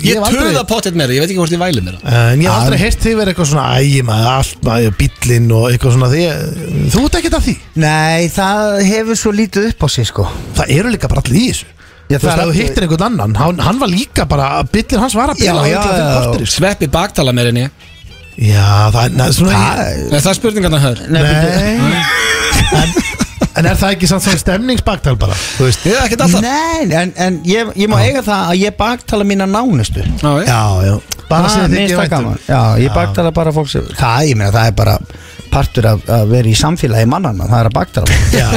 S1: Ég
S2: hef aldrei-
S1: töða pottet meira, ég veit ekki hvort ég væli meira
S2: En ég hef aldrei
S3: Að-
S2: heyrt þig verið eitthvað svona Æ, maður, allt maður, bíllinn og eitthvað svona því, Þú ert ekkert að því
S3: Nei, það hefur svo lítið upp á sig sko
S2: Það eru líka bara allir í þessu
S3: Já,
S2: Þú veist,
S3: það er
S2: ef þú
S3: allir-
S2: hittir einhvern annan Hann, hann var líka bara, bíllinn hans var að
S3: Já,
S2: bíla
S3: já, já.
S2: já,
S1: Sveppi baktala meira en ég
S2: já, það er na, svona
S1: Er það spurningarna hör?
S3: Nei, byrju.
S2: Nei en, en er það ekki samt svona stemningsbaktal bara Þú veist
S1: Ég er ekkert alltaf
S3: Nei, en, en ég, ég má eiga það að ég baktala mína nánustu
S1: Já, ég-
S2: Já, já Bara
S3: Það
S2: sem þið
S3: mér
S2: ekki
S3: finnst það gaman. Ah, um. Já, ég baktala bara fólk sem Það, ég meina, það er bara partur af að vera í samfélagi mannana Það er að baktala fólk.
S2: Já,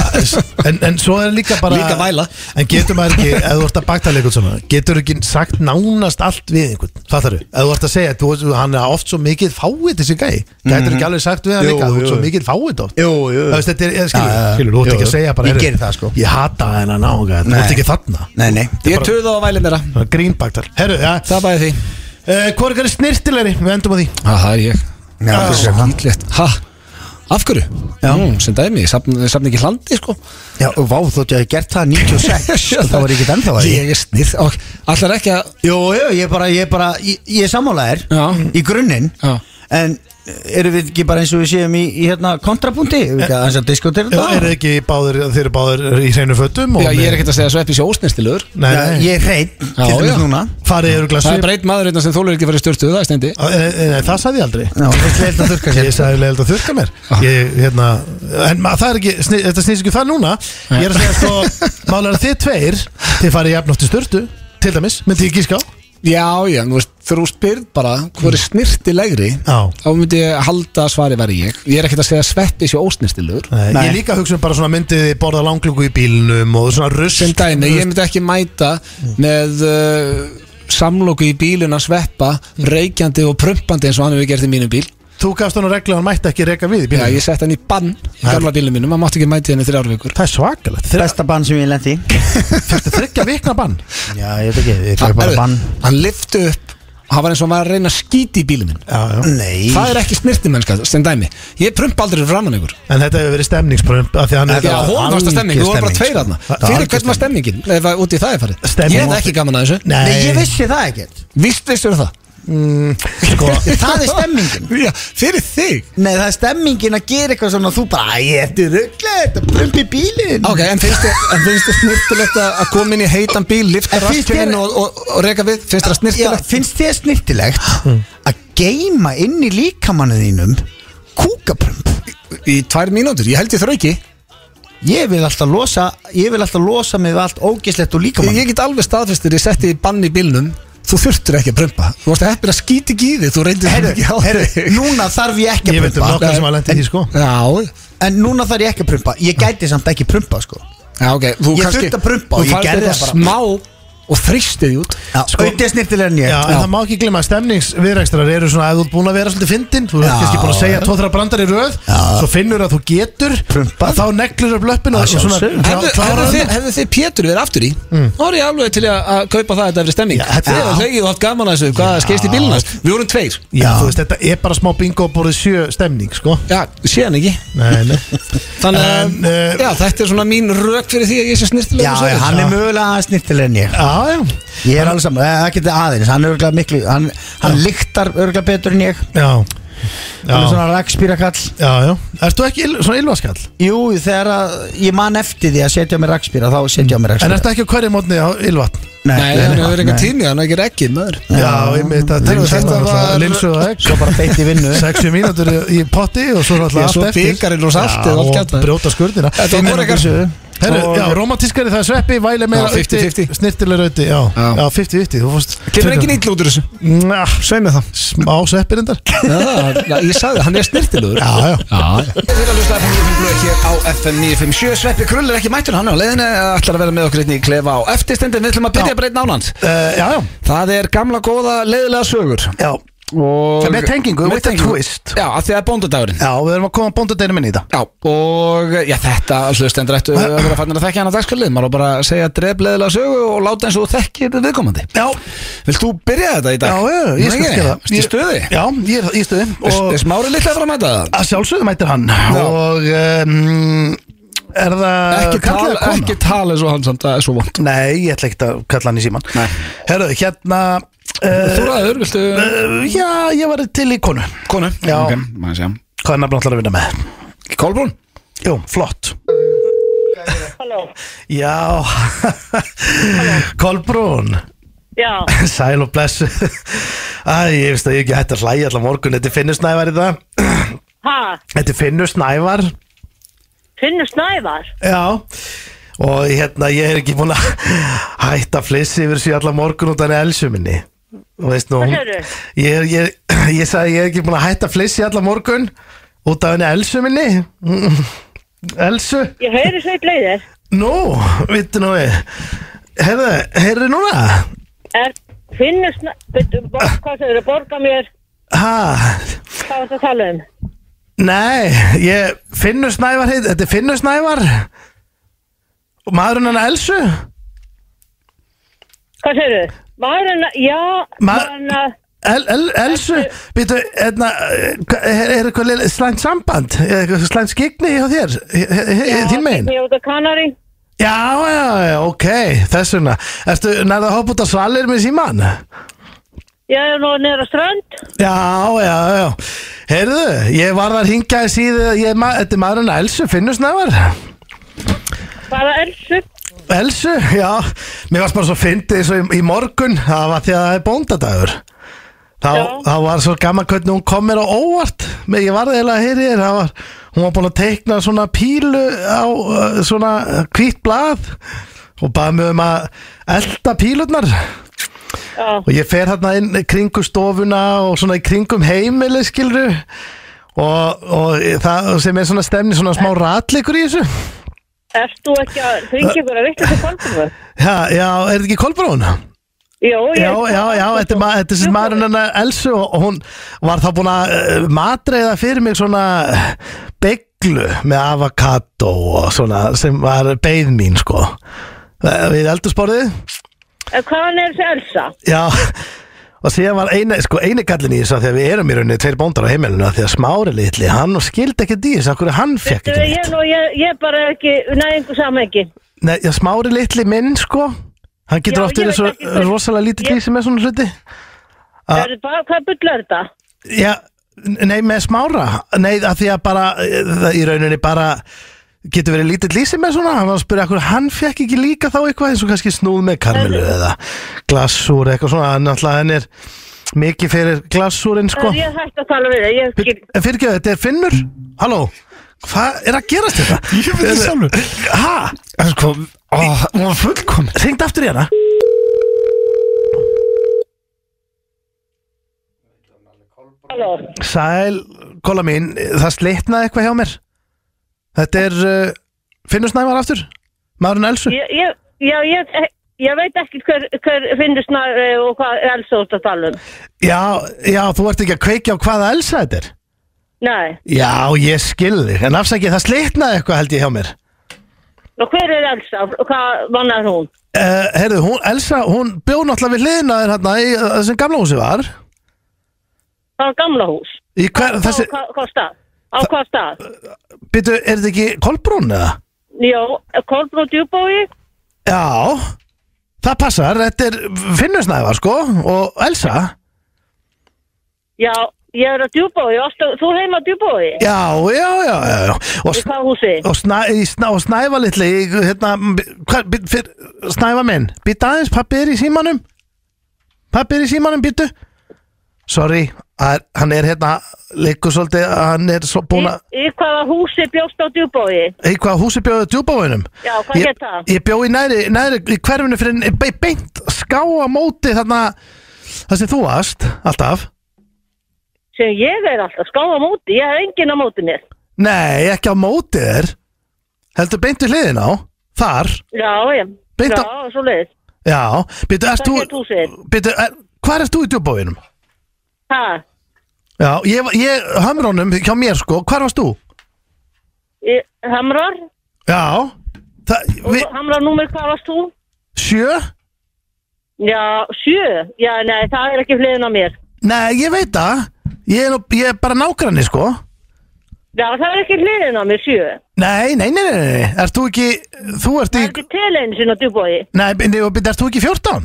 S2: en, en svo er líka bara
S1: Líka væla.
S2: En getur maður ekki, ef þú ert að baktala einhvern svona Getur ekki sagt nánast allt við einhvern Fattar þú? Ef þú ert að segja, þú, veist, hann er oft svo mikið fáið þessi gæ Getur ekki alveg sagt við hann
S3: Mhm. Jú,
S2: líka Þú
S3: jú.
S2: ert svo mikið fáið oft
S3: Jú, jú.
S2: Það veist, þetta er, eða skilur,
S3: Já, já, já.
S2: skilur, þú ert
S3: Jú,
S2: ekki
S3: jú.
S2: að segja bara
S3: Ég
S2: heyrðu,
S3: geri það, sko.
S2: Ég hata hennar nága, þú
S3: Nei.
S2: ert ekki þarna
S3: Nei, nei
S1: Ég töða og væli meira
S2: Grínbaktal, herru, já
S1: Það bæði því
S2: uh, Hvor er snirtilegri, við endum á því
S1: Já, það er ég
S3: Já,
S2: Já.
S3: þú sér það.
S1: Lett. Ha? Af hverju? Já mm, Sem dæmi, ég safna, ég safna ekki hlandi sko
S3: Já, og vá, þótt ég hef gert það 96 og það var ég ekki ennþá að
S1: Ég er snið og allar ekki að
S3: Jú, jú, ég bara, ég bara, ég, ég sammála þér
S1: Já.
S3: Í grunninn
S1: Já.
S3: En eru við ekki bara eins og við séum í, í hérna kontrapunkti? Við ekki aðeins að diskutera
S2: Eða
S3: þetta?
S2: eru ekki báðir, þeir eru báðir í hreinu fötum og
S1: Ah. Já, ég
S2: með-
S1: er ekkert að segja sveppi sér ósnistilegur
S2: Nei,
S3: Já,
S2: nei,
S3: Ég er hreitt til
S1: Já,
S3: dæmis
S1: já.
S3: núna
S2: farið eru
S1: Það er
S2: glasu
S1: bara einn maður hérna sem þólur ekki fyrir styrtu Það er stendi
S2: eh, Það sagði ég aldrei
S3: Já, þú sleit að þurka sér
S2: Ég sagði leiðilegt að þurka mér
S1: Ah.
S2: ég, hérna, En ma- það er ekki, sni, þetta snýst ekki um það núna Ég er að segja sko Málar að þið tveir, þið farið jafn oft í sturtu Til dæmis, myndi ég gíska á
S1: Já, já, þú veist, þegar þú spyrð bara Hvor er snirtilegri
S2: Já.
S1: Þá myndi ég halda að svari væri ég Ég er ekkert að segja sveppi sér ósnistilegur
S2: Nei.
S3: Nei.
S2: Ég líka hugsa um bara svona myndið þið borða langlöku í bílnum og svona rusl
S1: sem dæmi, ég myndi ekki mæta með uh, samloku í bílun að sveppa, reykjandi og prumpandi eins og hann hefur gert í mínum bíl
S2: Þú gafst hann á reglu að hann mætti ekki reka við í
S1: Já,
S2: bílnum
S1: ég sett hann í bann í gamla bílum mínum, hann mátti ekki mæti henni þrjár vikur
S2: Það er svakalegt, þeir
S3: Besta bann sem ég lendi
S2: fyrstu þryggja vikna bann
S3: Já, ég veit ekki, ég fæk bara
S1: Herðu,
S3: bann
S1: hann lifti upp hann var eins og hann var að reyna að skíti í bílum minn
S2: já, já.
S3: Nei
S1: það er ekki snirti mennska, sem dæmi ég prumpa aldrei framann ykkur
S2: En þetta hefur verið stemningsprömp af því að hann
S1: Já, hún varst að stemming,
S3: algjör
S1: þú var bara
S3: stemming,
S1: tveir
S3: sko.
S1: aðna
S2: Það er
S1: Fyrir
S2: algjör
S1: hvern var stemmingin, ef að út í það er farið
S2: Stemming
S1: Ég hefði
S2: var-
S1: ekki gaman að þessu
S3: Nei, ég vissi það ekkert
S1: Vist vissur það
S2: sko,
S3: Það er stemmingin
S1: Já, Fyrir þig
S3: Nei, það er stemmingin að gera eitthvað svona og Þú bara, æ, þetta er rugglega, þetta er brumpi bílin
S1: Ok, en finnst þér- en finnst þér snirtilegt að að koma inn í heitan bíl, lifta
S3: En finnst
S1: raskinn
S3: þér-
S1: og, og, og reka við, finnst þér það
S3: Já,
S1: snirtilegt?
S3: finnst þér snirtilegt að geima inn í líkamannu þínum kúkabrump?
S1: Í tvær mínútur, ég held ég þrauki
S3: Ég vil alltaf losa, ég vil alltaf losa mig við allt ógislegt og líkamann
S1: Ég get alveg staðfestir, ég setti í bann í bílnum Þú þurftur ekki að prumpa Þú varst heppin að skíti ekki í þig, þú reyndir
S3: Herru,
S1: ekki á
S3: herru,
S1: þig
S3: núna þarf ég ekki
S2: Ég
S3: að
S2: veit um
S3: prumpa
S2: nokkar sem að lendi því sko
S1: Já,
S3: En núna þarf ég ekki að prumpa Ég gæti samt ekki prumpa sko
S1: já, ok, þú
S3: Ég
S1: kannski
S3: þurfti að prumpa og
S1: Þú
S3: ég
S1: færð
S3: gerði
S1: þetta
S3: það bara.
S1: smá og þrýsti því út
S3: sko, Auðvitað snirtilega en ég
S2: Já, en það má ekki glemma að stemningsviðrækstrar eru svona ef þú ert búin að vera svolítið fyndin þú ert
S3: Já.
S2: kannski búin að segja tóþra brandar í röð svo finnur að þú getur
S3: Prumpað.
S2: þá neglur upp löppin og
S3: Að
S2: svona
S3: sjálfsögðu.
S2: klá-
S1: Hefðu,
S2: klárar
S1: hefðu, þið,
S2: þetta.
S1: hefðu þið Pétur verið aftur í þá er ég alveg til að, að kaupa það að þetta verið stemming
S2: Já, þetta-
S1: Þið hefðu hlegið og haft gaman að þessu Hvað skeist í bílunast? Við vorum tveir
S2: Já, þú veist, þetta er bara smá bingo borðið sjö stemning, sko
S1: Já, séðan ekki
S2: Nei, nei
S1: Þannig að
S2: En, eh,
S1: já, þetta er svona mín rök fyrir því að ég sé snirtilega
S3: Já, já, hann er mögulega aðeins snirtilega en ég
S2: Já, já,
S3: Ég er alveg saman, eh, það getur aðeins Hann er örgulega miklu, hann, hann lyktar örgulega betur en ég
S2: já
S3: Hann er
S2: Já,
S3: svona rakspýrakall
S2: já, já Ertu ekki il, svona ylvaskall?
S3: Jú, þegar að ég man eftir því að setja á mig rakspýra Þá setja á
S2: En
S3: mig rakspýra
S2: ertu ekki á hverju mótni á ylvatn?
S1: Nei, hann hefur engan tími, hann er ekki ekki maður
S2: Já, ég með þetta
S1: Linsu-
S2: tengur þetta
S1: var-
S2: var Linsu og egg
S3: Svo bara beint í vinnu
S2: 60 mínútur í- í potti og svo
S1: Já,
S2: er alltaf
S1: svo bikarinn og saltið og allt
S2: Já,
S1: kjaftið.
S2: og brjóta skurðina
S1: Þetta var korrekar
S2: Herru, já, romantískari það er sveppi, væli meira
S1: Já, 50-50.
S2: Snirtileg rauti, já,
S1: Já.
S2: já, 50-50 Þú fórst
S1: Kemur engin ítl út úr þessu
S2: Njá,
S1: Sveinu það
S2: Smá sveppir endar
S1: Já, ég sagði, hann er snirtilegur
S2: Já, já
S1: Þeir eru að hlusta á FM 95 blöð hér á FM 957 Sveppi Krull er ekki mættur hann er á leiðinu ætlar að vera með okkur einnig í klefa á eftirstendin við ætlum að byrja að breyta nánand
S2: Uh, já, já,
S1: Það er gamla góða leiðilega sögur
S2: já
S1: og
S2: Með tengingu, with a twist.
S1: Já, af því það er bóndadagurinn
S2: Já, við erum að koma bóndadeinum inn í þetta
S1: Já, og já, þetta hlustendur ættu að vera fannir að þekkja hann að dagskalið maður á bara að segja dref leiðilega sögu og láta eins og þú þekkir viðkomandi
S2: Já,
S1: Vilt þú byrja þetta í dag?
S2: já, já, ég skal skilja það
S1: Vist í stuði?
S2: Já, ég er í stuði
S1: Og... Er smári litlega frá að mæta það?
S2: Að sjálfsögðu mætir hann Og um, er það
S1: Ekki
S2: karl Eh, eða
S1: tala,
S2: kona?
S1: ekki tala eins og hann samt, það er svo vond
S2: Nei, ég ætla ekkert að kalla hann í síman
S1: Nei.
S2: Herðu, hérna uh,
S1: Þú ræður, viltu
S2: uh, Já, ég var til í konu
S1: konu?
S2: Já.
S1: Ok, maður sé
S2: Hvað er nafnum allar að vinna með?
S1: Kolbrún?
S2: Jú, flott
S5: Halló.
S2: Já Kolbrún
S5: Já,
S2: Sæl og blessu Æ, ég veist að ég er ekki hætt að hlæja allar morgun Þetta er Finnur Snævar í það
S5: ha,
S2: Þetta er Finnur Snævar
S5: finnur snævar.
S2: Já Og hérna, ég er ekki búin að hætta að flissi yfir sér allar morgun út af henni elsu minni Þú veist nú
S5: Hvað
S2: hún-
S5: segirðu?
S2: Ég, ég, ég sagði ég er ekki búin að hætta að flissi allar morgun út af henni elsu minni Mm, Elsu
S5: Ég heyri sveit leiðir.
S2: Nú, vittu nú við Herðu, heyrðu núna Ah.
S5: Er finnur snævar, hvað segir þau, borga mér,
S2: Ha,
S5: hvað var það að tala um?
S2: nei, ég Finnur Snævar heit, þetta er Finnur Snævar Og maðurinn hann elsu
S5: Hvað segir þau? Maðurinn, að- já,
S2: Ma-
S5: maðurinn, að-
S2: El, el, elsu, býtu, hérna, hva- er, er eitthvað lið- slæmt samband, er eitthvað slæmt skikni hjá þér, He- he- he-
S5: já,
S2: þín megin?
S5: ég út á Kanari.
S2: Já, já, já, ok, þess vegna. Ertu nærða að hoppa út á svalir með síman?
S5: Já, ég er nú niður á strönd.
S2: Já, já, já. Heyrðu, ég var það að hingja í síðu, ég, er ma þetta er maðurinn að Elsu, finnur snævar?
S5: Hvaða elsu?
S2: Elsu, já, mér varst bara svo fyndið svo í, í morgun, það var því að það er bóndadagur. Þá,
S5: Já.
S2: þá var svo gaman hvernig hún kom mér á óvart, Mér- ég var það eiginlega að heyri þér, það var, hún var búin að teikna svona pílu á uh, svona hvitt blað og baði mig um að elda pílunar.
S5: Já,
S2: og ég fer hérna inn í kringu stofuna og svona í kringum heimili skilru og, og það sem er svona stemni svona smá ratleikur í þessu
S5: erst þú ekki að hringja ykkur að vittu til fólkum?
S2: já, já, er þetta ekki Kolbrún?
S5: Jó, ég...
S2: Já, já, já, þetta er, ma þetta er sem maðurinn hennar Elsu og og hún var þá búin að uh, matreiða fyrir mig svona beglu með avokado og svona sem var beigð mín sko Eh, við eldursporðið
S5: En hvaðan er þessi elsa?
S2: Já Og síðan var eina, sko, eini gallin í þessu af því að við erum í rauninni tveir bóndar á heimilinu af því að smári litli, hann skildi ekkert í þessu af hverju hann fekk
S5: Þú,
S2: ekki
S5: ég,
S2: neitt
S5: nú, ég, ég bara er ekki, næðingu samhengi
S2: Nei, já, smári litli minn, sko hann getur
S5: Já,
S2: oft
S5: ég
S2: verið
S5: veit
S2: svo
S5: ekki hvað-
S2: rosalega lítið
S5: Ég-
S2: í sem er svona hluti
S5: ah. Hvað bullar þetta?
S2: Já, nei, með smára Nei, af því að bara, eh, það í rauninni bara getur verið lítill lýsi með svona hann var að spyrja hverju hann fekk ekki líka þá eitthvað eins og kannski snúð með karmelu eða glassúr eitthvað svona, hann alltaf hann er mikið fyrir glassúrin sko
S5: Sko. Ég hætti að tala við það Ég skil
S2: En fyrirgeðu, þetta er Finnur? Halló? Hvað er að gerast þetta? Ég veit það sjálfur Hæ?
S1: En sko, ó, hún var fullkomin
S2: Ringd aftur í hana?
S5: Halló
S2: Sæl, kolla mín, það slitnaði eitthvað hjá mér Þetta er uh, Finnur Snævar aftur? Maðurinn Elsu?
S5: Ég- ég- Já, ég Ég veit ekki hver, hver finnusnar og hvað Elsa út að tala um.
S2: Já, já, þú ert ekki að kveikja á hvaða elsa þetta er
S5: Nei.
S2: Já, ég skil þig, en afsakið það slitnaði eitthvað held ég hjá mér
S5: Og hver er Elsa? Og Hvað manna er hún?
S2: uh, Herðu, hún, Elsa, hún bjóð náttúrulega við hliðina þér hérna í uh, þessum gamla húsi var
S5: Það er gamla hús.
S2: Í hver, þessi,
S5: Á hvað- hvað stað? Á hvað stað?
S2: byttu, er þetta ekki Kolbrún eða?
S5: Jó, Kolbrún Djúbói?
S2: Já, það passar, þetta er Finnusnævar sko og Elsa
S5: Já, ég er á Djúbói. Þú heima á Djúbói?
S2: Já, já, já, já, já. Og,
S5: Í hvað húsi?
S2: og, snæ, í snæ, og snæfa litli í, hérna, hva, byt, fyr, snæfa minn býta aðeins, pappi er í símanum pappi er í símanum, býtu sorry, að, hann er hérna leikur svolítið, hann er svo
S5: Í,
S2: búin að
S5: í hvaða húsi bjóst á Djúbói?
S2: í hvaða húsi bjóðu djúbáinum
S5: Já, hvað
S2: ég,
S5: hét það?
S2: ég bjóði í næri, næri í hverfinu fyrir be- beint skáa móti þarna það sem þú varst alltaf
S5: Sem ég er alltaf skáða á móti. Ég hef enginn á móti mér.
S2: nei, ekki á móti þér heldur beint við hliðin á þar,
S5: Já, já.
S2: Beint á-
S5: Já, svo leiðis.
S2: já byrju, erst
S5: Hvað hét
S2: þú
S5: húsið?
S2: byrju, er, hvað erst þú í djúbáinum?
S5: Hæ?
S2: já, ég, ég hömrónum hjá mér sko, hvar varst þú?
S5: Í Hamrar?
S2: já, það,
S5: Vi...
S2: við,
S5: Hamrar númer hvað varst þú?
S2: sjö?
S5: Já, sjö. Já, nei, það er ekki hliðin á mér.
S2: nei, ég veit það ég er, nú- ég er bara nágranni sko
S5: Já, það er ekki hliðin á mér, sjö.
S2: Nei, nei, nei, nei, nei, erst þú ekki, þú ert í,
S5: Það er ekki til einu sinna djúbói.
S2: Nei, bindi, og bindi, ert þú ekki 14?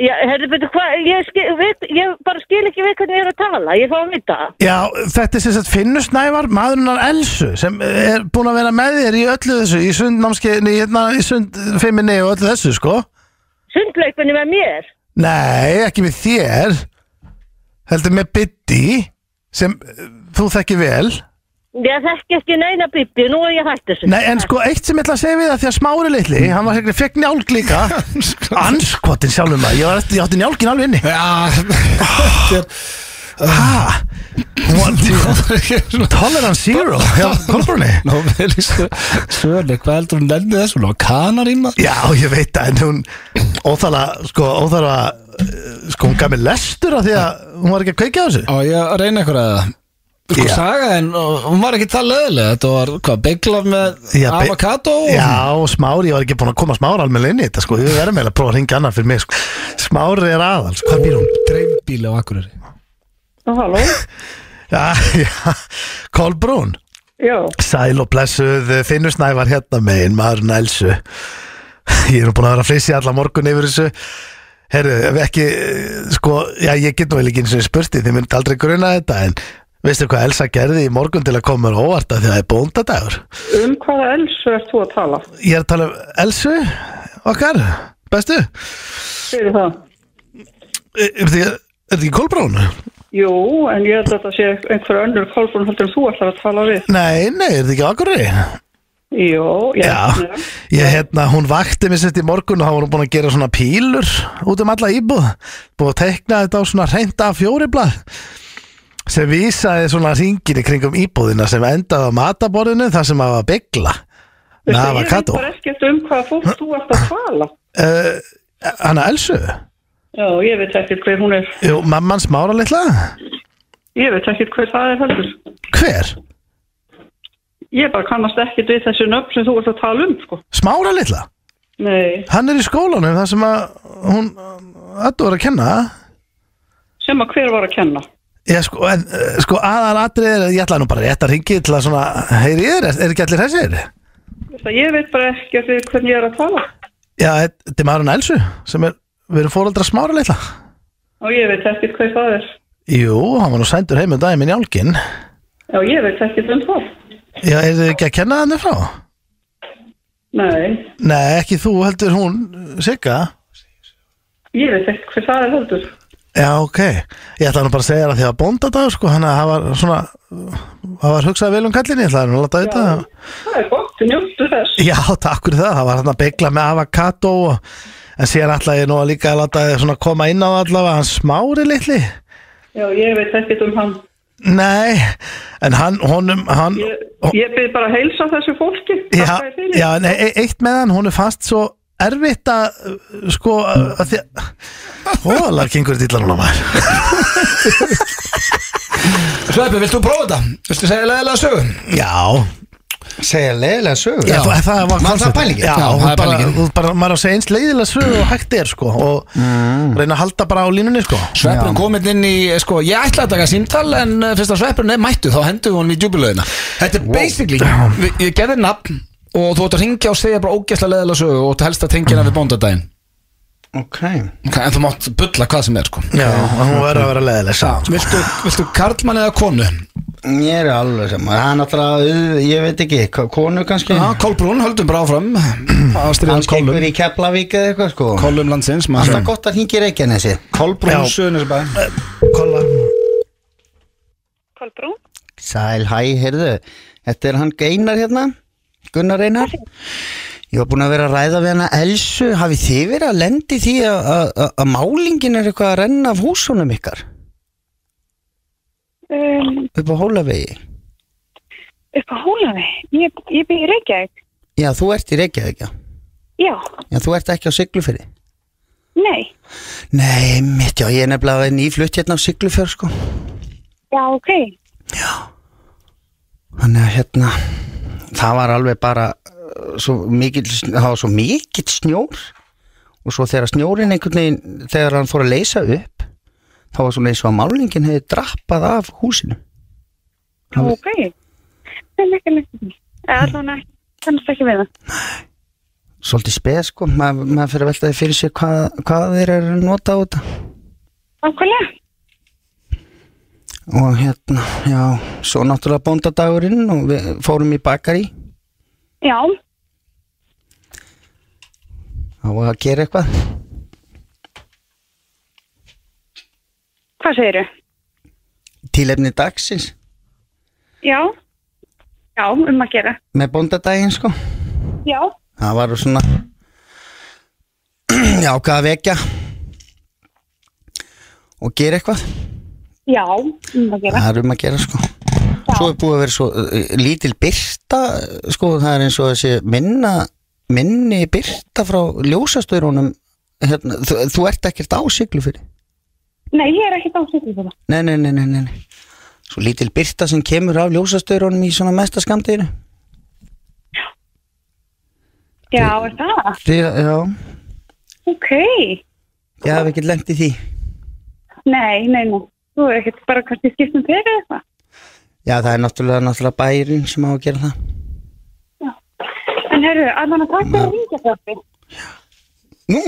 S5: Já, herðu, betur hvað, ég, skil- veit- ég bara skil ekki við hvernig ég er að tala. Ég fá að vita.
S2: Já, þetta er sem sagt Finnur Snævar, maðurinnar Elsu, sem er búin að vera með þér í öllu þessu, í sundnámskeiðinni, hérna, í sundfimminni og öllu þessu, sko.
S5: Sundleikvinni með mér.
S2: Nei, ekki með þér, heldur með Bindi, sem eh, þú þekkir vel.
S5: Ég þekki ekki neina bíbi, nú er ég hætt þessu.
S2: Nei, en sko, eitt sem ég ætla að segja við það, því að smári litli, hann var hérna, fekk njálg líka. Anskotin sjálfum maður, ég, var, ég átti njálgin alveg inni.
S1: Já,
S2: Hæ? Tolerance Zero, já, Kolbrunni.
S1: Nó, vel í svörli, hvað heldur hún lenni þessu? Nó, kanar í maður?
S2: Já, ég veit það, en hún óþala, sko, óþala sko, hún gaf mér lestur af því að hún var ekki að kveika á þessu
S1: Á, ég að reyna eitthvað að það. Sko,
S2: Já.
S1: sagaðin, og hún var ekki það löðilega. Þetta var, hvað, beiglað með
S2: Já, be-
S1: avocado? og-
S2: Já, og Smári, ég var ekki búin að koma Smári alveg inn í þetta, sko, ég verðum eiginlega að prófa að ringa annar fyrir mig, sko, Smári er aðal, sko, hvað býr hún?
S1: Dreifbíli á Akureyri.
S5: Nú, halló?
S2: Já, já, Kolbrún
S5: Já.
S2: Sæl og blessuð, Finnur Snævar hérna megin, maðurinn Elsu Ég er nú búin að vera að flissi allan morgun yfir þessu Herru, ef ekki, eh, sko, já, ég get nú vel ekki eins og spurti, þið myndi aldrei gruna þetta, en veistu hvað Elsa gerði í morgun til að koma mér á óvart að því að það er bóndadagur?
S4: Um hvaða elsu ert þú að tala?
S2: Ég er að tala um Elsu, okkar, bestu,
S4: Fyrir það.
S2: E- er þetta ekki- er þetta ekki Kolbrún?
S4: Jú, en ég held að þetta sé einhver önnur kolbrun heldur en þú ætlar að tala við.
S2: Nei, nei, er þetta ekki Akurri?
S4: Jú, ég
S2: Já, ég hérna, hún vakti mér sett í morgun og þá var hún búin að gera svona pílur út um alla íbúð, búin að teikna þetta á svona reynda fjóriblað sem vísaði svona ringin í kringum íbúðina sem endaði á mataborðinu þar sem að var byggla með avokado.
S4: Ég veit bara ekkert um hvaða fólk þú ert að tala.
S2: Uh, hana Elsu?
S4: Já, ég veit ekkert hver hún er.
S2: Jú, mamman smára litla?
S4: Ég veit ekkert hver það er heldur.
S2: Hver?
S4: Ég bara kannast ekkert við þessu nöfn sem þú ert að tala um, sko.
S2: Smára litla?
S4: Nei,
S2: Hann er í skólanum þar sem að hún ættu var að kenna.
S4: sem að hver var að kenna.
S2: Já, sko, en, eh, sko aðalatrið er, ég ætla nú bara rétt að ringi til að svona, heyri ég þér, er er ekki allir þessir?
S4: Það ég veit bara ekkert við hvernig ég er að tala.
S2: Já, þetta er maðurinn Elsu, sem er, við erum fóröldra smára litla.
S4: Og ég veit ekkert hver það er.
S2: Jú, hann var nú sændur heim um daginn minn jálkin.
S4: Já, ég veit ekkert um það.
S2: Já, er þið ekki að kenna hann frá?
S4: Nei,
S2: Nei, ekki þú, heldur hún, Sigga.
S4: ég veit ekkert hver það er heldur.
S2: Já, ok. Ég ætla nú bara að segja þér að því að bóndadagur, sko, hann að það var svona, það var hugsað vel um kallinni, ég ætla nú að láta þetta. Já.
S4: Það er gott, njóttu þess.
S2: Já, takk fyrir það, það var hann að byggla með avokado og en síðan ætla ég nú að líka að láta þið svona koma inn á það allavega hann smári litli
S4: Já, ég veit ekkert um hann.
S2: Nei, en hann, honum, hann
S4: Ég, ég byrð bara að heilsa þessu fólki.
S2: já,
S4: Þakka þér fyrir.
S2: já, nei, e- eitt með hann, honum fast svo erfitt að uh, sko að því Hóla gengur þetta illa núna maður
S1: Sveppi, viltu prófa þetta? Viltu segja leðilega sögu?
S2: Já,
S3: Segja leiðilega sögur
S2: Já, það, það var
S3: Var það
S2: konceptið.
S3: pælingin?
S2: Já,
S1: Já,
S2: þú
S1: það er
S2: bara,
S1: pælingin.
S2: þú bara, maður á að segja eins leiðilega sög og hægt er sko og reyna að halda bara á línunni sko
S1: Sveppurinn kominn inn í, sko, ég ætlaði að taka símtal en eh, fyrst að sveppurinn er mættu þá hendur við honum í djúbilöðina Þetta er basically, við- ég gerði nafn og þú ætti að ringja og segja bara ógeðslega leðilega sögu og þú helst að tengja hana
S2: Mm.
S1: við bóndadaginn
S3: Ok
S1: okay, En þú mátt bulla hvað sem er, sko
S2: Já, og hún verður að vera leiðilega saman sko.
S1: Viltu, viltu karlmann eða konu?
S2: Mm.
S3: Mér er alveg sem Það er náttúrulega, uh, ég veit ekki, ko- konu kannski
S1: Já, Ah, Kolbrún, höldum bara áfram
S2: Mm.
S1: Ástriðan
S3: Kannski
S1: Kolum
S3: einhver í Keflavík eða eitthvað sko
S1: Kolum landsins,
S3: Alltaf
S1: maður
S3: gott að hingja í Reykjanesi
S1: Kolbrún
S2: Já.
S1: Söðnisbæ
S2: Kolla
S5: Kolbrún?
S3: Sæl, hæ, heyrðu Þetta er hann Einar hérna Gunnar Einar Ég var búin að vera að ræða við hana Elsu Hafið þið verið að lendi því að- að að- að málingin er eitthvað að renna af húsunum ykkar
S5: Um,
S3: upp á Hólavegi
S5: upp á hólani. Ég, ég byrði í Reykjavík.
S3: Já, þú ert í Reykjavík, já
S5: Já,
S3: Já, þú ert ekki á Siglufyrði
S5: nei.
S3: Nei, mitt, já, ég er nefnilega nýflutt hérna á Siglufjörð, sko
S5: Já, ok.
S3: Þannig að hérna Það var alveg bara uh, svo mikill, sn- það var svo mikill snjór og svo þegar snjórin einhvern veginn, þegar hann fór að leysa upp þá var svona eins og að málingin hefði drappað af húsinu
S5: Já, ok. Nei, ekki, ekki. Allan ekki. Kannast ekki við það.
S3: svolítið speð sko, Ma, maður fyrir að velta því fyrir sér hvað, hvað þeir eru að nota á þetta
S5: Ákvæmlega.
S3: og hérna, já, svo náttúrulega bóndadagurinn og við fórum í bakari
S5: Já,
S3: á að gera eitthvað
S5: hvað segiru?
S3: tílefni dagsins
S5: Já. Já, um að gera.
S3: með bóndadaginn sko
S5: Já.
S3: það var svona já, hvað að vekja og gera eitthvað
S5: Já, um að gera.
S3: það er um að gera sko svo er búið að vera svo uh, lítil byrta sko, það er eins og þessi minna minni byrta frá ljósastörunum hérna, þú, þú ert ekkert á siglu fyrir
S5: Nei, ég er ekki dánsið við það.
S3: nei, nei, nei, nei, nei, nei svo lítil byrta sem kemur af ljósastörunum í svona mesta skamdýri
S5: Já, er það?
S3: já,
S5: Ok.
S3: ég hef ekkert lengt í því
S5: Nei, nei, nei. Þú er ekkert bara kannski skiptum fyrir eitthvað.
S3: já, það er náttúrulega, náttúrulega bærin sem á að gera það
S5: En herru, allan að takk fyrir að ringja þáttu.
S3: Nú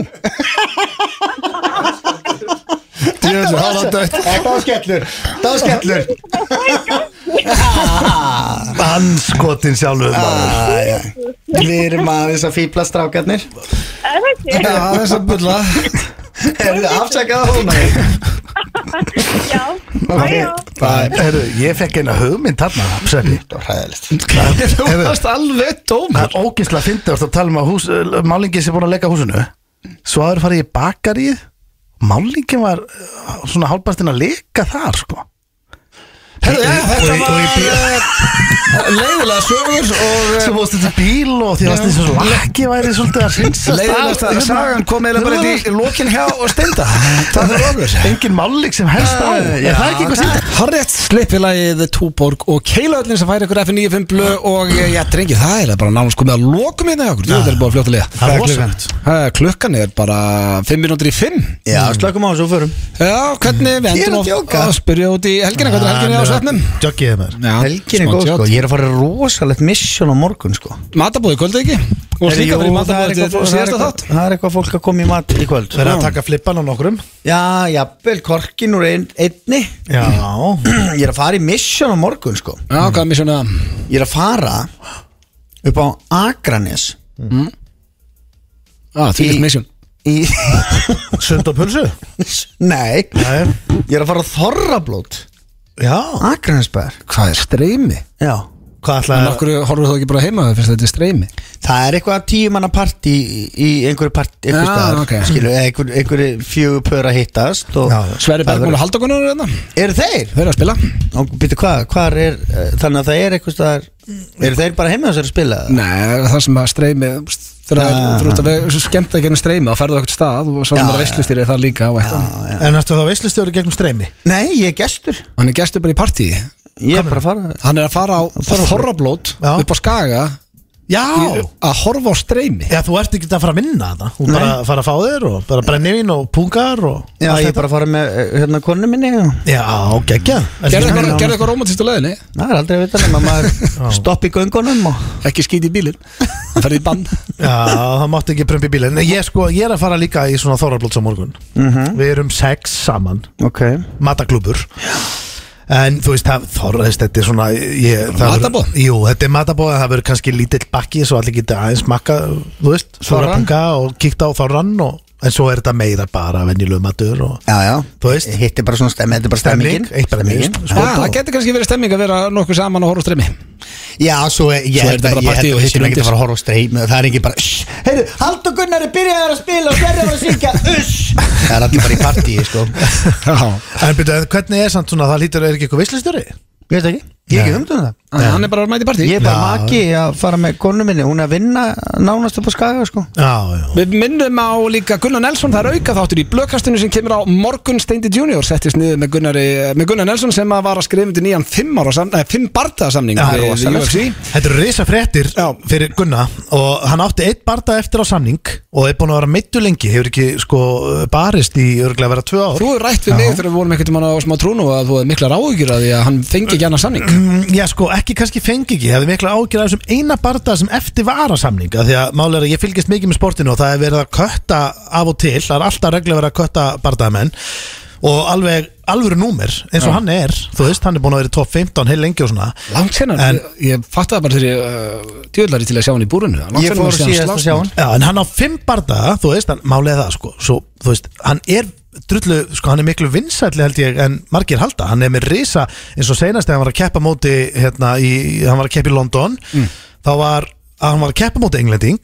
S1: Jöfnir, það var dött
S3: Þetta var skellur Þetta var skellur
S2: Anskotin sjálfur maður
S3: Við erum aðeins að fýbla strákarnir
S5: Það veit ég.
S1: Já, þess að bulla
S3: Erum við afsakað að hóna
S5: Já.
S2: Ok.
S5: Já, já.
S2: Heyrðu, Ég fekk eina hugmynd þarna Sveppi.
S3: Ræðilegt
S1: Þú varst alveg dóm
S2: Það er ógeðslega fyndið þú ert að tala um að hús, málingin sem búin að leggja á húsinu Svo aður farið í bakarið Málingin var uh, svona hálpastinn að leika þar sko
S1: Herðu, já, þetta
S2: Og í- og í bí-
S1: var leiðilega sögur og eh,
S2: sem fórst þetta bíl og því varst eins og lakki væri svolítið að hérna. synsa
S1: leiðilegast að sagan kom eða bara í í lokin hjá og steinda Það er okkur
S2: engin málik sem helst á
S1: Eh,
S2: er það ekki eitthvað sýnt?
S1: Harriett Slippilagið, Túborg og Keilöðlin sem færi ykkur F95 blö og eh, já, drengi, það er bara nánast komið að lokum hérna hjá okkur, þú er búið að fljóta liða
S2: það er rosalegt
S1: Eh, Klukkan er bara 5 minútur í 5
S3: Já, slökum á þessu og förum
S1: Já, hvernig við
S3: Ég er
S1: endum
S3: að
S1: of-
S3: djóka.
S1: að spyrja út í helgina, hvernig er helgina á svefnum?
S2: eh, joggið maður
S1: Já,
S3: Helgin er
S1: smá
S3: góð
S1: tjátt.
S3: sko Ég er að fara í rosalegt misjón á morgun sko
S1: Matabóði kvöldu ekki? Og
S3: Herri,
S1: slíka
S3: jú,
S1: fyrir
S3: það er
S1: matabóði til
S3: eitthvað- það er
S1: síðasta
S3: eitthvað-
S1: þátt
S3: Það er eitthvað fólk að koma í mat í kvöld
S2: það er að taka flippan á nokkrum
S3: Já, jafnvel, korkin úr ein, einni
S2: já
S3: Ég er að fara í misjón á morgun sko
S1: Já, hvað er misjón að
S3: Ég er að fara upp á Akranes
S1: Já, Ah, því
S3: Í-
S1: er misjón
S3: í,
S2: sund og pulsu
S3: Nei,
S2: Nei.
S3: ég er að fara á Þorrablót
S2: já
S3: Akranesbæðar
S1: Hvað er streymi?
S3: Já Hvað
S1: En
S3: ætlaði
S1: okkur horfur þú ekki bara heima þau fyrst þetta er streymi
S3: Það er eitthvað tíu manna partí í, í einhverju partí einhverju
S1: Já,
S3: staðar,
S1: ok.
S3: skilu, eða einhverju, einhverju fjögur pör að hittast og
S2: Já, já.
S1: Sverri
S3: Það
S1: Bergmúl
S3: verður-
S1: og Haldakonar er þetta
S3: Eru þeir?
S1: Þeir eru að spila
S3: Og býtu hvað, hvað er eh, þannig að það er eitthvað staðar Eru þeir bara heima þessari að spila?
S1: Nei, það sem að streymi Þegar
S3: Ah.
S1: þú ert að skemmt að gera streymi þá ferðu á eitthvað stað og svo
S3: Já,
S1: sem að
S3: já.
S1: veistlustýri það líka og eitthvað
S2: En næstu þá veislustjóri gegnum streymi
S3: Nei, ég er gestur
S1: Hann er gestur bara í partíi
S3: Ég er bara að fara
S1: Hann er að fara á Þorrablót
S2: Já.
S1: upp á Skaga
S2: Já
S1: í- að horfa á streymi
S2: Já, þú ert ekki að fara að minna það Þú
S3: Nei.
S2: bara að fara að fá þér og bara brennivín og pungar og allt
S3: Já, ég er
S2: þetta.
S3: bara að fara með eh, hérna konu minni og
S2: Já,
S1: Gerðu
S2: geggjað Ertu-
S1: eitthvað- gerðu eitthvað rómantist á leiðinni
S3: það er aldrei að vita nema maður stopp í göngunum og
S1: ekki skýti í bílinn hann ferði í bann
S2: Já, það mátti ekki prömpi bílinn Nei, ég, sko, ég er að fara líka í svona þorrablóts á morgun
S1: Mhm.
S2: Við erum sex saman
S3: Ok
S2: Mataklubur En þú veist, það þorraðist Þetta er svona ég, það verður-
S1: Matarboð?
S2: Jú, þetta er matabóð Það verður kannski lítill bakki Svo allir geta aðeins makka Þú veist, þorra
S3: Þorrann.
S2: punga og kíkta á þorran og, En svo er þetta meira bara venjulegu matur og
S3: Já, já
S2: Þú veist.
S3: Hitt er bara svona stemmi, þetta er bara
S2: Stemning,
S3: stemmingin
S2: eitt bara
S3: Stemmingin.
S2: mist,
S1: Já,
S2: skot
S1: það
S2: og-
S1: getur kannski verið stemming að vera nokkuð saman og horfa á streymi
S3: Já, svo er, ég,
S1: Svo er þetta bara partí og hittir
S3: hittir undir
S1: undir.
S3: Það er að horfa á streym Það er ekki bara "Uss, Heyrðu, hald og Gunnar er byrjaðar að spila og Sverri var að syngja Uss Það er allir bara í partí, sko
S1: Já.
S2: En byrja, en hvernig er samt svona Það lítur er ekki eitthvað visslistjóri
S3: Ég veit ekki Ég er ekki umdunum það
S1: Þannig að hann er bara að mæta í partí
S3: Ég er bara
S2: Já.
S3: maki að fara með konu minni Hún er að vinna nánast upp á skaga, sko
S2: Já, já
S1: Við minnum á líka Gunnar Nelson, það er auka þáttur í blökastinu sem kemur á morgun Steindi Junior settist niður með, Gunnari, eh, með Gunnar Nelson sem að var að skrifa undir nýjan fimm, ára sam- nei, fimm bardaðsamning
S2: Já,
S1: við
S2: rosalegt.
S1: UFC
S2: Þetta eru risa fréttir
S1: Já.
S2: fyrir Gunna og hann átti eitt barda eftir á samning og er búin að vera meittu lengi hefur ekki sko barist í örglega að vera tvö ár
S1: Þú er rætt við mig þegar við vorum einhvern veginn á smá trúnu að þú hefði mikla ráðugjur að því að hann fengi ekki annað samning
S2: Mm, Já sko, ekki kannski fengi ekki, ég hefði mikla ágjur af þessum eina barda sem eftir var að samninga því að málega er að ég fylgist mikið með sportinu og það er verið að kötta af og til það er alltaf regla verið að kötta bardaðamenn og alveg alvöru númer eins og hann er, þú veist, hann er búin að vera í top 15 heil lengi og svona
S1: Langt senar,
S2: En-
S1: ég, ég fatt það bara þegar ég uh, djöðlari til að sjá hann í búrunu Langt
S3: Ég
S1: síðan maður
S3: fór
S1: sé hann
S3: síðast að
S1: slást.
S3: sjá hann
S2: Já, en hann á fimm bardaga, þú veist, hann málega það, sko, svo, þú veist, hann er drullu, sko, hann er miklu vinsælli held ég en margir halda, hann er með risa eins og seinast þegar hann var að keppa móti hérna, í, hann var að keppa í London
S3: Mm.
S2: þá var, að hann var að keppa móti englending,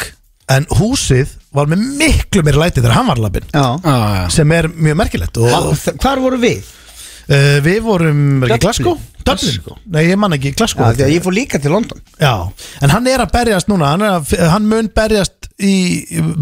S2: en húsið var með miklu meiri læti þegar hann var lappin
S3: Já
S1: Já, já.
S2: sem er mjög merkilegt og uh,
S3: Hvar voru við?
S2: við vorum, er ekki
S3: Dublin.
S2: Glasgow?
S3: Glasgow.
S2: Dublin? Nei, ég man ekki
S3: Já,
S2: Glasgow
S3: því að ég fór líka til London
S2: Já, en hann er að berjast núna hann, er að, hann mun berjast í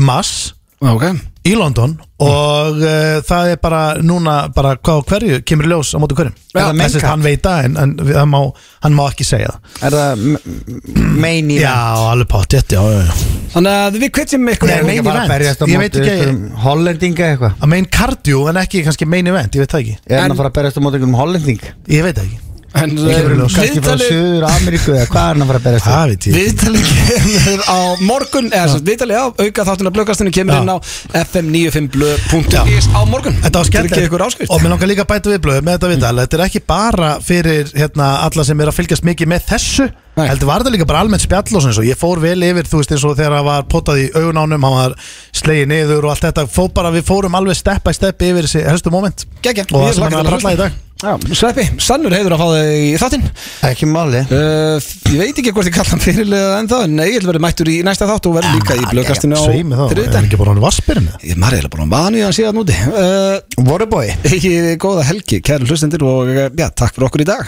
S2: mass
S1: Ok,
S2: í London og uh, það er bara núna bara hvað og hverju kemur í ljós á móti hverjum En
S3: Já,
S2: þess að
S3: meinkapp.
S2: hann veit það en, en við- hann, má, hann má ekki segja það
S3: Er það m- m- main event?
S2: já, alveg pátt, já, já, já
S1: Þannig að við kvittjum ykkur hérna
S2: Nei, main
S3: Erum við ekki
S2: event.
S3: bara að berjast á
S2: Ég veit
S3: móti
S2: ekki-
S3: einhverjum Hollendinga eitthvað
S2: að main cardio en ekki kannski main event, ég veit það ekki
S3: Er hann
S1: En-
S3: að fara að berjast á móti einhverjum Hollending?
S2: ég veit það ekki,
S1: En eh,
S2: kemur í ljós.
S3: Kannski frá
S1: viðtalið-
S3: Suður Ameríku eða hvað er hann að fara að berjast á?
S2: það veit ég
S1: Viðtalið kemur á morgun eða svo viðtalið á auka þáttuna blöðkastinu kemur
S2: Já.
S1: inn á fm95blöð.is á morgun
S2: Þetta var
S1: Til að gefa ykkur
S2: skemmt
S1: áskrift
S2: og mér langar líka að bæta viðblöð með þetta viðtal Þetta er ekki bara fyrir hérna, alla sem er að fylgjast mikið með þessu
S1: Nei.
S2: Heldur var þetta líka bara almennt spjall og svona eins og Ég fór vel yfir, þú veist eins og þegar það var potað í augunánum Hann var slegið niður og allt þetta Fó bara, Við fórum alveg step by step yfir þessi helstu moment
S1: Gekkja,
S2: Og það sem hann er að pralla í dag
S1: dag Sveppi, sannur heiður að fá þig í þáttinn
S3: Ekki máli
S1: uh, Ég veit ekki hvort ég kalla hann fyrirlega en þá en ég vil verið mættur í næsta þátt og verður
S2: Ah,
S1: líka í blöðkastinu á
S2: Sveimi þá, er hann
S1: þriðdæn
S2: ekki bara hann vaspirinu
S1: Ég maður eiginlega bara um vanu í hann síðan úti uh,
S3: Waterboy
S1: Ekki góða helgi, kæru hlustendur og eh, uh, já, takk fyrir okkur í dag